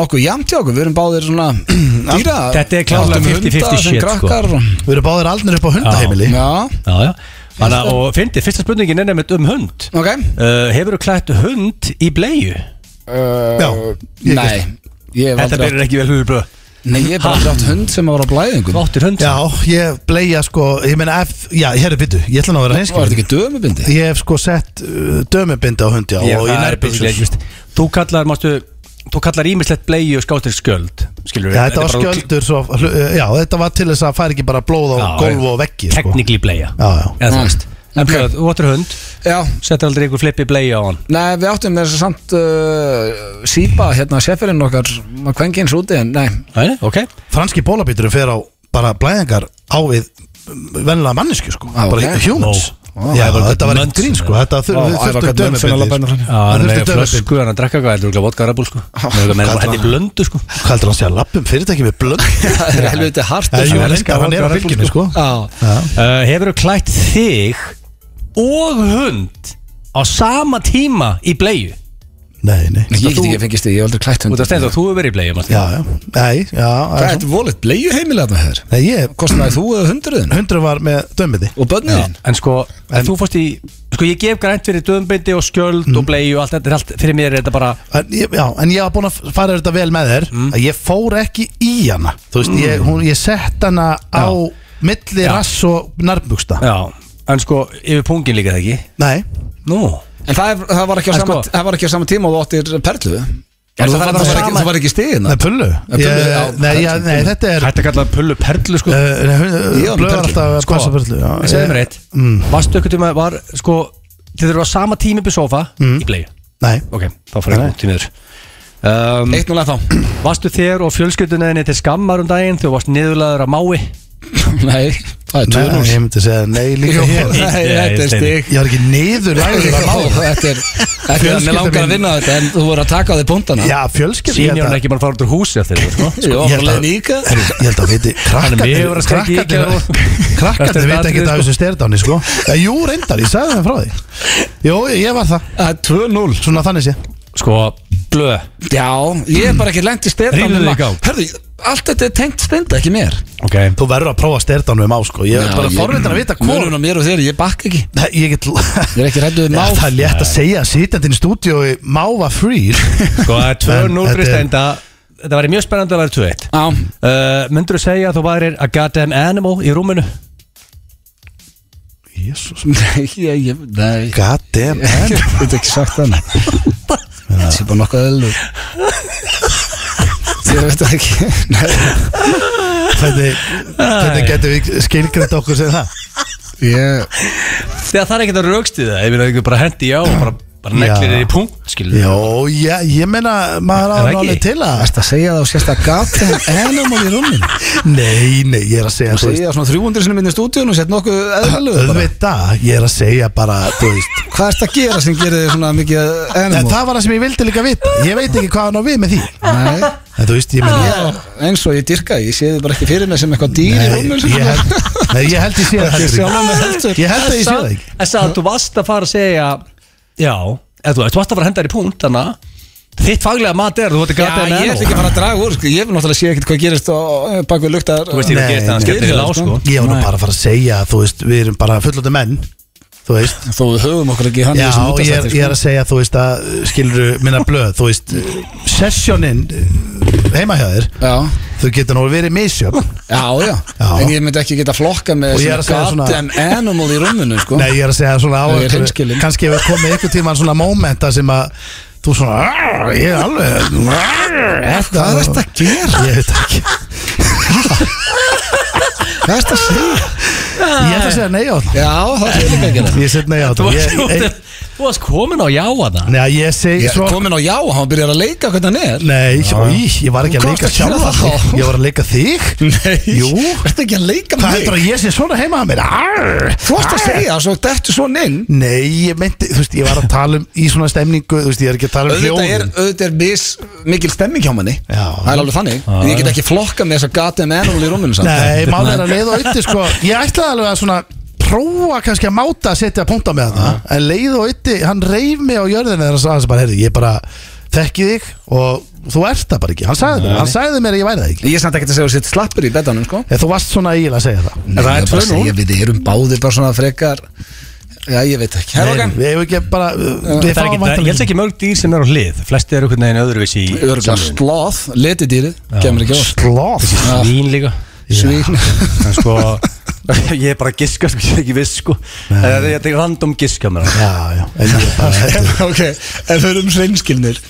Speaker 1: nokkuð jæmt hjá okkur Við erum báðir svona dýra
Speaker 3: Þetta er klárlega
Speaker 1: áttum
Speaker 3: 50-50
Speaker 1: hunda sem
Speaker 3: shit, sko.
Speaker 1: krakkar og-
Speaker 2: Við erum báðir aldnir upp á hundaheimili
Speaker 1: Já,
Speaker 3: Já, já Þannig að, og fyndi, fyrsta spurningin er nefnilega um hund
Speaker 1: ok
Speaker 3: uh, Hefur þú klætt hund í bleiu?
Speaker 2: Já, ég
Speaker 1: Nei, ég hef
Speaker 3: Þetta
Speaker 1: aldrei átt
Speaker 3: byrjar ekki vel hugurbröð
Speaker 1: Nei, ég hef bara aldrei átt hund sem var á blæðingum
Speaker 3: Þú áttir hund
Speaker 2: Já, ég bleia sko, ég meina ef, já, herri byttu, ég ætla nú að vera
Speaker 1: Var þetta
Speaker 2: reynskil
Speaker 1: ekki dömubindi?
Speaker 2: Ég hef sko sett uh, dömubindi á hundi á
Speaker 3: Já,
Speaker 2: og í
Speaker 3: það er
Speaker 2: nærbyggsum
Speaker 3: basically, veist, Þú kallar, mástu Þú kallar ímislegt bleiu og skáttir skjöld Skilur
Speaker 2: Já, þetta var skjöldur svo, hlu- já, þetta var til þess að færi ekki bara blóð á golf og veggi sko.
Speaker 3: Teknikli bleia
Speaker 2: Já, já.
Speaker 3: Eða
Speaker 1: Mm.
Speaker 3: þú veist En
Speaker 1: Ok.
Speaker 3: blöð, þú áttir hund
Speaker 1: Já,
Speaker 3: Settir aldrei ykkur flippi bleia á hann
Speaker 1: nei, við áttum þess að samt uh, Sýpa, hérna, sefirinn okkar Kvengins úti, en nei
Speaker 3: Nei, ok
Speaker 2: Franski bólabíturum fer á bara blæðingar á við vennilega mannesku sko,
Speaker 1: Já,
Speaker 2: bara
Speaker 1: Ah, ok.
Speaker 2: humans
Speaker 3: Ó.
Speaker 2: Já,
Speaker 3: Ó, Ævar
Speaker 2: þetta var
Speaker 3: Gat
Speaker 2: ekkert
Speaker 3: Munson,
Speaker 2: grín sko,
Speaker 3: eða?
Speaker 2: þetta þur-
Speaker 1: Ó,
Speaker 2: við
Speaker 1: Ævar
Speaker 2: þurftum
Speaker 1: Gat Munson alveg bænir fram.
Speaker 2: dömubindi sko.
Speaker 3: Já,
Speaker 2: Það
Speaker 3: hann
Speaker 2: þurfti
Speaker 3: er með
Speaker 2: dömubindi.
Speaker 3: Ah, flösku, hann er að drakka hvað Þetta er örugglega vodka rabúl sko Þetta er með-
Speaker 2: kallar
Speaker 3: þetta er blöndu sko
Speaker 2: Hvað heldur hann sé að lappum fyrirtæki með blönd?
Speaker 1: Það er helviti hart sko.
Speaker 2: Það er
Speaker 1: þessu.
Speaker 2: jú,
Speaker 3: elska
Speaker 2: reyndar, hann er á
Speaker 3: Vodka Red Bull,
Speaker 2: fylginni sko
Speaker 1: Já,
Speaker 3: Uh, Hefur þú klætt þig og hund á sama tíma í bleiu?
Speaker 2: Nei, nei
Speaker 1: Ég get ekki fengist því, ég hef aldrei klætt hund
Speaker 3: Út af stendur, þú hefur verið í bleiu, mástu
Speaker 2: Já, já, nei, já
Speaker 1: Hvað
Speaker 2: það
Speaker 1: er
Speaker 2: er
Speaker 1: þetta volið? Bleiðu heimilega þarna hér?
Speaker 2: Nei, ég,
Speaker 1: Kostnaði þú eða hundurðin?
Speaker 2: hundru var með dömubindi
Speaker 1: Og börnin þín?
Speaker 3: En sko, en, Mhm. þú fórst í Sko, ég gef grænt fyrir dömbindi og skjöld og bleiu og allt þetta er allt, Fyrir mér er þetta bara
Speaker 2: En ég, já, en ég var búin að fara þetta vel með þér að ég fór ekki í hana þú veist, ég,
Speaker 1: Mm.
Speaker 2: hún, ég sett hana á milli
Speaker 3: Já.
Speaker 2: rass og nærbuksta
Speaker 3: Já En sko, yfir pungin líka það ekki
Speaker 2: nei,
Speaker 3: Nú
Speaker 1: En það, er, það, var ekki á
Speaker 3: En
Speaker 1: sama,
Speaker 3: sko-
Speaker 1: það var ekki á sama tíma og þú áttir perlu
Speaker 3: það
Speaker 1: Það
Speaker 3: var
Speaker 1: var
Speaker 3: bara
Speaker 1: ekki-
Speaker 3: sama-
Speaker 1: það var ekki stigin
Speaker 2: nei pullu
Speaker 1: pullu,
Speaker 2: Ég-
Speaker 1: já,
Speaker 2: nei, já,
Speaker 1: perlu,
Speaker 2: nei, þetta er
Speaker 3: Þetta kallaði pullu perlu sko
Speaker 2: Eh,
Speaker 3: uh,
Speaker 1: Ég var með
Speaker 2: blöður
Speaker 1: perlu.
Speaker 2: alltaf að
Speaker 3: Sko,
Speaker 2: passa pullu já, Eh,
Speaker 3: En segðu mér eitt
Speaker 2: Mm.
Speaker 3: Varstu ykkur tíma, var sko Þið eru á sama tíma upp í sofa í bleiu
Speaker 2: nei,
Speaker 3: Ok, þá fór ég út í miður um,
Speaker 1: Eitt núlega þá
Speaker 3: Varstu þér og fjölskylduninni til skammar um daginn Þegar þú varst niðurlaður að mái
Speaker 1: Nei, það er
Speaker 2: nei,
Speaker 1: 2-0
Speaker 2: ég myndi segja nei líka
Speaker 1: Nei,
Speaker 2: hér
Speaker 1: þetta er stig
Speaker 2: ég var ekki niður lagður
Speaker 1: Ó,
Speaker 2: að mála
Speaker 1: Þetta er, þetta er, mér langar að vinna þetta En þú voru að taka á þig bóndana
Speaker 2: já, fjölskyld ég
Speaker 3: Sýnir
Speaker 2: held
Speaker 3: hann
Speaker 2: að-
Speaker 3: ekki bara að fara út úr húsi eftir þetta sko
Speaker 1: Ég var
Speaker 2: ég
Speaker 1: bara
Speaker 2: held að-
Speaker 1: leiðin í ykkar
Speaker 2: ég held að viti
Speaker 3: mjög verið að skrækja í
Speaker 2: krakkarnir
Speaker 3: gær og-
Speaker 2: krakkarnir
Speaker 3: Eftir
Speaker 2: vita
Speaker 3: þetta
Speaker 2: ekki
Speaker 3: atriði,
Speaker 2: að þessu styrdáni sko Eh, jú reyndar, ég sagði það frá því jú, ég var það,
Speaker 1: Það er 2-0
Speaker 2: svona þannig sé
Speaker 3: Sko, blöð
Speaker 1: Já, ég er bara ekki lengt í styrna
Speaker 3: Rífðu þig í gang.
Speaker 1: Hörðu, allt þetta er tengt steinda, ekki mér
Speaker 3: Ok
Speaker 2: Þú verður að prófa styrtanum á sko Ég er bara forvindin að vita hvað
Speaker 1: Mörun á mér og þér, ég bakk ekki
Speaker 2: Nei, ég get
Speaker 1: Ég er ekki hræddur við
Speaker 2: Já,
Speaker 1: máv.
Speaker 2: Það er létt að segja að sitjandinn í stúdíói máva frýr
Speaker 3: Sko það er
Speaker 2: En
Speaker 3: 2-0 fyrir
Speaker 2: þetta er-
Speaker 3: steinda Þetta væri mjög spennandi að vera 2-1
Speaker 1: Já,
Speaker 3: uh, Myndur þú segja að þú værir a goddamn animal í rúminu?
Speaker 2: Jésús
Speaker 1: nei, ég, ég, nei
Speaker 2: God damn man
Speaker 1: Ég get ekki sagt þannig Það sé bara nokkuð öllur Þér veit það ekki Nei,
Speaker 2: Hvernig, hvernig getum við skilgrind okkur sem það
Speaker 1: ég
Speaker 3: Þegar það er ekkert að raukst í það Ég vil að ekki bara hendi já og bara, bara neglir
Speaker 2: Já.
Speaker 3: þér í punkt Skilur
Speaker 2: Jó, já, ég meina maður á
Speaker 3: Er það
Speaker 2: náli
Speaker 3: ekki?
Speaker 2: til að
Speaker 1: Æst að segja það á sérst að gata Animal í rúmin
Speaker 2: Nei, nei, ég er að segja
Speaker 1: Þú
Speaker 2: þú veist
Speaker 1: segja það svona 300 sinni minn í stúdíun og sett nokkuð eðlur
Speaker 2: Öðvitað, ég er að segja bara, þú veist
Speaker 1: Hvað er þetta að gera sem gerir þig svona mikið
Speaker 2: En
Speaker 1: animal?
Speaker 2: það var það sem ég vildi líka vita Ég veit ekki hvað hann á við með því
Speaker 1: Nei,
Speaker 2: En þú veist, ég meina
Speaker 1: ég, eins og ég dyrka Ég sé þið bara ekki fyrir mig sem eitthvað dýr í
Speaker 2: Nei,
Speaker 1: rúmin
Speaker 2: ég held, nei, ég held ég sé það
Speaker 1: Ekki
Speaker 2: heldur
Speaker 1: sjálfan mig heldur.
Speaker 2: ekki Ég held að ég sé það ekki
Speaker 3: Þess að þú varst að fara að segja Já eða Þú þú varst að fara að henda þér í punkt Þannig að þitt faglega mat er að Þú vart a
Speaker 1: Já,
Speaker 3: goddamn
Speaker 1: ég ætla ekki að
Speaker 3: animal
Speaker 1: fara að draga úr sko. Ég vil náttúrulega sé ekkert hvað gerist á bakvið luktar
Speaker 3: Þú veist ég
Speaker 2: Nei,
Speaker 3: er að gera
Speaker 2: nei.
Speaker 3: það Skemmtir í
Speaker 1: Skilur,
Speaker 3: lá
Speaker 1: sko.
Speaker 3: sko
Speaker 2: Ég var nú
Speaker 1: Nei.
Speaker 2: bara að fara að segja, þú veist, við erum bara fullandi menn Þú veist
Speaker 1: Þó við höfum okkur ekki hann
Speaker 2: Já,
Speaker 1: í þessum sko.
Speaker 2: ég er,
Speaker 1: útastætti
Speaker 2: ég er að segja, þú veist að skilur minna blöð, þú veist sessjónin heima hjá þér
Speaker 1: Já,
Speaker 2: þau getur nú verið misjöfn
Speaker 1: já, já,
Speaker 2: Já.
Speaker 1: En ég myndi ekki geta flokka með
Speaker 2: Og ég er að segja svona-
Speaker 1: goddamn animal í rúminu sko.
Speaker 2: Nei, ég er að segja svona á
Speaker 1: Nei, ég er
Speaker 2: einhverju-
Speaker 1: hreinskilinn.
Speaker 2: kannski hefur komið einhver tíma svona mómenta sem að þú svona "Arr, ég er alveg arr,
Speaker 1: Hvað er þetta að gera?
Speaker 2: Ég veit það ekki
Speaker 1: Hvað er þetta að segja?
Speaker 2: Ég ætla að segja nei á það
Speaker 1: Já, það er líka að gera
Speaker 2: Ég set nei á
Speaker 3: Þú
Speaker 2: það Ég-
Speaker 3: varst-
Speaker 2: ég-
Speaker 3: þú varst komin á já að það
Speaker 2: Nei, ég segi
Speaker 1: Ég
Speaker 2: svo
Speaker 1: er komin á já, hann byrjar að leika hvernig hann er
Speaker 2: Nei, í, ég var ekki að
Speaker 1: Þú
Speaker 2: leika
Speaker 1: komst ekki
Speaker 2: sjálfa
Speaker 1: á það.
Speaker 2: mig. Ég var að leika þig
Speaker 1: Nei,
Speaker 2: Jú.
Speaker 1: ertu ekki að leika
Speaker 2: Hvað
Speaker 1: með
Speaker 2: heldur
Speaker 1: mig?
Speaker 2: að ég sé svona heima að mér? Arr,
Speaker 1: Þú varst að
Speaker 2: arr.
Speaker 1: segja, svo dættu svo inn
Speaker 2: Nei, ég meinti, þú veist, ég var að tala um í svona stemningu, þú veist, ég er ekki að tala um
Speaker 1: Auðvitað er,
Speaker 2: hljóðin
Speaker 1: auðvitað er mis, mikil stemming hjá manni
Speaker 2: Já.
Speaker 1: Það er alveg þannig En ég get ekki flokka með þess að gata með animal í rúminu samt.
Speaker 2: Nei, mál er að leiða og ytti, sko Ég ætlaði alveg að svona prófa kannski að máta að setja punta með það En leið og ytti, hann reif mig á jörðinu þegar hann sagði bara, heyrðu, ég bara þekki þig og þú ert það bara ekki Hann sagði, mér, hann sagði mér að ég væri það ekki
Speaker 1: Ég er samt ekkert að segja að setja slappur í betanum sko.
Speaker 2: Eða þú varst svona eiginlega að segja það
Speaker 1: Nei,
Speaker 3: það er
Speaker 1: ég er bara að
Speaker 3: 2-0.
Speaker 1: segja, Við erum báðir bara svona frekar Já, ég veit ekki Herra
Speaker 2: Nei,
Speaker 1: okkar
Speaker 2: Við hefum ekki bara, við
Speaker 3: Það er ekki,
Speaker 2: fáum
Speaker 3: það, ég held ekki mörg dýr sem er á hlið Flesti eru einhvern veginn öðruvísi í
Speaker 1: Öruglega sloth, letidýrið, kemur ekki á óvart.
Speaker 2: Sloth
Speaker 3: Svín líka
Speaker 1: Svín
Speaker 3: En sko Ég er bara að giska sko, ég er ekki viss sko Það er þetta random giska mér
Speaker 2: Já, já, en ég er bara
Speaker 1: Ok, ef við erum um hreinskilnir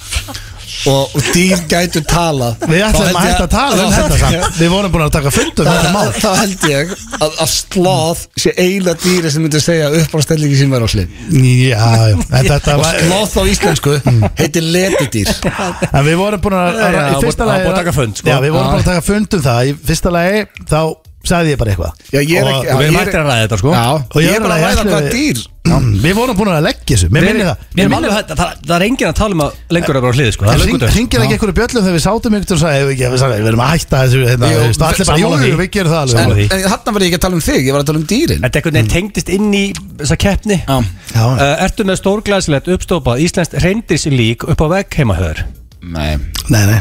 Speaker 1: og, og dýr gætu tala
Speaker 2: Við ætlum að hætta að tala um þetta samt Við vorum búin að taka fundum þetta mál
Speaker 1: Þá held ég að, að sloth sé eila dýri sem myndi segja uppáðstellingi sem var á hlið
Speaker 2: Já, já, en þetta
Speaker 1: og
Speaker 2: var Mm.
Speaker 1: sloth á íslensku heitir letidýr
Speaker 2: En við vorum búin að,
Speaker 3: Já, já,
Speaker 2: í fyrsta
Speaker 3: það var
Speaker 2: lagi-
Speaker 3: búin að taka fund, sko.
Speaker 2: Já, við vorum
Speaker 1: Já.
Speaker 2: búin að taka fund um það Í fyrsta lagi, þá sagði ég bara eitthvað
Speaker 1: Já, ég er ekki-
Speaker 2: Og,
Speaker 1: ég
Speaker 3: Við erum
Speaker 1: er-
Speaker 3: hættir að ræða þetta sko
Speaker 1: Já,
Speaker 2: og
Speaker 1: ég er bara að ræða
Speaker 2: ætli
Speaker 1: hvað
Speaker 2: við-
Speaker 1: dýr
Speaker 2: Já, Við vorum búin að leggja þessu, mér minni það
Speaker 3: Mér minnir það, það, það er enginn að tala um að lengur að vera á hlið sko, það
Speaker 2: En
Speaker 3: er
Speaker 2: hring-
Speaker 3: löngu dautt.
Speaker 2: hringir ekki einhverju bjöllum þegar við sátum ykkur og sagði, "Ef við ekki- við sagði, við erum að hætta þessu hérna,
Speaker 1: Jú,
Speaker 2: þú veist, Allir bara, jú,
Speaker 1: sammála
Speaker 2: jú,
Speaker 1: því.
Speaker 2: við gerum það
Speaker 1: En,
Speaker 2: alveg
Speaker 3: því.
Speaker 1: en hann var ég ekki að tala um þig, ég var að tala um dýrin
Speaker 3: Þetta einhvern veginn tengdist inn í þessa keppni
Speaker 1: Já.
Speaker 2: Já.
Speaker 3: Uh, Ertu með stórglæsilegt uppstópað Íslenskt reyndirs lík upp á vegg heimahöður
Speaker 1: Nei,
Speaker 2: Nei, nei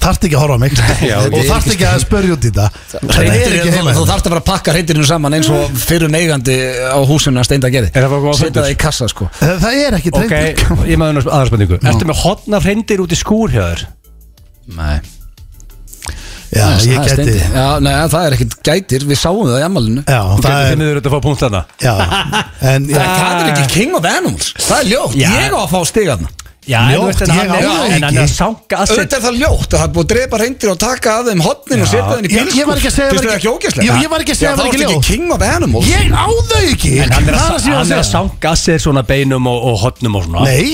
Speaker 2: Þarft ekki að horfa á mig
Speaker 1: Já,
Speaker 2: Og
Speaker 1: ég-
Speaker 2: þarft ekki að spörja út í þetta Þetta
Speaker 1: Reyndir,
Speaker 2: er
Speaker 4: hérna,
Speaker 2: ekki heima
Speaker 1: hérna.
Speaker 2: hérna.
Speaker 1: þú þarft að bara að pakka reyndirinu saman eins og fyrir eigandi á húsinu að steinda gerði
Speaker 3: Er það bara góð
Speaker 1: Setja
Speaker 3: fundur?
Speaker 1: það í kassa sko
Speaker 2: Það er ekki
Speaker 3: Ok,
Speaker 2: reyndir
Speaker 3: ég maður aðra spurningu Ertu með hotna reyndir út í skúrhjöður?
Speaker 1: Nei,
Speaker 2: Já, ég
Speaker 1: það er
Speaker 2: geti
Speaker 1: steindi. Já, nei, það er ekkert gætir, við sáum það í amalinu
Speaker 2: Já, það
Speaker 3: Þið
Speaker 2: er
Speaker 3: miður auðvitað að fá punkt þarna
Speaker 2: Já, en
Speaker 1: Það það er ekki king of animals Það er ljótt,
Speaker 3: Já.
Speaker 1: ég á að fá stigarna
Speaker 3: Já, en þú
Speaker 2: Ljótt,
Speaker 3: veist, en
Speaker 2: ég á
Speaker 3: hann
Speaker 2: það
Speaker 3: er- en hann
Speaker 2: ekki.
Speaker 3: er sanga að
Speaker 1: Auðvitað er það ljótt að það er búið að drepa reyndir og taka af þeim hotnin og
Speaker 3: Já.
Speaker 1: setja það inn í
Speaker 2: Ég-
Speaker 1: bílskúr
Speaker 2: ég var ekki að segja að það
Speaker 1: Finnst
Speaker 2: var
Speaker 1: þér
Speaker 2: ekki-
Speaker 1: ekki ógeðslegt?
Speaker 2: Jú, ég var ekki að segja
Speaker 1: Já,
Speaker 2: að það
Speaker 1: þá
Speaker 2: var ekki
Speaker 1: ertu
Speaker 2: ljótt.
Speaker 1: king of animals
Speaker 2: Ég á þau ekki
Speaker 3: En hann er
Speaker 2: Það
Speaker 3: að,
Speaker 2: sem ég var
Speaker 3: hann er að sanga að sér svona beinum og, og hotnum og svona
Speaker 2: Nei,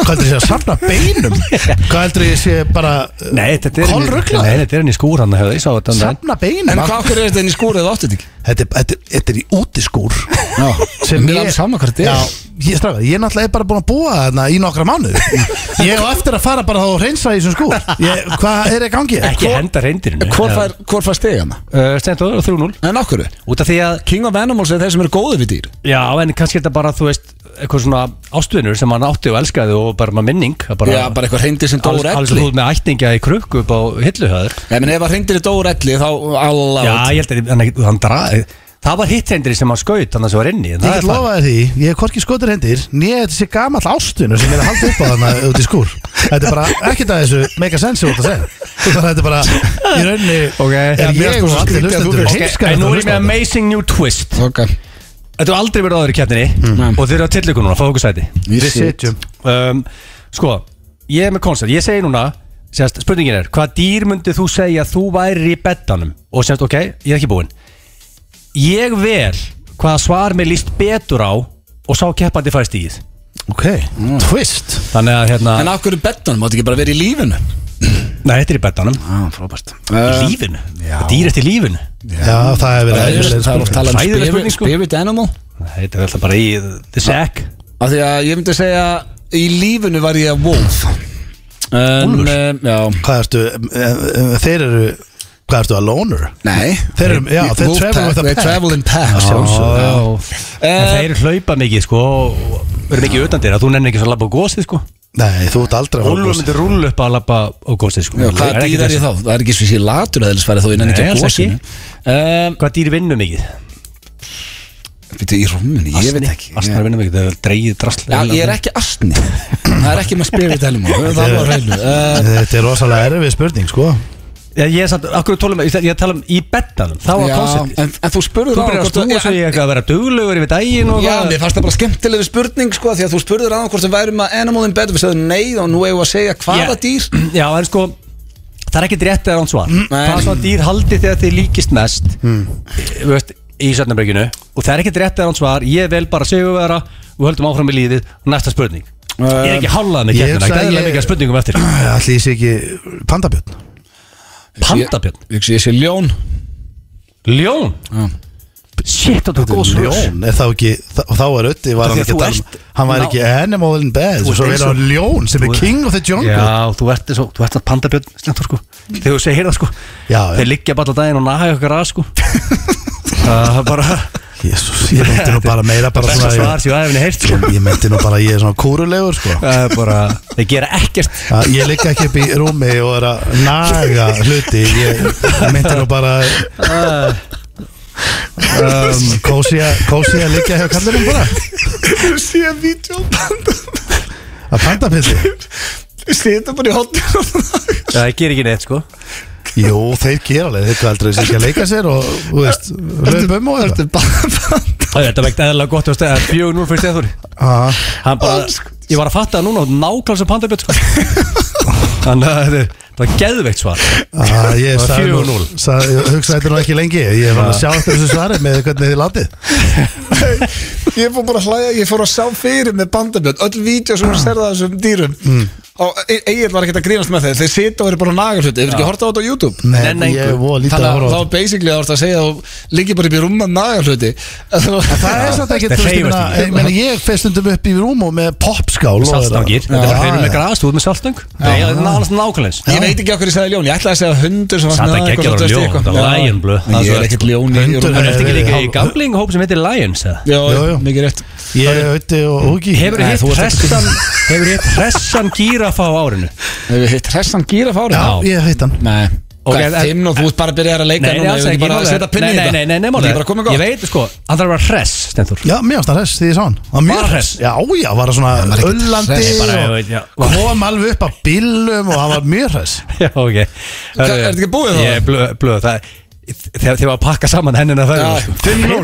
Speaker 2: hvað heldur ég að safna beinum? Hvað heldur ég sé bara uh,
Speaker 3: Nei, þetta er inn í-
Speaker 2: Kolruglað?
Speaker 3: Nei, þetta er henni í skúr hann hefði, ég sá þetta um daginn.
Speaker 2: Safna beinum?
Speaker 1: En hvað okkur er þetta inn í skúrið og áttið ekki?
Speaker 2: Þetta, er- þetta, er- þetta er í útiskúr
Speaker 1: Já,
Speaker 2: sem
Speaker 1: mér er alveg sama hvað þetta
Speaker 2: Já,
Speaker 1: er
Speaker 2: ég, strafgar, ég náttúrulega er bara búin að búa þarna í nokkra mánu Ég á eftir að fara bara þá og reynsa í þessum skúr ég, Hvað er að gangi?
Speaker 3: Ekki henda reyndirinu
Speaker 1: Hvor fær, hvor hérna? fær stigarna?
Speaker 3: uh, Stendur 3-0
Speaker 1: En okkur er
Speaker 3: Út af því að,
Speaker 1: King of animals er þeir sem eru góðið við dýr
Speaker 3: já, en kannski er þetta bara, þú veist eitthvað svona ástvinur sem hann átti og elskaði og bara með minning það bara,
Speaker 1: Já, bara eitthvað hreindi sem dóu úr
Speaker 3: alls, alls
Speaker 1: elli
Speaker 3: út með ætninga í krukku upp á hilluhöður
Speaker 1: Nei, menn ef að hreindinu dóu úr elli þá alla
Speaker 3: Já, ég held að hann, hann dra, það var hittendri sem hann skaut þannig að það var inni en
Speaker 2: Ég
Speaker 3: það
Speaker 2: get
Speaker 3: er það.
Speaker 2: lofaði því, ég hef hvorki skotur hendir Nýja þetta sé gamall ástinu sem er að halda upp á þarna út í skúr Þetta er bara ekkert að þessu make a sense sem þú ert að segja Þú bara- Þetta er bara, í rauninni
Speaker 3: Ok,
Speaker 2: er
Speaker 3: en
Speaker 2: ég
Speaker 1: mér
Speaker 2: og
Speaker 1: finnst
Speaker 2: allir
Speaker 1: skrítið að þú
Speaker 2: hlustendur
Speaker 1: finnst-
Speaker 3: Ok,
Speaker 2: heimskar
Speaker 3: en
Speaker 2: þetta
Speaker 3: nú
Speaker 2: að
Speaker 3: erum við
Speaker 2: hlusta á þetta.
Speaker 3: amazing new twist
Speaker 1: Ok,
Speaker 3: Þetta er aldrei verið áður í kjarninni
Speaker 1: Mm.
Speaker 3: og þeir eru að tilliku núna, fá okkur sæti
Speaker 1: við
Speaker 2: Við sitjum
Speaker 3: um, Sko, ég er með koncept, ég segi núna sérst, spurningin er, hvað dýr myndið þú segja að þú væri í beddanum og sérst, ok, ég er ekki búinn Ég vel hvaða svar mér líst betur á og sá keppandi fær stíð
Speaker 2: Ok, twist
Speaker 3: Þannig að hérna,
Speaker 1: En af hverju bettunum, máttu ekki bara verið í lífinu?
Speaker 3: nei, þetta er í beddanum
Speaker 1: Á, frábært Ehm,
Speaker 3: Í lífinu,
Speaker 1: já.
Speaker 3: dýrist í lífinu
Speaker 2: Já, það hefur
Speaker 1: Það
Speaker 2: verið
Speaker 1: er það er oft talað um
Speaker 3: Hræðileg spurning,
Speaker 1: spirit-
Speaker 3: sko.
Speaker 1: spirit animal
Speaker 3: Þetta er alltaf bara í the sack
Speaker 1: Af því að ég myndi segja Í lífinu var ég wolf En,
Speaker 3: Úlfur?
Speaker 1: um, já
Speaker 2: Hvað ertu, eh, eh, þeir eru, hvað ertu að loner?
Speaker 1: Nei
Speaker 2: Þeir eru, já, þeir
Speaker 1: Wolf
Speaker 2: travel
Speaker 1: pack,
Speaker 2: with a
Speaker 1: They
Speaker 2: pack.
Speaker 1: travel in packs
Speaker 3: Já,
Speaker 1: sjálfsögðu.
Speaker 3: En þeir hlaupa mikið sko og verður mikið utan þér að þú nennir ekki svo að labba á gósið sko
Speaker 2: Nei, þú ert aldrei að fara á
Speaker 3: Úlfur
Speaker 2: gos.
Speaker 3: myndi rúlla upp að labba á gósið sko
Speaker 1: Já, Hvað
Speaker 3: Er ekki
Speaker 1: dýr er ég
Speaker 3: þess-
Speaker 1: þá? Það er ekki svo sé latur eðlisfæri þó innan
Speaker 3: Nei,
Speaker 1: ekki að
Speaker 3: alls Ehm,
Speaker 1: gósinu Um,
Speaker 3: Hvað dýr vinnur mikið?
Speaker 1: Býtu í rúminu, ég veit
Speaker 3: Asni.
Speaker 1: ekki
Speaker 3: Asnar vinnur mikið, það er dreigið drasl
Speaker 1: Já, ég er ekki astni Það er ekki með spirit animal Það var reynu
Speaker 3: Eh.
Speaker 1: uh,
Speaker 2: Eh, Þetta er rosalega erfið spurning, sko
Speaker 3: Já, ég er satt, akkur tólum, ég ég tala um í bettanum Það var
Speaker 1: já,
Speaker 3: konceptið
Speaker 1: en, en þú spurður
Speaker 3: Þú byrjar að stúa svo í
Speaker 1: ég
Speaker 3: eitthvað að vera duglegur yfir daginn og
Speaker 1: Já,
Speaker 3: eitthvað.
Speaker 1: mér fannst það bara skemmtilegu spurning sko Því að þú spurður aðan hvort við værum að animal in bed Við segðum nei og nú eigum við að segja hvaða
Speaker 3: Já.
Speaker 1: dýr Mm,
Speaker 3: Já, en sko Það er ekkert rétt eða án svar
Speaker 1: nei. Mm.
Speaker 3: Hvað svona dýr haldið þegar þið líkist mest Þú veist, í Sörnabrekinu Og það er ekkert rétt eða án svar Ég vel bara sigurvera og höldum áfram í lífið og næsta spurning
Speaker 1: Ehm,
Speaker 3: Ég er ekki hálfað með
Speaker 2: ég
Speaker 3: kettina,
Speaker 2: hugsa að
Speaker 3: gæðilega
Speaker 2: ég-
Speaker 3: mikið af spurningum eftir
Speaker 2: Allir Eh, sé ekki pandabjörn
Speaker 3: Pandabjörn,
Speaker 1: Ég, ég sé ljón
Speaker 3: ljón
Speaker 1: Já.
Speaker 3: Shit, þetta er góð svör
Speaker 2: Ljón, er þá ekki, þá, þá er ötti var hann
Speaker 3: Af því að
Speaker 2: ekki
Speaker 3: þú
Speaker 2: að tala
Speaker 3: ert-
Speaker 2: um Hann var
Speaker 3: ná-
Speaker 2: ekki animal in bed Svo
Speaker 3: Þú ert
Speaker 2: er
Speaker 3: eins og-
Speaker 2: hann ljón sem er
Speaker 3: Þú-
Speaker 2: king of the jungle
Speaker 3: Já, þú ert eins og, þú ert að pandabjörn Slendur sko, þegar þú segir það sko
Speaker 2: Já,
Speaker 3: Þeir liggja bara allan daginn og naga okkar að sko Það er bara
Speaker 2: Jésús, ég meinti nú bara meira bara
Speaker 3: Besta
Speaker 2: svona
Speaker 3: svar sem ég aðeins heilt sko
Speaker 2: Ég meinti nú bara að ég er svona kúrulegur, sko
Speaker 3: Það er bara, þeir gera ekkert
Speaker 2: Já, Ég ligg ekki upp í rúmi og er að naga hluti Ég ég meinti nú bara um, Kósi að kósí að liggja hjá kallinum bara
Speaker 1: Þú sé að vídeo panda
Speaker 2: Að pandabjörni
Speaker 1: Sýta bara í hotnir
Speaker 3: Já, það gerir ekki neitt sko
Speaker 2: Jú, þeir gera alveg, þeir kaldur þessi ekki að leika sér og, þú veist, löp um og þetta
Speaker 3: Þetta vegt eðla gott að stæða fjögur núl fyrir Stefán
Speaker 2: Ah,
Speaker 3: Hann bara, ég var að fatta það núna og nákvæmlega sem pandabjörn sko Þannig að þetta þetta var geðveikt svar
Speaker 2: ah, Ég
Speaker 3: Það var
Speaker 2: sagði nú,
Speaker 3: 4-0.
Speaker 2: sag, ég hugsaði þetta nú ekki lengi Ég var að sjá eftir þessu svari með hvernig þið látið
Speaker 1: Ég fór bara að hlæja, ég fór að sjá fyrir með bandabjörn Öll vídeo sem hún serða þessum dýrum
Speaker 3: Hmm.
Speaker 1: mm. Og Egil var ekkert að grínast með þeir Þeir sita og eru bara að naga hluti Þeir eru ekki að horta á þetta á YouTube
Speaker 2: Nei,
Speaker 3: Nenna
Speaker 2: ég
Speaker 3: engu.
Speaker 2: voru lítið
Speaker 1: Þannig
Speaker 2: að
Speaker 1: að
Speaker 2: horfa á
Speaker 1: þá basically þá ertu að segja Þú liggi bara upp í rúma að naga hluti
Speaker 2: Það er samt ekki,
Speaker 3: Þetta
Speaker 2: þú veist, ég
Speaker 3: hreyfast
Speaker 2: meina-
Speaker 3: ekki.
Speaker 2: ég meina ég fer stundum upp í rúm og með popskál og-
Speaker 3: Saltstangir, þetta er bara
Speaker 2: Já,
Speaker 3: hreinu með
Speaker 2: já.
Speaker 3: græs, þú ert með saltstang Nei, það er nákvæmlega nákvæmlega eins.
Speaker 1: Ég veit ekki okkur ég sagði ljón, ég ætlaði að segja hundur sem var
Speaker 3: Samt
Speaker 1: svona
Speaker 3: ekki ekki að
Speaker 1: eitthvað
Speaker 3: vera ljón,
Speaker 1: svona
Speaker 3: það var
Speaker 1: eitthvað.
Speaker 3: lion blue,
Speaker 1: Já,
Speaker 3: það
Speaker 1: Ég er
Speaker 3: er
Speaker 1: ekkert ljón í
Speaker 2: Hundur
Speaker 1: rúmi
Speaker 3: En ertu ekki
Speaker 2: Nei,
Speaker 3: líka
Speaker 2: hálf-
Speaker 3: í gamlinghóp sem heitir Lions eða?
Speaker 1: Já,
Speaker 2: Jú, jú.
Speaker 1: mikið rétt
Speaker 2: Ég er auðviti og húki
Speaker 3: Hefur
Speaker 1: Nei,
Speaker 3: hitt
Speaker 1: þú ert ekki-
Speaker 3: hressan Hefur hitt hressan gírafa á árinu
Speaker 1: Hefur við hitt hressan gíra fári?
Speaker 2: Já, ég heit hann
Speaker 1: Nei
Speaker 3: Ok,
Speaker 1: Hvað,
Speaker 3: en-
Speaker 1: fimm og þú ert bara að byrja að leika
Speaker 3: Nei, nei,
Speaker 1: núna,
Speaker 3: alls
Speaker 1: hefur
Speaker 3: ekki,
Speaker 1: ekki bara að
Speaker 3: málið er-
Speaker 1: setja pinni
Speaker 3: Nei,
Speaker 1: í
Speaker 3: nei,
Speaker 1: þetta?
Speaker 3: nei, nei, nei,
Speaker 1: Þú
Speaker 3: málið
Speaker 1: ert bara að koma
Speaker 3: er- Ég
Speaker 1: gott
Speaker 3: veit sko, hann þarf að vera hress, Stenþur
Speaker 2: Já, mér ást hann hress því ég sá hann Hann
Speaker 3: Var hress?
Speaker 2: Já, já, var hann svona
Speaker 1: ekkert
Speaker 2: öllandi
Speaker 1: hress,
Speaker 3: bara, ég
Speaker 2: og
Speaker 3: veit, já.
Speaker 2: kom alveg upp á bílum og hann var mjög hress
Speaker 3: Já, ok
Speaker 1: Hvað, ertu ekki búið þá?
Speaker 3: Ég er blöð, blöð það er- Þegar þið var að pakka saman hennina það
Speaker 1: Já,
Speaker 2: 5-0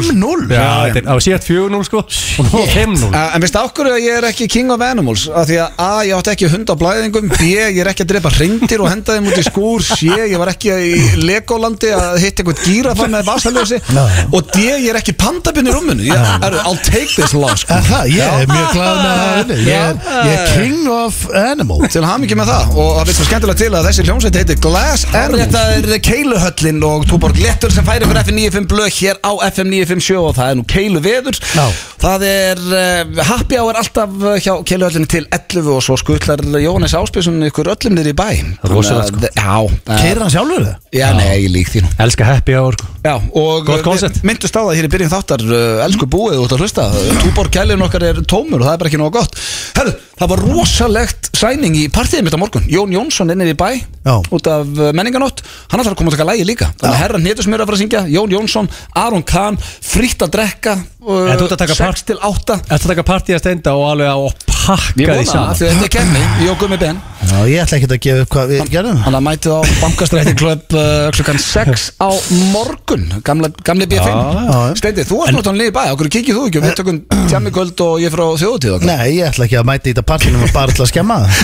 Speaker 3: Já, þetta er á síðan 4-0 sko Og nú 5-0
Speaker 1: Uh, en veistu okkur að ég er ekki king of animals af því að a. ég átti ekki hund á blæðingum b. ég er ekki að drepa hreindir og henda þeim út í skúr c. ég var ekki í legolandi að hitta eitthvað gýra það með vasaljósi
Speaker 2: Já.
Speaker 1: og d. ég er ekki pandabinn í rúmunu ég, er, I'll take this loss sko.
Speaker 2: Er það? Ég er mjög glad með það inni. Ég er, ég er king of animal
Speaker 1: til hamingi með það og það veitum skemmtilega til að þessi hljómsveit heitir Glass Animals Þetta er Keiluhöllin og Túborg Lettur sem færi fyrir FM 95 blöð hér á FM 957 og það er nú Keilu veður
Speaker 2: Já.
Speaker 1: það er uh, happy hour alltaf uh, hjá Keiluhöllinni til 11 og svo skutlar Jóhannes Áspjösson ykkur öllum niður í bæ
Speaker 3: Rosalegt, sko.
Speaker 1: Þannig að- Já, eh,
Speaker 2: Keir hann sjálfur það?
Speaker 1: já, nei, ég lík því nú
Speaker 3: Elskar happy hour sko
Speaker 1: Já, og
Speaker 3: Gott koncept.
Speaker 1: við myndust á það hér í byrjun þáttar uh, Elsku búið út að hlusta Eh, Túborg kælirinn okkar er tómur og það er bara ekki nóg gott Herru, það var rosalegt sæning í partíðum mitt á morgun Jón Jónsson innir í bæ
Speaker 2: Já.
Speaker 1: Út af uh, menninganótt Hann ætlar að koma að taka lægi líka Þannig að herra Nétusmjör að fara að syngja Jón Jónsson, Aron Kahn Fritt að drekka
Speaker 3: En þú ert að taka
Speaker 1: 6 til 8
Speaker 3: Þetta taka partí að stenda og alveg að
Speaker 1: Ég
Speaker 3: pakka því
Speaker 1: vona það, af
Speaker 3: saman
Speaker 1: því að þetta er kemni Ég og Gummi Ben
Speaker 2: Já, ég ætla ekki að gefa upp hvað við gerðum
Speaker 1: Þannig að mætið á bankastræti klöp uh, klukkan 6 á morgun Gamla, gamli
Speaker 2: já,
Speaker 1: B5
Speaker 2: já.
Speaker 1: Steindi, þú varst náttúrulega liðið bæ, okkur kíkir þú ekki og við tökum tjami kvöld og ég frá þjóðutíð okkar
Speaker 2: Nei, ég ætla ekki að mæta í þetta partinum og bara ætla að skemma það.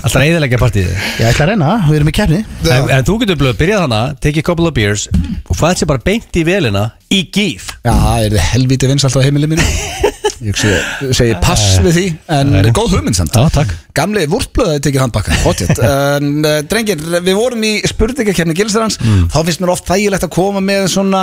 Speaker 3: Alltaf reyðilegja partíði
Speaker 2: Ég ætla að reyna, við erum í kefni
Speaker 3: en, en þú getur blöð, byrjað hana, tekið couple of beers og fæðið sér bara beint í velina í gíf
Speaker 1: Já, það er helvítið vins alltaf á heimilið mínu Ég hugsi- segi pass við því En góð hugmynd samt
Speaker 3: Eh. takk
Speaker 1: Gamli vúrtblöðaði tekið handbakka Hotjett um, eh, Drengir, við vorum í spurningakefni Gilsarans
Speaker 3: Mm.
Speaker 1: Þá finnst mér oft þægilegt að koma með svona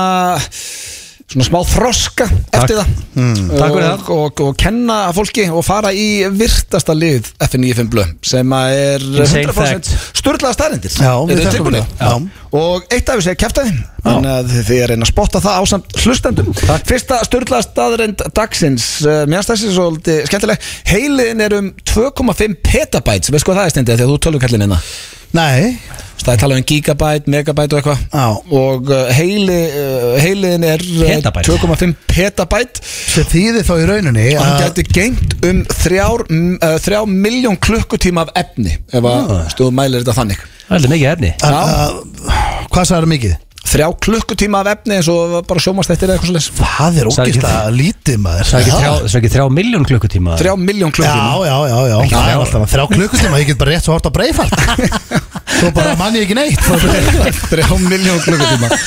Speaker 1: Svona smá þroska eftir það
Speaker 3: Mm. Takk fyrir
Speaker 1: og, og, og kenna fólki og fara í virtasta lið FN95 blöð sem að er
Speaker 3: Insane
Speaker 1: 100% sturlaða staðrindir
Speaker 2: Já, við
Speaker 1: Eru
Speaker 2: þökkum
Speaker 1: tilbúinir?
Speaker 2: það. Já.
Speaker 1: Og eitt af þessu er kæftæði Þannig að þið er einn að spotta það ásamt hlustendum Fyrsta störðlaða staðrend dagsins uh, Mér stæssi svolítið skemmtileg Heiliðin er um 2,5 petabæt Veist hvað það er stendið þegar þú tölur kallin hérna
Speaker 2: Nei,
Speaker 1: Það er talað um gigabæt, megabæt og
Speaker 2: Já.
Speaker 1: eitthvað Og uh, heili, uh, heiliðin er uh,
Speaker 3: Petabyte.
Speaker 1: 2,5 petabæt
Speaker 2: sem þýðir þá í rauninni
Speaker 1: Og hann
Speaker 2: að-
Speaker 1: gæti gengt um 3 miljón klukkutíma af efni Ef að stjóðu mælir þetta þannig
Speaker 3: Það er heldur mikið efni
Speaker 2: að- að- Hvað sagði mikið?
Speaker 1: Þrjá klukkutíma af efni eins og bara sjómastættir eða eitthvað svo
Speaker 2: Það er
Speaker 3: Sagði ekki
Speaker 2: ógist að lítið maður
Speaker 3: Það er ekki
Speaker 2: Já.
Speaker 3: þrjá- það er ekki þrjá miljón klukkutíma
Speaker 1: Þrjá miljón klukkutíma
Speaker 2: Já, já, já, já
Speaker 3: Ekki
Speaker 2: Það er
Speaker 3: þrjá.
Speaker 2: alltaf þrjá klukkutíma, ég get bara rétt svo hort á breyfart Svo bara mann ég ekki neitt Svo bara-
Speaker 1: Þrjá miljón klukkutíma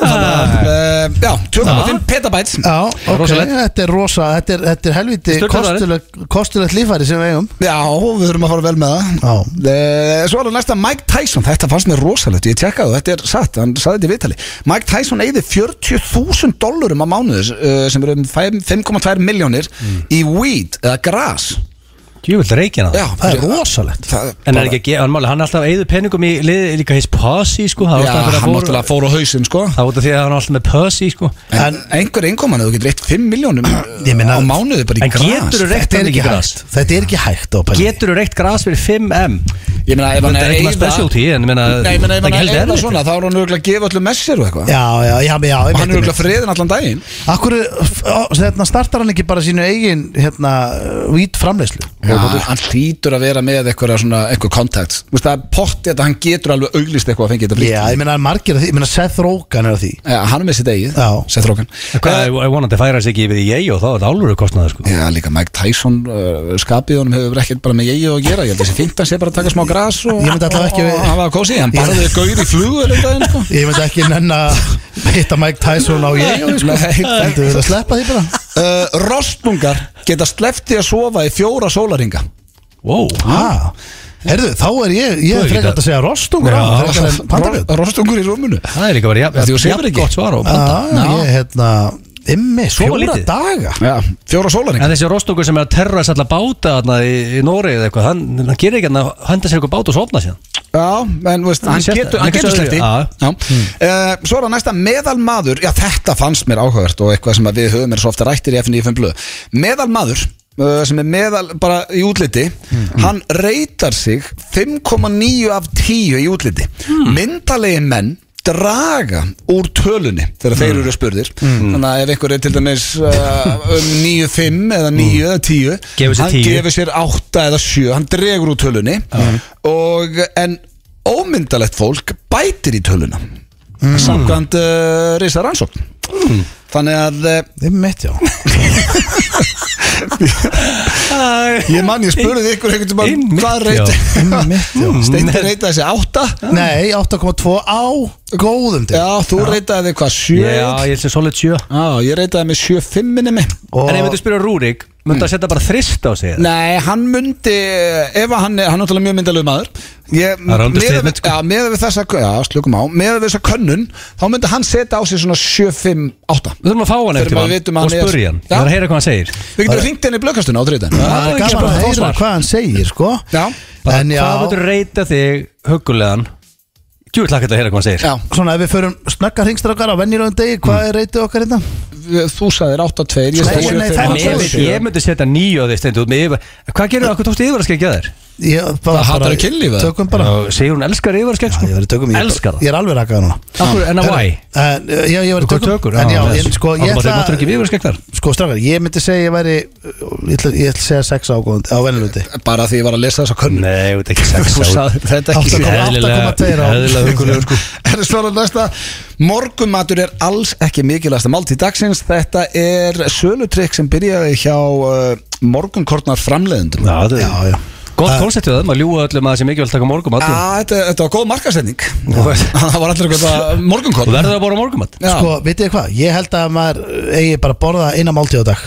Speaker 1: Þannig að, uh, Já, 2,5 petabæts
Speaker 2: Já, ok,
Speaker 3: Rosalegt.
Speaker 2: þetta er rosa, þetta er, þetta er helviti
Speaker 3: Sturlustaður.
Speaker 2: kostuleg- kostulegt lífæri sem við eigum
Speaker 1: Já, við þurfum að fara vel með
Speaker 2: Já.
Speaker 1: það Eh, Svo er það næsta Mike Tyson Þetta fannst mér rosalegt, ég tjekkaði og þetta er satt Hann saði þetta í viðtali Mike Tyson eigði 40.000 dollurum á mánuði eh, sem eru um 5 5,2 miljónir í weed eða gras
Speaker 3: Djúvill reykjana
Speaker 1: Já,
Speaker 2: Það er rosalegt
Speaker 1: það,
Speaker 3: En er ekki að gefa, hann máli, hann er alltaf eigðu peningum í liði líka his posse, sko Það er
Speaker 1: Já,
Speaker 3: alltaf fyrir að
Speaker 1: hann
Speaker 3: fór-
Speaker 1: náttúrulega fór á hausinn sko
Speaker 3: Það er út af því að hann er alltaf með posse, sko
Speaker 1: En einhver einkoman eða þú getur eitt 5 miljónum
Speaker 2: Ég meina-
Speaker 1: á mánuði bara í
Speaker 3: En
Speaker 1: gras
Speaker 3: geturðu reykt
Speaker 2: Þetta er
Speaker 3: hann
Speaker 2: ekki
Speaker 3: ekki gras?
Speaker 2: hægt Þetta er ekki hægt á pæli
Speaker 3: Geturðu reykt gras fyrir 5M?
Speaker 1: Ég meina, ef hann
Speaker 3: Þetta er ekki
Speaker 1: að
Speaker 3: maður specialty, en ég meina,
Speaker 1: Nei, ég meina, ef
Speaker 3: það er
Speaker 1: hann
Speaker 3: ekki
Speaker 1: er
Speaker 3: heldur
Speaker 1: eða
Speaker 3: erfitt.
Speaker 1: svona Þá er hann auðvitað að gefa öllum messir og eitthvað
Speaker 2: Já, já, já, já, já
Speaker 1: Og hann er auðvitað friðin allan daginn
Speaker 2: Akkur, hérna, startar hann ekki bara sínu eigin, hérna, vít framleyslu
Speaker 1: Já, Ah, hann hlýtur að vera með eitthvað svona, eitthvað kontakt Þú veist, það er pottið að hann getur alveg auglist eitthvað að fengi þetta blíkt
Speaker 2: Já, ég meina, margir að því, ég meina, Seth Rogen er að því
Speaker 1: Já, hann er með sitt eigið,
Speaker 2: Já.
Speaker 1: Seth Rogen
Speaker 3: Hvað, ég- ég vonandi færa sig ekki yfir í ég og þá er þetta álfur kostnaður, sko
Speaker 1: Eh. Já, líka Mike Tyson uh, skapið honum hefur ekkert bara með ég að gera Ég held að þessi fint að sé bara að taka smá gras og,
Speaker 2: Ég myndi allavega ekki
Speaker 1: og,
Speaker 2: við-
Speaker 1: og hann var að kósi Hann
Speaker 2: Ég-
Speaker 1: barðið gaur í flugu eða daginn, sko
Speaker 2: Ég myndi ekki nenn að hitta Mike Tyson á ég sko.
Speaker 1: Nei,
Speaker 2: Þetta verður að sleppa því bara
Speaker 1: sko. Uh, rostungar geta slefti að sofa í fjóra sólaringa
Speaker 3: Wow
Speaker 2: Ha, herðu, þá er ég, ég er
Speaker 3: Þú er
Speaker 2: frekar
Speaker 3: ekki
Speaker 2: að segja rostungur á
Speaker 3: Já.
Speaker 2: Frekar en pandabjörn
Speaker 1: Rostungur í rúmunu
Speaker 3: Það er líka bara
Speaker 1: Af því þú
Speaker 3: jafn-
Speaker 1: sefur
Speaker 3: jafn
Speaker 1: ekki.
Speaker 3: gott svar á
Speaker 2: Já, ég, hérna, ymmi,
Speaker 3: Sofa
Speaker 2: fjóra
Speaker 3: lítið.
Speaker 2: daga
Speaker 1: Já, fjóra sólaringa
Speaker 3: En þessi rostungur sem er að terra þess alla báta þarna í, í Nóri eða eitthvað, hann, hann gerir ekki hann að henda sér eitthvað bát og sofna síðan.
Speaker 1: Já, en veist, hann,
Speaker 3: Hann sést-
Speaker 1: getur,
Speaker 3: hann
Speaker 1: hann getur
Speaker 3: getur
Speaker 1: slefti
Speaker 3: Já.
Speaker 1: mm. uh, Svo er það næsta meðalmaður Já, þetta fannst mér áhugavert og eitthvað sem að við höfum er svo ofta rættir í FNF blöð Meðalmaður uh, sem er meðal bara í útliti
Speaker 3: Mhm.
Speaker 1: Hann reytar sig 5,9 af 10 í útliti
Speaker 3: Hmm.
Speaker 1: mm. Myndalegi menn draga úr tölunni þegar þeir
Speaker 3: Hmm.
Speaker 1: eru spurðir þannig að ef einhver er til dæmis uh, um 9-5 eða 9 eða 10
Speaker 3: Hmm. Gefur sér
Speaker 1: hann
Speaker 3: 10.
Speaker 1: gefur sér 8 eða 7 hann dregur úr tölunni Mhm. og en ómyndalegt fólk bætir í töluna Mm. samkvæmt uh, reysa rannsókn Mm. þannig að uh,
Speaker 2: Ymmi, já
Speaker 1: ég mann ég spurði ykkur einhvern
Speaker 3: Einmitt,
Speaker 1: tímann hvað Mm.
Speaker 3: já.
Speaker 1: reyti
Speaker 2: Einmitt, já.
Speaker 1: Steindi reytaði þessi 8
Speaker 2: Nei, 8,2 á góðum til
Speaker 1: já þú reytaði þig hvað 7
Speaker 3: Já, ég held sem solid sjö.
Speaker 1: Já, ég reytaði með 7-5 minni mig
Speaker 2: Og Mm.
Speaker 3: En ef myndi spyrja Rúrik, myndi að setja bara þrist á sig. eða?
Speaker 1: Nei, hann myndi ef að hann er, hann er náttúrulega mjög myndalegu maður ég,
Speaker 3: Það er understatement,
Speaker 1: miðað við-
Speaker 3: sko.
Speaker 1: Já, meða við þessa Já, slökum á, meða við þessa könnun þá myndi hann setja á sig svona 7-5-8
Speaker 3: Við þurfum að fá hann
Speaker 1: Þegar
Speaker 3: eftir
Speaker 1: maður vitum að
Speaker 3: og
Speaker 1: hann er-
Speaker 3: spurja hann. Ég
Speaker 1: Já.
Speaker 3: þarf að heyra hvað hann segir.
Speaker 1: Við getum ringt henni í blökkastuna á þriðan
Speaker 2: það er gaman að heyra hvað hann segir, sko
Speaker 1: Já.
Speaker 2: En já,
Speaker 3: Hvað myndur reyta þig hugulegan Djúvill lakka þetta að heyra hvað hann segir
Speaker 1: Já,
Speaker 2: Svona ef við förum snöggar hringstrákar á venjulegum degi Hvað er reytið okkar hérna?
Speaker 1: þú sagðir 8-2 Ég
Speaker 2: Nei,
Speaker 1: sagði
Speaker 2: nei,
Speaker 1: 7-5.
Speaker 2: það
Speaker 3: En
Speaker 2: var
Speaker 3: Ég, myndi- ég myndi setja nýju á því stendu út með yfir Hvað gerir það? Hvað tókstu yfir að skegja þér?
Speaker 2: Ég, bara,
Speaker 1: Það hatar að kynlífa.
Speaker 2: Tökum bara
Speaker 3: Sigur hún elskar yfir að
Speaker 2: Ég verið tökum ég-
Speaker 3: Elskar það
Speaker 2: Ég er alveg rakað núna
Speaker 3: Af hverju- En að why?
Speaker 2: En, uh, Já, ég verið
Speaker 3: Hvað
Speaker 2: tökum
Speaker 3: tökur?
Speaker 2: En já, ég, sko, ég
Speaker 3: ætla
Speaker 2: ætla
Speaker 3: Máttur ekki yfir að skegja þar?
Speaker 2: Sko, strákar, ég myndi segja ég væri eh, Ég ætla, ég ætla að segja 6 ágóðan á venjulegum degi
Speaker 1: Bara því ég var að lesa þess að könnu
Speaker 3: Nei, þetta er ekki sex
Speaker 1: Þú sagði þetta ekki
Speaker 2: Átta komma-
Speaker 3: Eðlilega-
Speaker 2: 8,2 á.
Speaker 3: eðlilega huggulegur, sko.
Speaker 1: Er svara næsta Morgumatur er alls ekki mikilvægsta máltíð dagsins Þetta er sölutrykk sem byrjaði hjá uh, morgunkornar framleiðendum
Speaker 3: Já, þetta
Speaker 2: Já,
Speaker 3: er
Speaker 2: já
Speaker 3: Gott konseptið það, maður ljúa öllum að það sé mikilvægt að taka morgumat
Speaker 1: Já,
Speaker 3: og-
Speaker 1: Ah, þetta, þetta var góð markasetning
Speaker 3: Þú veist.
Speaker 1: Það var allir eitthvað
Speaker 3: Þú
Speaker 1: morgunkorn
Speaker 3: verður að bóra morgumat
Speaker 1: Já.
Speaker 2: Sko, vitið þið hvað? Ég held að maður eh, eigi bara að borða eina máltíð á dag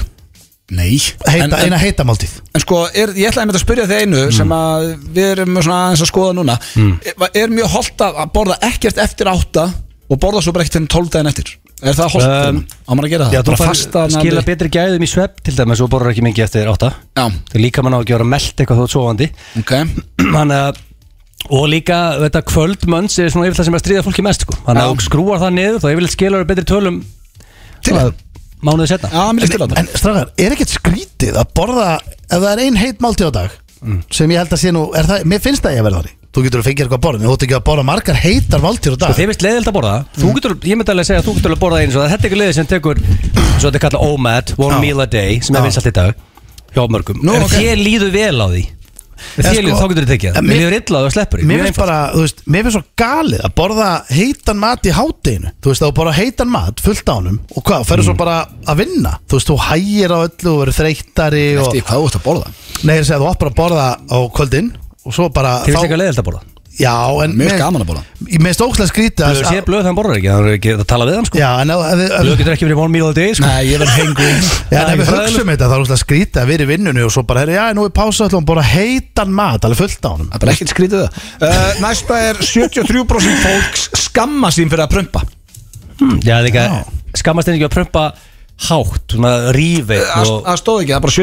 Speaker 1: Nei en,
Speaker 2: heita,
Speaker 1: en,
Speaker 2: Eina heita máltíð
Speaker 1: en sko, er, ég ætlaði með að spyrja þig einu sem að við erum svona aðeins að skoða núna er, er mjög holdt að að borða ekkert eftir átta og borða svo bara ekkert enn 12 daginn eftir Er það holdt?
Speaker 3: Um,
Speaker 1: á maður að gera það?
Speaker 3: Já, þú
Speaker 1: Bara
Speaker 3: fær
Speaker 1: fastanandi-
Speaker 3: skila betri gæðum í svepp til dæmis og borður ekki mikið eftir átta
Speaker 1: Já,
Speaker 3: Það er líka mann á ekki að vera meld eitthvað þú ert sofandi
Speaker 1: ok
Speaker 3: Þannig að Og líka þetta kvöldmönns er svona yfir það sem er að stríða fólki mest sko. Þannig að
Speaker 1: Já.
Speaker 3: þú skrúar það niður þá yfirleitt skilur betri tölum
Speaker 1: Til
Speaker 3: svona Mánuði setna
Speaker 1: Já, mér líst til
Speaker 2: En strafgar, er ekkert skrítið að borða ef það er ein heit máltíð á dag
Speaker 3: Mm.
Speaker 2: sem ég held að sé nú, er það, mér finnst það ég að verða þannig Þú getur að fengja eitthvað að borða, en þú ætti ekki að borða margar heitar máltíður á dag
Speaker 3: Og þeir veist leiðilt að borða Þú
Speaker 2: Mm.
Speaker 3: getur, ég myndi alveg að segja að þú getur alveg að borða eins og það Þetta er ekki leiði sem tekur, svo þetta er kallað OMAD One meal a day, sem er vinsalt í dag Hjá mörgum,
Speaker 1: Nú,
Speaker 3: en
Speaker 1: ok.
Speaker 3: þér líður vel á því Þér
Speaker 2: sko,
Speaker 3: líður, þá getur þið tekið
Speaker 2: en
Speaker 3: það
Speaker 2: mér-
Speaker 3: Mér líður illa á því að sleppur því.
Speaker 2: Mér
Speaker 3: Mjög
Speaker 2: finnst bara, þú veist, mér finnst svo galið að borða heitan mat í hátteginu Þú veist, þá borða heitan mat fullt ánum og hvað, ferðu svo bara að vinna Þú veist, þú hægir á öllu og verður þreyttari og,
Speaker 1: Eftir hvað þú ert að borða
Speaker 2: Nei, ég segi að þú opnar að borða á kvöldin og svo bara
Speaker 3: Þið veist ekki leiðilt að borða
Speaker 2: Já, en
Speaker 1: Mjög gaman að borða
Speaker 2: Ég meðst ókslega skrítið
Speaker 3: Þú sé blöð þann borðar ekki, þannig er ekki að tala við hann sko
Speaker 2: Já, en ef- ef- ef-
Speaker 3: Blöð getur ekki verið one meal a day sko
Speaker 1: Nei, ég verð hengu
Speaker 2: Já, en
Speaker 3: Nei,
Speaker 2: ef við
Speaker 3: það er
Speaker 2: hugsum þetta þá er úrslega skrítið að vera í vinnunni og svo bara, herri, já, nú er pása ætlum bara heitan mat, alveg fullt á honum
Speaker 1: Það er bara ekkert skrítið það uh, Næsta er 73% fólks skamma sín fyrir að prumpa
Speaker 3: Já, það er ekki að skammast einnig að prumpa hátt, svona rífið og
Speaker 1: Það stóð ekki, það er bara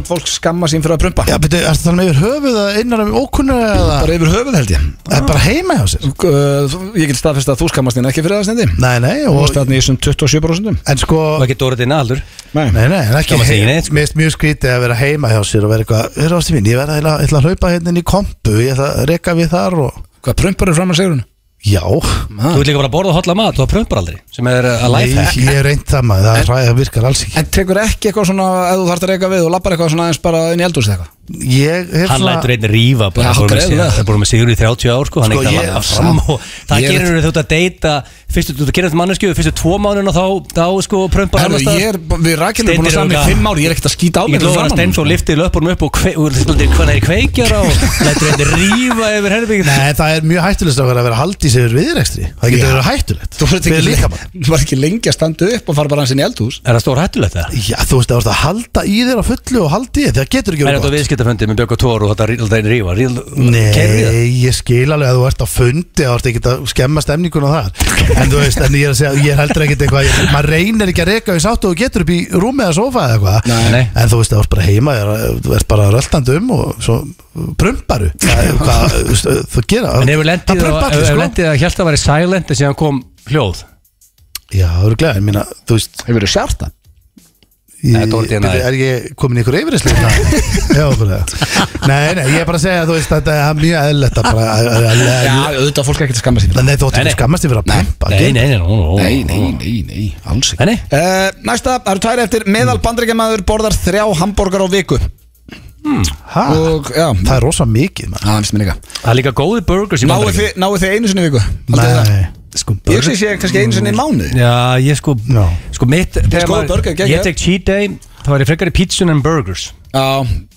Speaker 1: 73% fólks skamma sín fyrir að prumpa
Speaker 2: Já, betur, er það þannig yfir höfuð að innan um ókunnur eða
Speaker 1: Bara yfir höfuð held ég
Speaker 2: það er bara heima hjá sér?
Speaker 1: Uh, þú- Ég get staðfest að þú skammast þín ekki fyrir það stendi
Speaker 2: Nei, nei,
Speaker 1: Þú
Speaker 2: og,
Speaker 1: varst þarna í þessum 27%
Speaker 2: en sko
Speaker 3: og ekki dórið inn aldur
Speaker 2: Nei, nei, en ekki
Speaker 3: Gaman segir
Speaker 2: heim-
Speaker 3: neitt, sko.
Speaker 2: Mér finnst mjög skrítið að vera heima hjá sér og vera eitthvað, hörru ástu mín, ég verða að, ég ætla að hlaupa hérna inn í kompu, ég ætla að reka við þar og,
Speaker 1: Hvað prumpar er fram að segjurinn?
Speaker 2: já
Speaker 3: Þú vil líka bara borða og holla mat, þú prumpar aldrei sem er uh, að
Speaker 2: Nei,
Speaker 3: læfa
Speaker 2: ég er reynd það maður, það, það virkar alls ekki
Speaker 1: En tekur ekki eitthvað svona Ef þú þarft að reyka við og lappar eitthvað svona aðeins bara inn í eldúsið eitthvað
Speaker 2: Ég hef
Speaker 3: Hann lætur
Speaker 2: svona,
Speaker 3: einn rífa bara,
Speaker 1: Já,
Speaker 3: hann búið með
Speaker 1: greinilega.
Speaker 3: sig- hann búið með sigur í 30 ár sko, hann
Speaker 2: Sko,
Speaker 3: sko,
Speaker 2: ég-
Speaker 3: eitthvað að fram og það
Speaker 1: Ég-
Speaker 3: gerir þú þetta að deyta fyrstu, þú gerir þetta mannesku, fyrstu tvo mánuna þá, þá sko prumpar
Speaker 1: Herru,
Speaker 3: annars
Speaker 1: ég
Speaker 3: staðar.
Speaker 1: er, við rækjum búin að
Speaker 3: Steindir eru
Speaker 1: saman í
Speaker 3: eitthvað-
Speaker 1: 5 ári Ég er ekkert að skýta á
Speaker 3: Ég
Speaker 1: mig
Speaker 3: lofa að
Speaker 1: fyrir framan.
Speaker 3: Steinfó lifti löpunum upp og kvei- og þetta er hvernig er kveikjara og lætur einn rífa yfir herbyggin
Speaker 2: nei, það er mjög hættulegt að vera að vera haldið sér viðrekstri, það getur
Speaker 1: Já.
Speaker 2: verið hættulegt
Speaker 1: Þú var ekki,
Speaker 2: Fyrir
Speaker 1: lengi,
Speaker 2: líkamann.
Speaker 1: þú var ekki lengi að standa upp og fara bara hans inn í eldhús
Speaker 3: Er það stór hættulegt það?
Speaker 2: Já, þú veist, það vorst að halda í þér á fullu og halda í þér, það getur ekki
Speaker 3: Er
Speaker 2: verið
Speaker 3: þetta
Speaker 2: gott
Speaker 3: viðskiptafundi með Björg og Tóru og þetta er einn rífa?
Speaker 2: Nei, ég skil alveg að þú ert á fundi þá ert ekki að skemma stemninguna þar en þú veist, en ég er að segja, ég er heldur ekkit eitthvað ég, maður reynir ekki að reka við sátt og þú getur upp í rúmi eða sofa eða eitthvað
Speaker 3: Nei. Nei.
Speaker 2: en þú veist, það vorst bara heima, ég er- þú ert bara röltandi um og svo prumparu það, er hvað, þú veist, þú gera
Speaker 3: En hefur lendið
Speaker 2: prumpa
Speaker 3: að,
Speaker 2: allir,
Speaker 3: hef
Speaker 2: sko.
Speaker 3: lendið að hjálta að vera silent en síðan kom hljóð?
Speaker 2: Já, það eru glæðin mína, þú veist
Speaker 1: Hefur verið sjárt það?
Speaker 2: Í,
Speaker 3: Nei, Dóri DNA.
Speaker 2: byrju, er ég komin í ykkur yfirislu Já, bara Nei, nei, ég er bara að segja að þú veist þetta er mjög eðlilegt að bara að- að- að-
Speaker 1: Já, auðvitað fólk er ekkert að skamma sér
Speaker 2: að- Nei, þú ætti
Speaker 3: Nei,
Speaker 2: ekki
Speaker 3: nei.
Speaker 2: að skammast yfir að pampa
Speaker 3: Nei, nei, nei, nú, nú, nú.
Speaker 1: Nei, nei, nei, nei, alls ekki
Speaker 3: Nei, nei.
Speaker 1: uh, Næsta, það eru tæri eftir Meðal bandryggamaður borðar þrjá hambúrgar á viku
Speaker 2: ha,
Speaker 1: Og, já,
Speaker 2: Það er rosa mikið man.
Speaker 1: það finnst mér líka
Speaker 3: Það er líka góði burgers í
Speaker 1: Náðu
Speaker 3: Bandaríkjunum.
Speaker 1: þið, náðu þið einu sinni í viku? Haldið þið það?
Speaker 2: Nei, sko
Speaker 1: Ég sé sé kannski einu sinni í mánuði
Speaker 3: Já, ég sko,
Speaker 2: Já.
Speaker 3: sko mitt þegar
Speaker 1: sko,
Speaker 3: maður-
Speaker 1: burger, geggjað.
Speaker 3: Ég tek cheat day, þá er ég frekar í pítsun en burgers
Speaker 1: Já,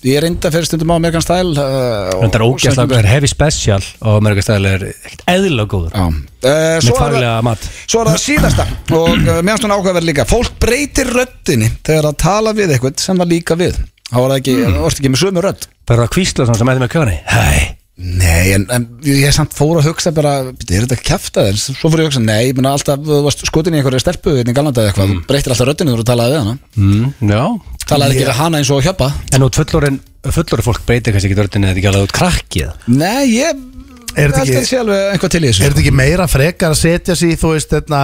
Speaker 1: ég reynda fyrir stundum á Amerikan Style uh,
Speaker 3: Þetta er ógæslega, það er heavy special og mörgastæðilega er ekkert eðlilega góður
Speaker 1: Já, uh,
Speaker 3: Með
Speaker 1: svo, er
Speaker 3: faglega
Speaker 1: það,
Speaker 3: mat.
Speaker 1: svo er það síðasta og uh, meðanst hún ákveðverð líka fólk breytir röddinni þegar það tala við eitthvað sem það líka við þá var það ekki, mm. orðið ekki með sömu rödd
Speaker 3: Það er að kvísla svona sem ætti með kjöni Hei,
Speaker 1: Nei, en, en ég er samt fór að hugsa bara, "Bíddu, er þetta ekki kæfta þér? Svo fór ég að hugsa, nei, ég meina alltaf þú varst skotin í einhverju stelpu, einnig galandaði eitthvað þú breytir alltaf röddinni þegar þú talaði við hana
Speaker 3: mm, já
Speaker 1: talaði ekki við hana eins og að hjöpa
Speaker 3: En út fullorinn, fullorinn fólk breytir kannski ekki dörðinni eða ekki alveg út krakkið
Speaker 1: Nei, ég
Speaker 2: Er
Speaker 1: Ég held
Speaker 2: þetta
Speaker 1: að
Speaker 2: ekki-
Speaker 1: þetta sé alveg eitthvað til í
Speaker 2: Er
Speaker 1: þessu
Speaker 2: þetta ekki meira frekar að setja sig í, þú veist, þetta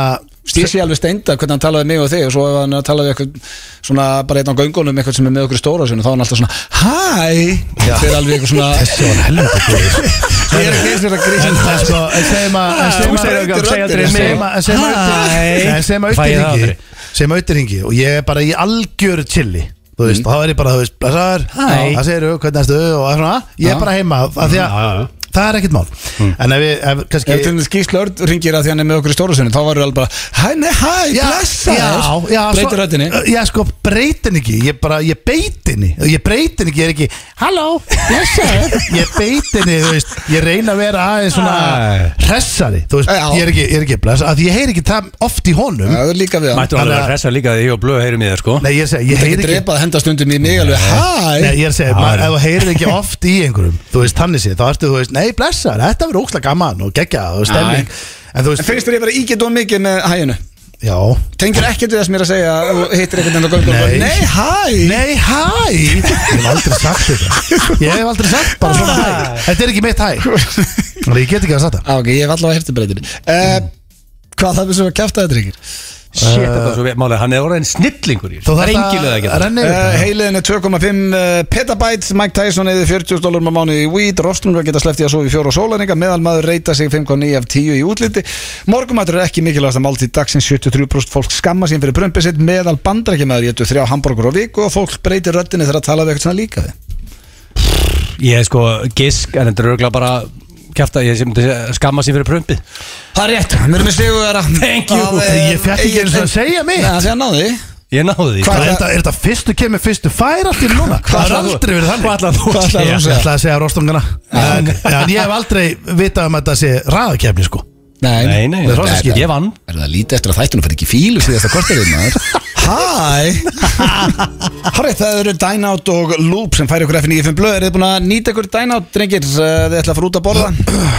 Speaker 1: Ég sé alveg steinda hvernig hann talaði við mig og þig og svo ef hann talaði við eitthvað svona bara einn á göngunum eitthvað sem er með okkur í stóra sinu þá er hann alltaf svona Hæ! Þeir alveg eitthvað svona Þessi var helvita Ég er ekki eins og þetta
Speaker 2: En
Speaker 1: grísin
Speaker 2: það sko, en segjum að en segjum
Speaker 3: Þú
Speaker 2: að-
Speaker 3: segir okkar, segja aldrei
Speaker 2: en segjum
Speaker 3: mig.
Speaker 2: að- en segjum að
Speaker 3: Hæ.
Speaker 2: Nei, en segjum að
Speaker 3: Fæ ég það
Speaker 2: auðringi
Speaker 3: aldrei?
Speaker 2: segjum að auðringi og ég er bara í algjöru chilli þú veist, þá er ég bara, þú veist, blessaður
Speaker 3: Mm. Hæ.
Speaker 2: það segir auðvitað hvernig erstu og svona, ég er bara heima af því
Speaker 8: Já, já, já.
Speaker 2: að það er ekkert mál
Speaker 3: Mm.
Speaker 2: en ef við, ef
Speaker 1: Ef til þess
Speaker 2: kannski
Speaker 1: gísla örd ringir að því hann er með okkur í stóra sinu þá var hann bara Hæ, nei, hæ, blessa
Speaker 2: já, já,
Speaker 1: Breytir
Speaker 2: svo-
Speaker 1: röddinni
Speaker 2: Já, sko, breytin ekki, ég bara, ég beitin Ég breytin ekki, ég er ekki Halló, blessaður Ég beitin, þú veist, ég reyna að vera aðeins svona
Speaker 3: Æ.
Speaker 2: Hressari, þú veist,
Speaker 1: Já.
Speaker 2: ég er ekki, ég er ekki blessaður Því ég heyri ekki það oft í honum
Speaker 1: Það er líka við hann
Speaker 3: Mættu alveg
Speaker 2: Þannig
Speaker 3: að
Speaker 2: að-
Speaker 3: hressa líka því ég og blöð heyrum í þér sko
Speaker 2: Nei, ég segi, ég
Speaker 1: Það
Speaker 2: heyri
Speaker 1: ekki
Speaker 2: ekki
Speaker 1: drepað að henda stundum í mig alveg
Speaker 2: Nei,
Speaker 1: Hæ!
Speaker 2: ég er að segja, maður, ef þú heyrir ekki oft í einhverjum Þú veist, þannig sé, þá ertu, þú veist, nei, blessaður Þetta verður ókslega gaman og geggja og stemning En þú
Speaker 1: En
Speaker 2: veist,
Speaker 1: finnst þér ég bara ígætt of mikið með hæinu?
Speaker 2: já
Speaker 1: Tengir ekkert við það sem ég er að segja og hittir einhvern veginn á göngu og bara,
Speaker 2: Nei.
Speaker 1: Nei, hæ!
Speaker 2: Nei, hæ Ég hef aldrei sagt þetta Ég hef aldrei sagt bara svona hæ Þetta er ekki mitt hæ Þannig að ég get ekki að sagt það
Speaker 1: Á, Ah, ok, ég hef allavega heftibreytin uh, Hvað það er sem að kæfta þetta ykkur?
Speaker 3: Shit, þetta
Speaker 2: Eh,
Speaker 3: var svo vel Málega, hann er orðin snillingur í þessu. Það er engin leið að geta
Speaker 2: renni yfir
Speaker 1: Uh,
Speaker 2: þetta.
Speaker 1: heiliðin er 2,5 uh, petabyte Mike Tyson eða 40 dólar á mánu í weed Rostunur geta sleftið að sofa í fjóra og sólæninga meðalmaður reyta sig 5,9 af 10 í útliti morgumættur er ekki mikilvægast að máltíð dagsins 73% fólk skamma sín fyrir prömpið sitt meðal bandrækjamaður getur þrjá hambúrgur á viku og fólk breytir röddinni þegar að tala við eitthvað svona líka við
Speaker 3: Ég er sko gisk, en þetta er örgulega bara kæfta, ég sem skamma sér fyrir prumpið
Speaker 1: Það er rétt, við erum með sigurvera
Speaker 3: Thank you.
Speaker 2: Ég fékk ekki Eh, eins og að segja mitt.
Speaker 1: Það sé að náði
Speaker 3: Ég náði því
Speaker 1: Hvað-
Speaker 2: Er þetta- er þetta fyrstu kemur fyrstu fær allt í núna?
Speaker 1: Hvað
Speaker 2: Það er
Speaker 1: ætlar þú-
Speaker 2: aldrei verið þannig
Speaker 3: hvað ætlar þú að
Speaker 2: ætlar
Speaker 1: segja?
Speaker 2: Ég ætla að segja rostungana en, en ég hef aldrei vitað um að þetta sé ræðakefni sko
Speaker 1: Nei,
Speaker 3: Nei, nei,
Speaker 1: Þetta
Speaker 3: það er skil,
Speaker 1: þetta-
Speaker 3: ég vann
Speaker 1: Er það lítið eftir að þættunum fyrir ekki fílu síðast að kortir einn maður? Hæ! Hárið, það eru Dynout og Loop sem færi ykkur F95 blöð. Er þið búin að nýta ykkur Dynout, drengir? Eh, Þið ætla að fara út að borða.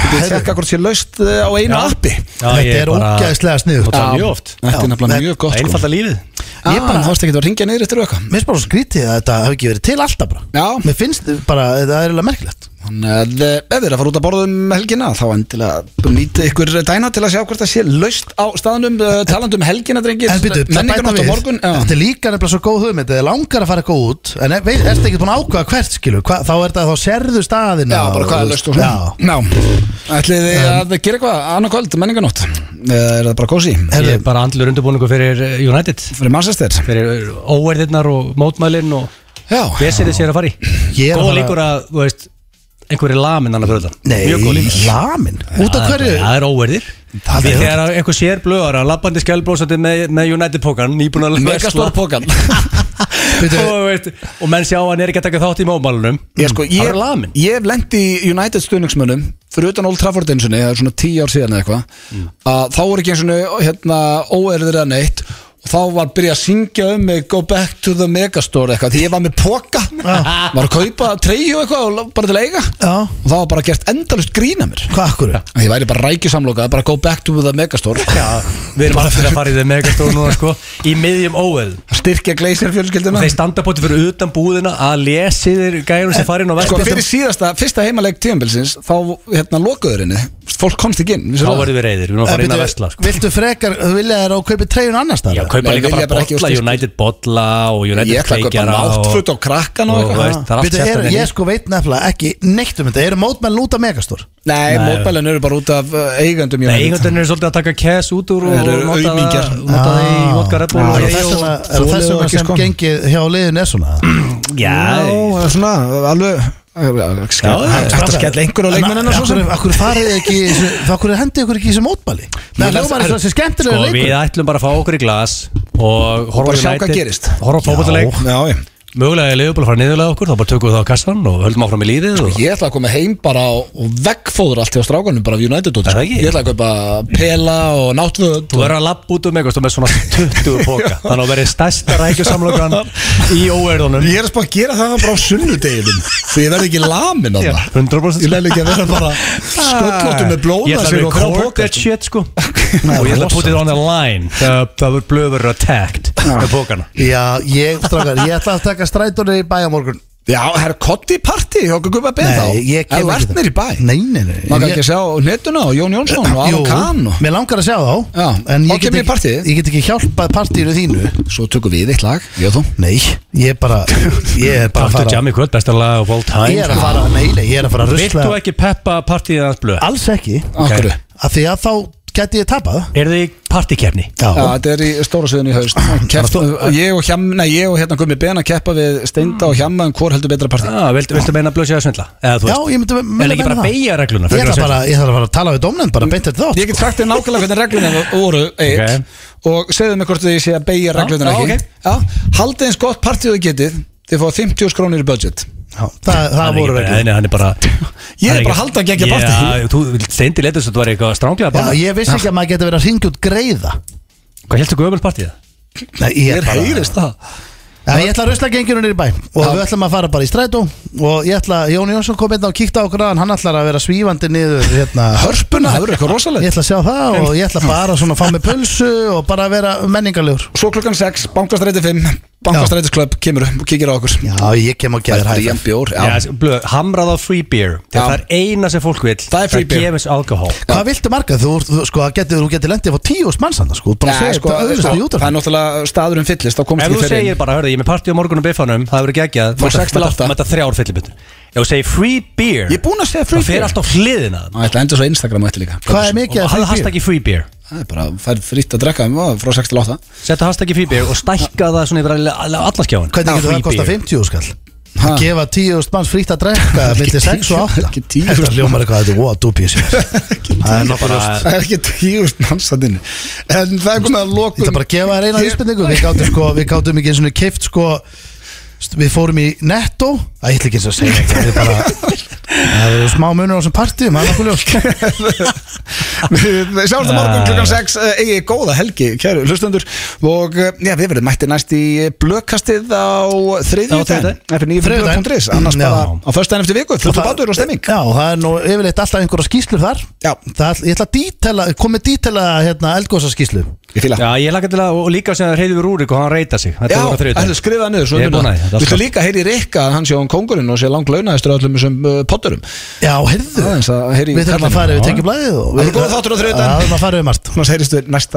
Speaker 1: Þið tekka hvort sér laust eh, á einu appi.
Speaker 2: Þetta er ógæðslega sniðugt.
Speaker 3: Það er mjög oft
Speaker 1: Þetta Ah. er nefnilega
Speaker 2: Já,
Speaker 1: mjög gott. sko.
Speaker 3: Einfalda lífið
Speaker 1: Ég bara, það varst ekki að ringja niður eftir auka.
Speaker 2: Mér finnst bara svo skrítið að þetta hef ekki verið til alltaf bara
Speaker 1: Já.
Speaker 2: Mér finnst bara, það er eiginlega merkilegt
Speaker 1: Þannig að eh, ef þið er að fara út að borða um helgina, þá endilega nýta ykkur Dynout til að sjá hvort það sé laust á staðnum eh, talandi um helgina, drengir.
Speaker 2: En byrju, það bæta
Speaker 1: Menningarnótt á
Speaker 2: við
Speaker 1: morgun. Já.
Speaker 2: Þetta er líka nefnilega svo góð hugmynd Eða langar að fara eitthvað út En er, veist, ertu ekki búin að ákvaða hvert skilur hva, Þá er þetta þá serðu staðina
Speaker 1: Já, bara hvað er löst og svona
Speaker 2: Já
Speaker 1: Já, ætlið þið að gera eitthvað annað kvöld, menninganótt Eða er það bara kósi?
Speaker 3: Ég er bara andlur undirbúningu fyrir eh, United
Speaker 1: Fyrir Manchester
Speaker 3: Fyrir óerðirnar og mótmælinn og
Speaker 1: Já,
Speaker 3: Vesirðið sér að fara í
Speaker 2: Ég er að
Speaker 3: Góð
Speaker 2: fara-
Speaker 3: líkur að, þú veist einhverju lamin annað fyrir utan Mjög góð
Speaker 2: Nei,
Speaker 3: líkur
Speaker 2: lamin Út af
Speaker 3: Það er-
Speaker 2: hverju
Speaker 3: Það er óverðir
Speaker 2: Það
Speaker 3: Því
Speaker 2: er-
Speaker 3: þegar að einhver sér blöðara Lappandi skjálbrósandi með, með United pókan Nýbúin að
Speaker 1: megastór pókan
Speaker 2: Byrju,
Speaker 3: og, veist, og menn sjá að hann er ekki að taka þátt í mómálunum
Speaker 1: Ég sko,
Speaker 3: Hann
Speaker 1: ég,
Speaker 3: er lamin
Speaker 1: ég hef lent í United stuðningsmönnum Fyrir utan Old Trafford eins og það er svona tíu ár síðan eða eitthvað Að þá voru ekki eins og hérna óerðir eða neitt Og þá var byrjað að syngja um mig Go back to the megastore eitthvað Því ég var með póka Var að kaupa treyju eitthvað og bara til að eiga
Speaker 2: Já.
Speaker 1: Og það var bara gert endalust grína mér
Speaker 2: Hvað akkur
Speaker 1: Að Ég væri bara rækjusamlokað, bara go back to the megastore
Speaker 3: Við erum bara fyrir að fara í þeim megastóð núna sko Í miðjum óveð
Speaker 1: Styrkja gleysir
Speaker 3: Og
Speaker 1: fjölskylduna
Speaker 3: þeir standa bóti fyrir utan búðina Að lesi þeir gærum sem farin og
Speaker 1: Sko fyrir
Speaker 3: verðspiltum
Speaker 1: síðasta, fyrsta heimaleik tíðanbilsins Þá hérna lokuður henni Fólk komst ekki inn
Speaker 3: Þá verðum við reyðir, við erum að fara inn að vesla sko.
Speaker 2: Eh, Viltu frekar, þú vilja þér á að kaupa treyjun annars
Speaker 3: Já,
Speaker 2: staðar?
Speaker 3: kaupa
Speaker 1: Nei,
Speaker 3: líka
Speaker 1: vilja
Speaker 3: bara
Speaker 1: bara ekki
Speaker 3: botla,
Speaker 1: úrslit, sko.
Speaker 3: United botla og United
Speaker 1: Ég ætla að kaupa
Speaker 3: kveikjara
Speaker 1: náttfutt
Speaker 3: og-
Speaker 1: og krakkan og
Speaker 3: og
Speaker 1: eitthvað
Speaker 3: veist, Það er allt
Speaker 2: Byrju,
Speaker 3: sérstæðan
Speaker 2: er- Ég sko veit nefnilega ekki neitt um þetta Eru mótmenn út af megastór?
Speaker 1: Nei,
Speaker 3: Nei.
Speaker 1: mótbælun eru bara út af uh, eigandum
Speaker 3: Nei, einhvern veginn er svolítið að taka kæs út úr og
Speaker 1: Þeir eru
Speaker 3: nota
Speaker 1: aumingjar.
Speaker 3: það- nota það í vodka Red Bull
Speaker 1: Já,
Speaker 3: og-
Speaker 2: Ah. Er
Speaker 1: ég-
Speaker 2: þess vegna- er
Speaker 1: þolið og
Speaker 2: þess vegna
Speaker 1: ekki
Speaker 2: sem
Speaker 1: sko.
Speaker 2: gengið hjá liðin er svona?
Speaker 3: Já,
Speaker 1: Já, svona, alveg
Speaker 3: Já, já, já.
Speaker 1: Þetta skell einhver á leikmennina svo sem
Speaker 2: Akkur farið þið ekki í þessu- þá Akkur hendið ykkur ekki í þessu mótmæli Það hljómar eins og þessi skemmtilega
Speaker 3: sko,
Speaker 2: leikur
Speaker 3: við ætlum bara að fá okkur í glas og horfa
Speaker 1: bara
Speaker 3: á
Speaker 1: sjá
Speaker 3: United,
Speaker 1: hvað gerist.
Speaker 3: horfa á fótbolleik
Speaker 1: Já, já.
Speaker 3: mögulega er Leopold að fara niðurlega okkur þá bara tökum við það á kassan og höldum áfram í lífið og...
Speaker 1: Sko, Ég ætla að koma heim bara og- og veggfóður allt hjá strákanum bara af United út
Speaker 3: Er
Speaker 1: sko.
Speaker 3: það ekki?
Speaker 1: Ég ætla að kaupa pela og náttföt
Speaker 3: þú verður að lappa út um eitthvað þú með svona 20 póka þannig að verði stærsta rækjusamlokan í óerðunum
Speaker 1: Ég er að spá að gera það bara á sunnudeginum Því ég verð ekki lamin á það
Speaker 3: 100%
Speaker 1: Ég leil ekki að vera bara sköllóttu með blóða
Speaker 3: Ég ætla að
Speaker 1: sig
Speaker 3: vera
Speaker 1: og fá
Speaker 3: record
Speaker 1: póka,
Speaker 3: that
Speaker 1: sko.
Speaker 3: shit sko og ég ætla að put it on the line það það verður blöður attacked með pókana
Speaker 2: Já, ég, strákar, ég ætla að taka strætónu í bæja morgun
Speaker 1: Já, það er kotti partí hjá okkur gubba beð þá
Speaker 2: Nei, ég
Speaker 1: Ef
Speaker 2: kem
Speaker 1: Þú
Speaker 2: ekki
Speaker 1: ert
Speaker 2: það.
Speaker 1: mér í bæ
Speaker 2: Nei, nei, nei
Speaker 1: Má
Speaker 2: Ég-
Speaker 1: ekki sjá netuna og Jón Jónsson og Aron Kahn og
Speaker 2: Mér langar að sjá þá
Speaker 1: Já,
Speaker 2: En
Speaker 1: þá
Speaker 2: ég
Speaker 1: kem ég
Speaker 2: get,
Speaker 1: í
Speaker 2: ekki,
Speaker 1: partíið.
Speaker 2: ég get ekki hjálpað partíinu þínu
Speaker 1: Svo tökum við eitt lag, ég og þú
Speaker 2: Nei, ég er bara Ég er bara að
Speaker 3: Partu
Speaker 2: fara
Speaker 3: Jammy Kvöld, besta lag of all
Speaker 2: Ég
Speaker 3: time
Speaker 2: er að fara, nei, nei, ég er að fara að
Speaker 3: Vilt
Speaker 2: rusla
Speaker 3: þú ekki peppa partíðið hans blöð?
Speaker 2: Alls ekki
Speaker 1: Af hverju?
Speaker 2: Af því að þá gæti ég tapað
Speaker 3: Er þið í partíkeppni?
Speaker 2: Já,
Speaker 1: Já, þetta er í stóra sviðinu í haust Keppt- Ég og Hjam, nei, ég og hérna Gummi Ben að keppa við Steinda og Hjamma um hvort heldur betra partí
Speaker 3: Já, viltu, viltu meina blöð sér að svindla? Eða þú
Speaker 2: já
Speaker 3: veist,
Speaker 2: ég myndi myndi
Speaker 3: er
Speaker 2: meina
Speaker 3: ekki bara að
Speaker 2: það.
Speaker 3: beigja regluna?
Speaker 2: Ég
Speaker 3: frekar
Speaker 2: ætla
Speaker 3: en að
Speaker 2: bara, ég þarf að fara að tala við domnend bara beint eftir þátt
Speaker 1: Ég get sagt þér nákvæmlega hvernig reglunum voru eitt, og segðu mig hvort þið sé að beigja reglunum
Speaker 3: já,
Speaker 1: ekki já, Haldið eins gott partíu þið getið þið fá 50 skrónir í budget
Speaker 2: Já, Það, það
Speaker 3: Hann er
Speaker 2: voru
Speaker 3: ekki-
Speaker 2: reglur
Speaker 3: Nei, nei, hann er bara
Speaker 1: Ég er
Speaker 3: hann
Speaker 1: bara að halda gegja
Speaker 3: Já,
Speaker 1: partí.
Speaker 3: Þú steindi letast að þú var eitthvað stránglega
Speaker 2: Já,
Speaker 3: bara
Speaker 2: ég vissi ekki að maður geti verið að ringja út greiða
Speaker 3: Hvað um helstu gömul partíða?
Speaker 2: Nei, ég er
Speaker 1: Þér
Speaker 2: bara
Speaker 1: heyrist það
Speaker 2: Já, ég ætla að rusla genginu nýri bæ og við ætlum að fara bara í strætó og ég ætla, Jón Jónsson kom inn og kíkta á græðan hann ætlar að vera svífandi niður hérna,
Speaker 1: Hörpuna, það verður eitthvað
Speaker 2: ég
Speaker 1: rosalegt
Speaker 2: ætla að sjá það og ég ætla bara svona að fá mig pulsu og bara að vera menningarlegur
Speaker 1: Svo klukkan 6, bankastræti 5 bankastrætisklöpp kemur og kikir á okkur
Speaker 2: Já, ég kem og geður
Speaker 1: Þetta er
Speaker 2: hæg
Speaker 1: jæm bjór
Speaker 3: Já, þessi blöð, hamrað á free beer
Speaker 1: Já.
Speaker 3: Þegar það er eina sem fólk vil
Speaker 1: Það er free beer.
Speaker 3: gefins alkohol
Speaker 2: Hvað viltu marga? Þú, þú sko, að geti, þú geti lendið á tíu smannsanda sko, bara að
Speaker 1: Nei,
Speaker 2: segja
Speaker 1: sko,
Speaker 2: þetta
Speaker 1: sko,
Speaker 2: öðrustu í
Speaker 1: það er
Speaker 2: útarfinn
Speaker 1: náttúrulega staðurinn fyllist þá komst
Speaker 3: Ef þú
Speaker 1: ekki fyrir
Speaker 3: segir bara, hörðu, ég er með partí á morgunum biffanum Það verður geggjað
Speaker 1: Frá sex til átta.
Speaker 3: Mæta þrjár fyllibittur Ef þú segir free beer
Speaker 1: Ég er búinn að segja free
Speaker 3: Það fer
Speaker 1: beer.
Speaker 3: alltaf hliðina
Speaker 1: Það ætla að enda svo Instagram og eftir líka
Speaker 2: Hvað er mikið að
Speaker 3: Og
Speaker 2: fyrir
Speaker 3: hafðu
Speaker 2: fyrir?
Speaker 3: hashtaggi free beer
Speaker 1: Það er bara, það er fritt að drekka um, á, frá 6 til 8
Speaker 3: Settu hashtaggi free beer og stækka það svona yfir alla- alla allaskjáin
Speaker 2: Hvernig getur það að kosta 50 skall? Að gefa 10 manns frítt að drekka millir 6 og 8
Speaker 1: Ekki 10.000.
Speaker 2: Þetta hljómar eitthvað að þetta er óa dúbjus Það er nokkuð ljóst
Speaker 1: Það er ekki tíust mannsandinn En það er komið að
Speaker 2: Ég ætla
Speaker 1: lokum
Speaker 2: bara að gefa þér eina vísbendingu Við gáttum sko, við gáttum ekki eins og keift sko st- Við fórum í netto Það ætla ekki eins og að segja neitt, Það er bara Það eru smá munur á þessum partíum Það er nokkuð ljós
Speaker 1: Við sjáumst á
Speaker 2: Ah.
Speaker 1: morgun klukkan 6 Egi góða helgi, kæru hlustundur Og eh, já, við verðum mætti næst í blökkastið á
Speaker 3: Á þriðjudaginn.
Speaker 1: þriðjudaginn Eftir
Speaker 2: Þriðjudaginn.
Speaker 1: 9.5.is Annars
Speaker 2: Já.
Speaker 1: bara á föstudaginn eftir viku Fullt og bátur og stemming
Speaker 2: Já, og það er nú yfirleitt alltaf einhverja skýslur þar
Speaker 1: Já.
Speaker 2: það, Ég ætla að dítela, komið dítela hérna, eldgósa skýslu
Speaker 1: Ég fíla
Speaker 3: Já, ég laka til að, og líka sem það reyður við Rúrik og hann reyta sig Þetta
Speaker 1: Já,
Speaker 3: voru þriðjudagur.
Speaker 1: ætlu skrifaði niður svo
Speaker 3: Ég er
Speaker 1: munum
Speaker 3: búinn að
Speaker 1: það.
Speaker 3: því, þetta er
Speaker 1: Viltu
Speaker 3: alltaf.
Speaker 1: líka heyri Rikka að hann sé án kóngurinn og sé langt launaðistur öllum þessum uh, poddurum
Speaker 2: Já, heyrðu
Speaker 1: Aðeins að heyri í
Speaker 2: Við þurfum
Speaker 1: kallinum.
Speaker 2: að fara yfir
Speaker 1: Já.
Speaker 2: tekið blæðið og
Speaker 1: Það er góð þáttur á þriðjudaginn.
Speaker 2: Já, við þurfum að fara yfir margt
Speaker 1: Þannig að heyrist við næsta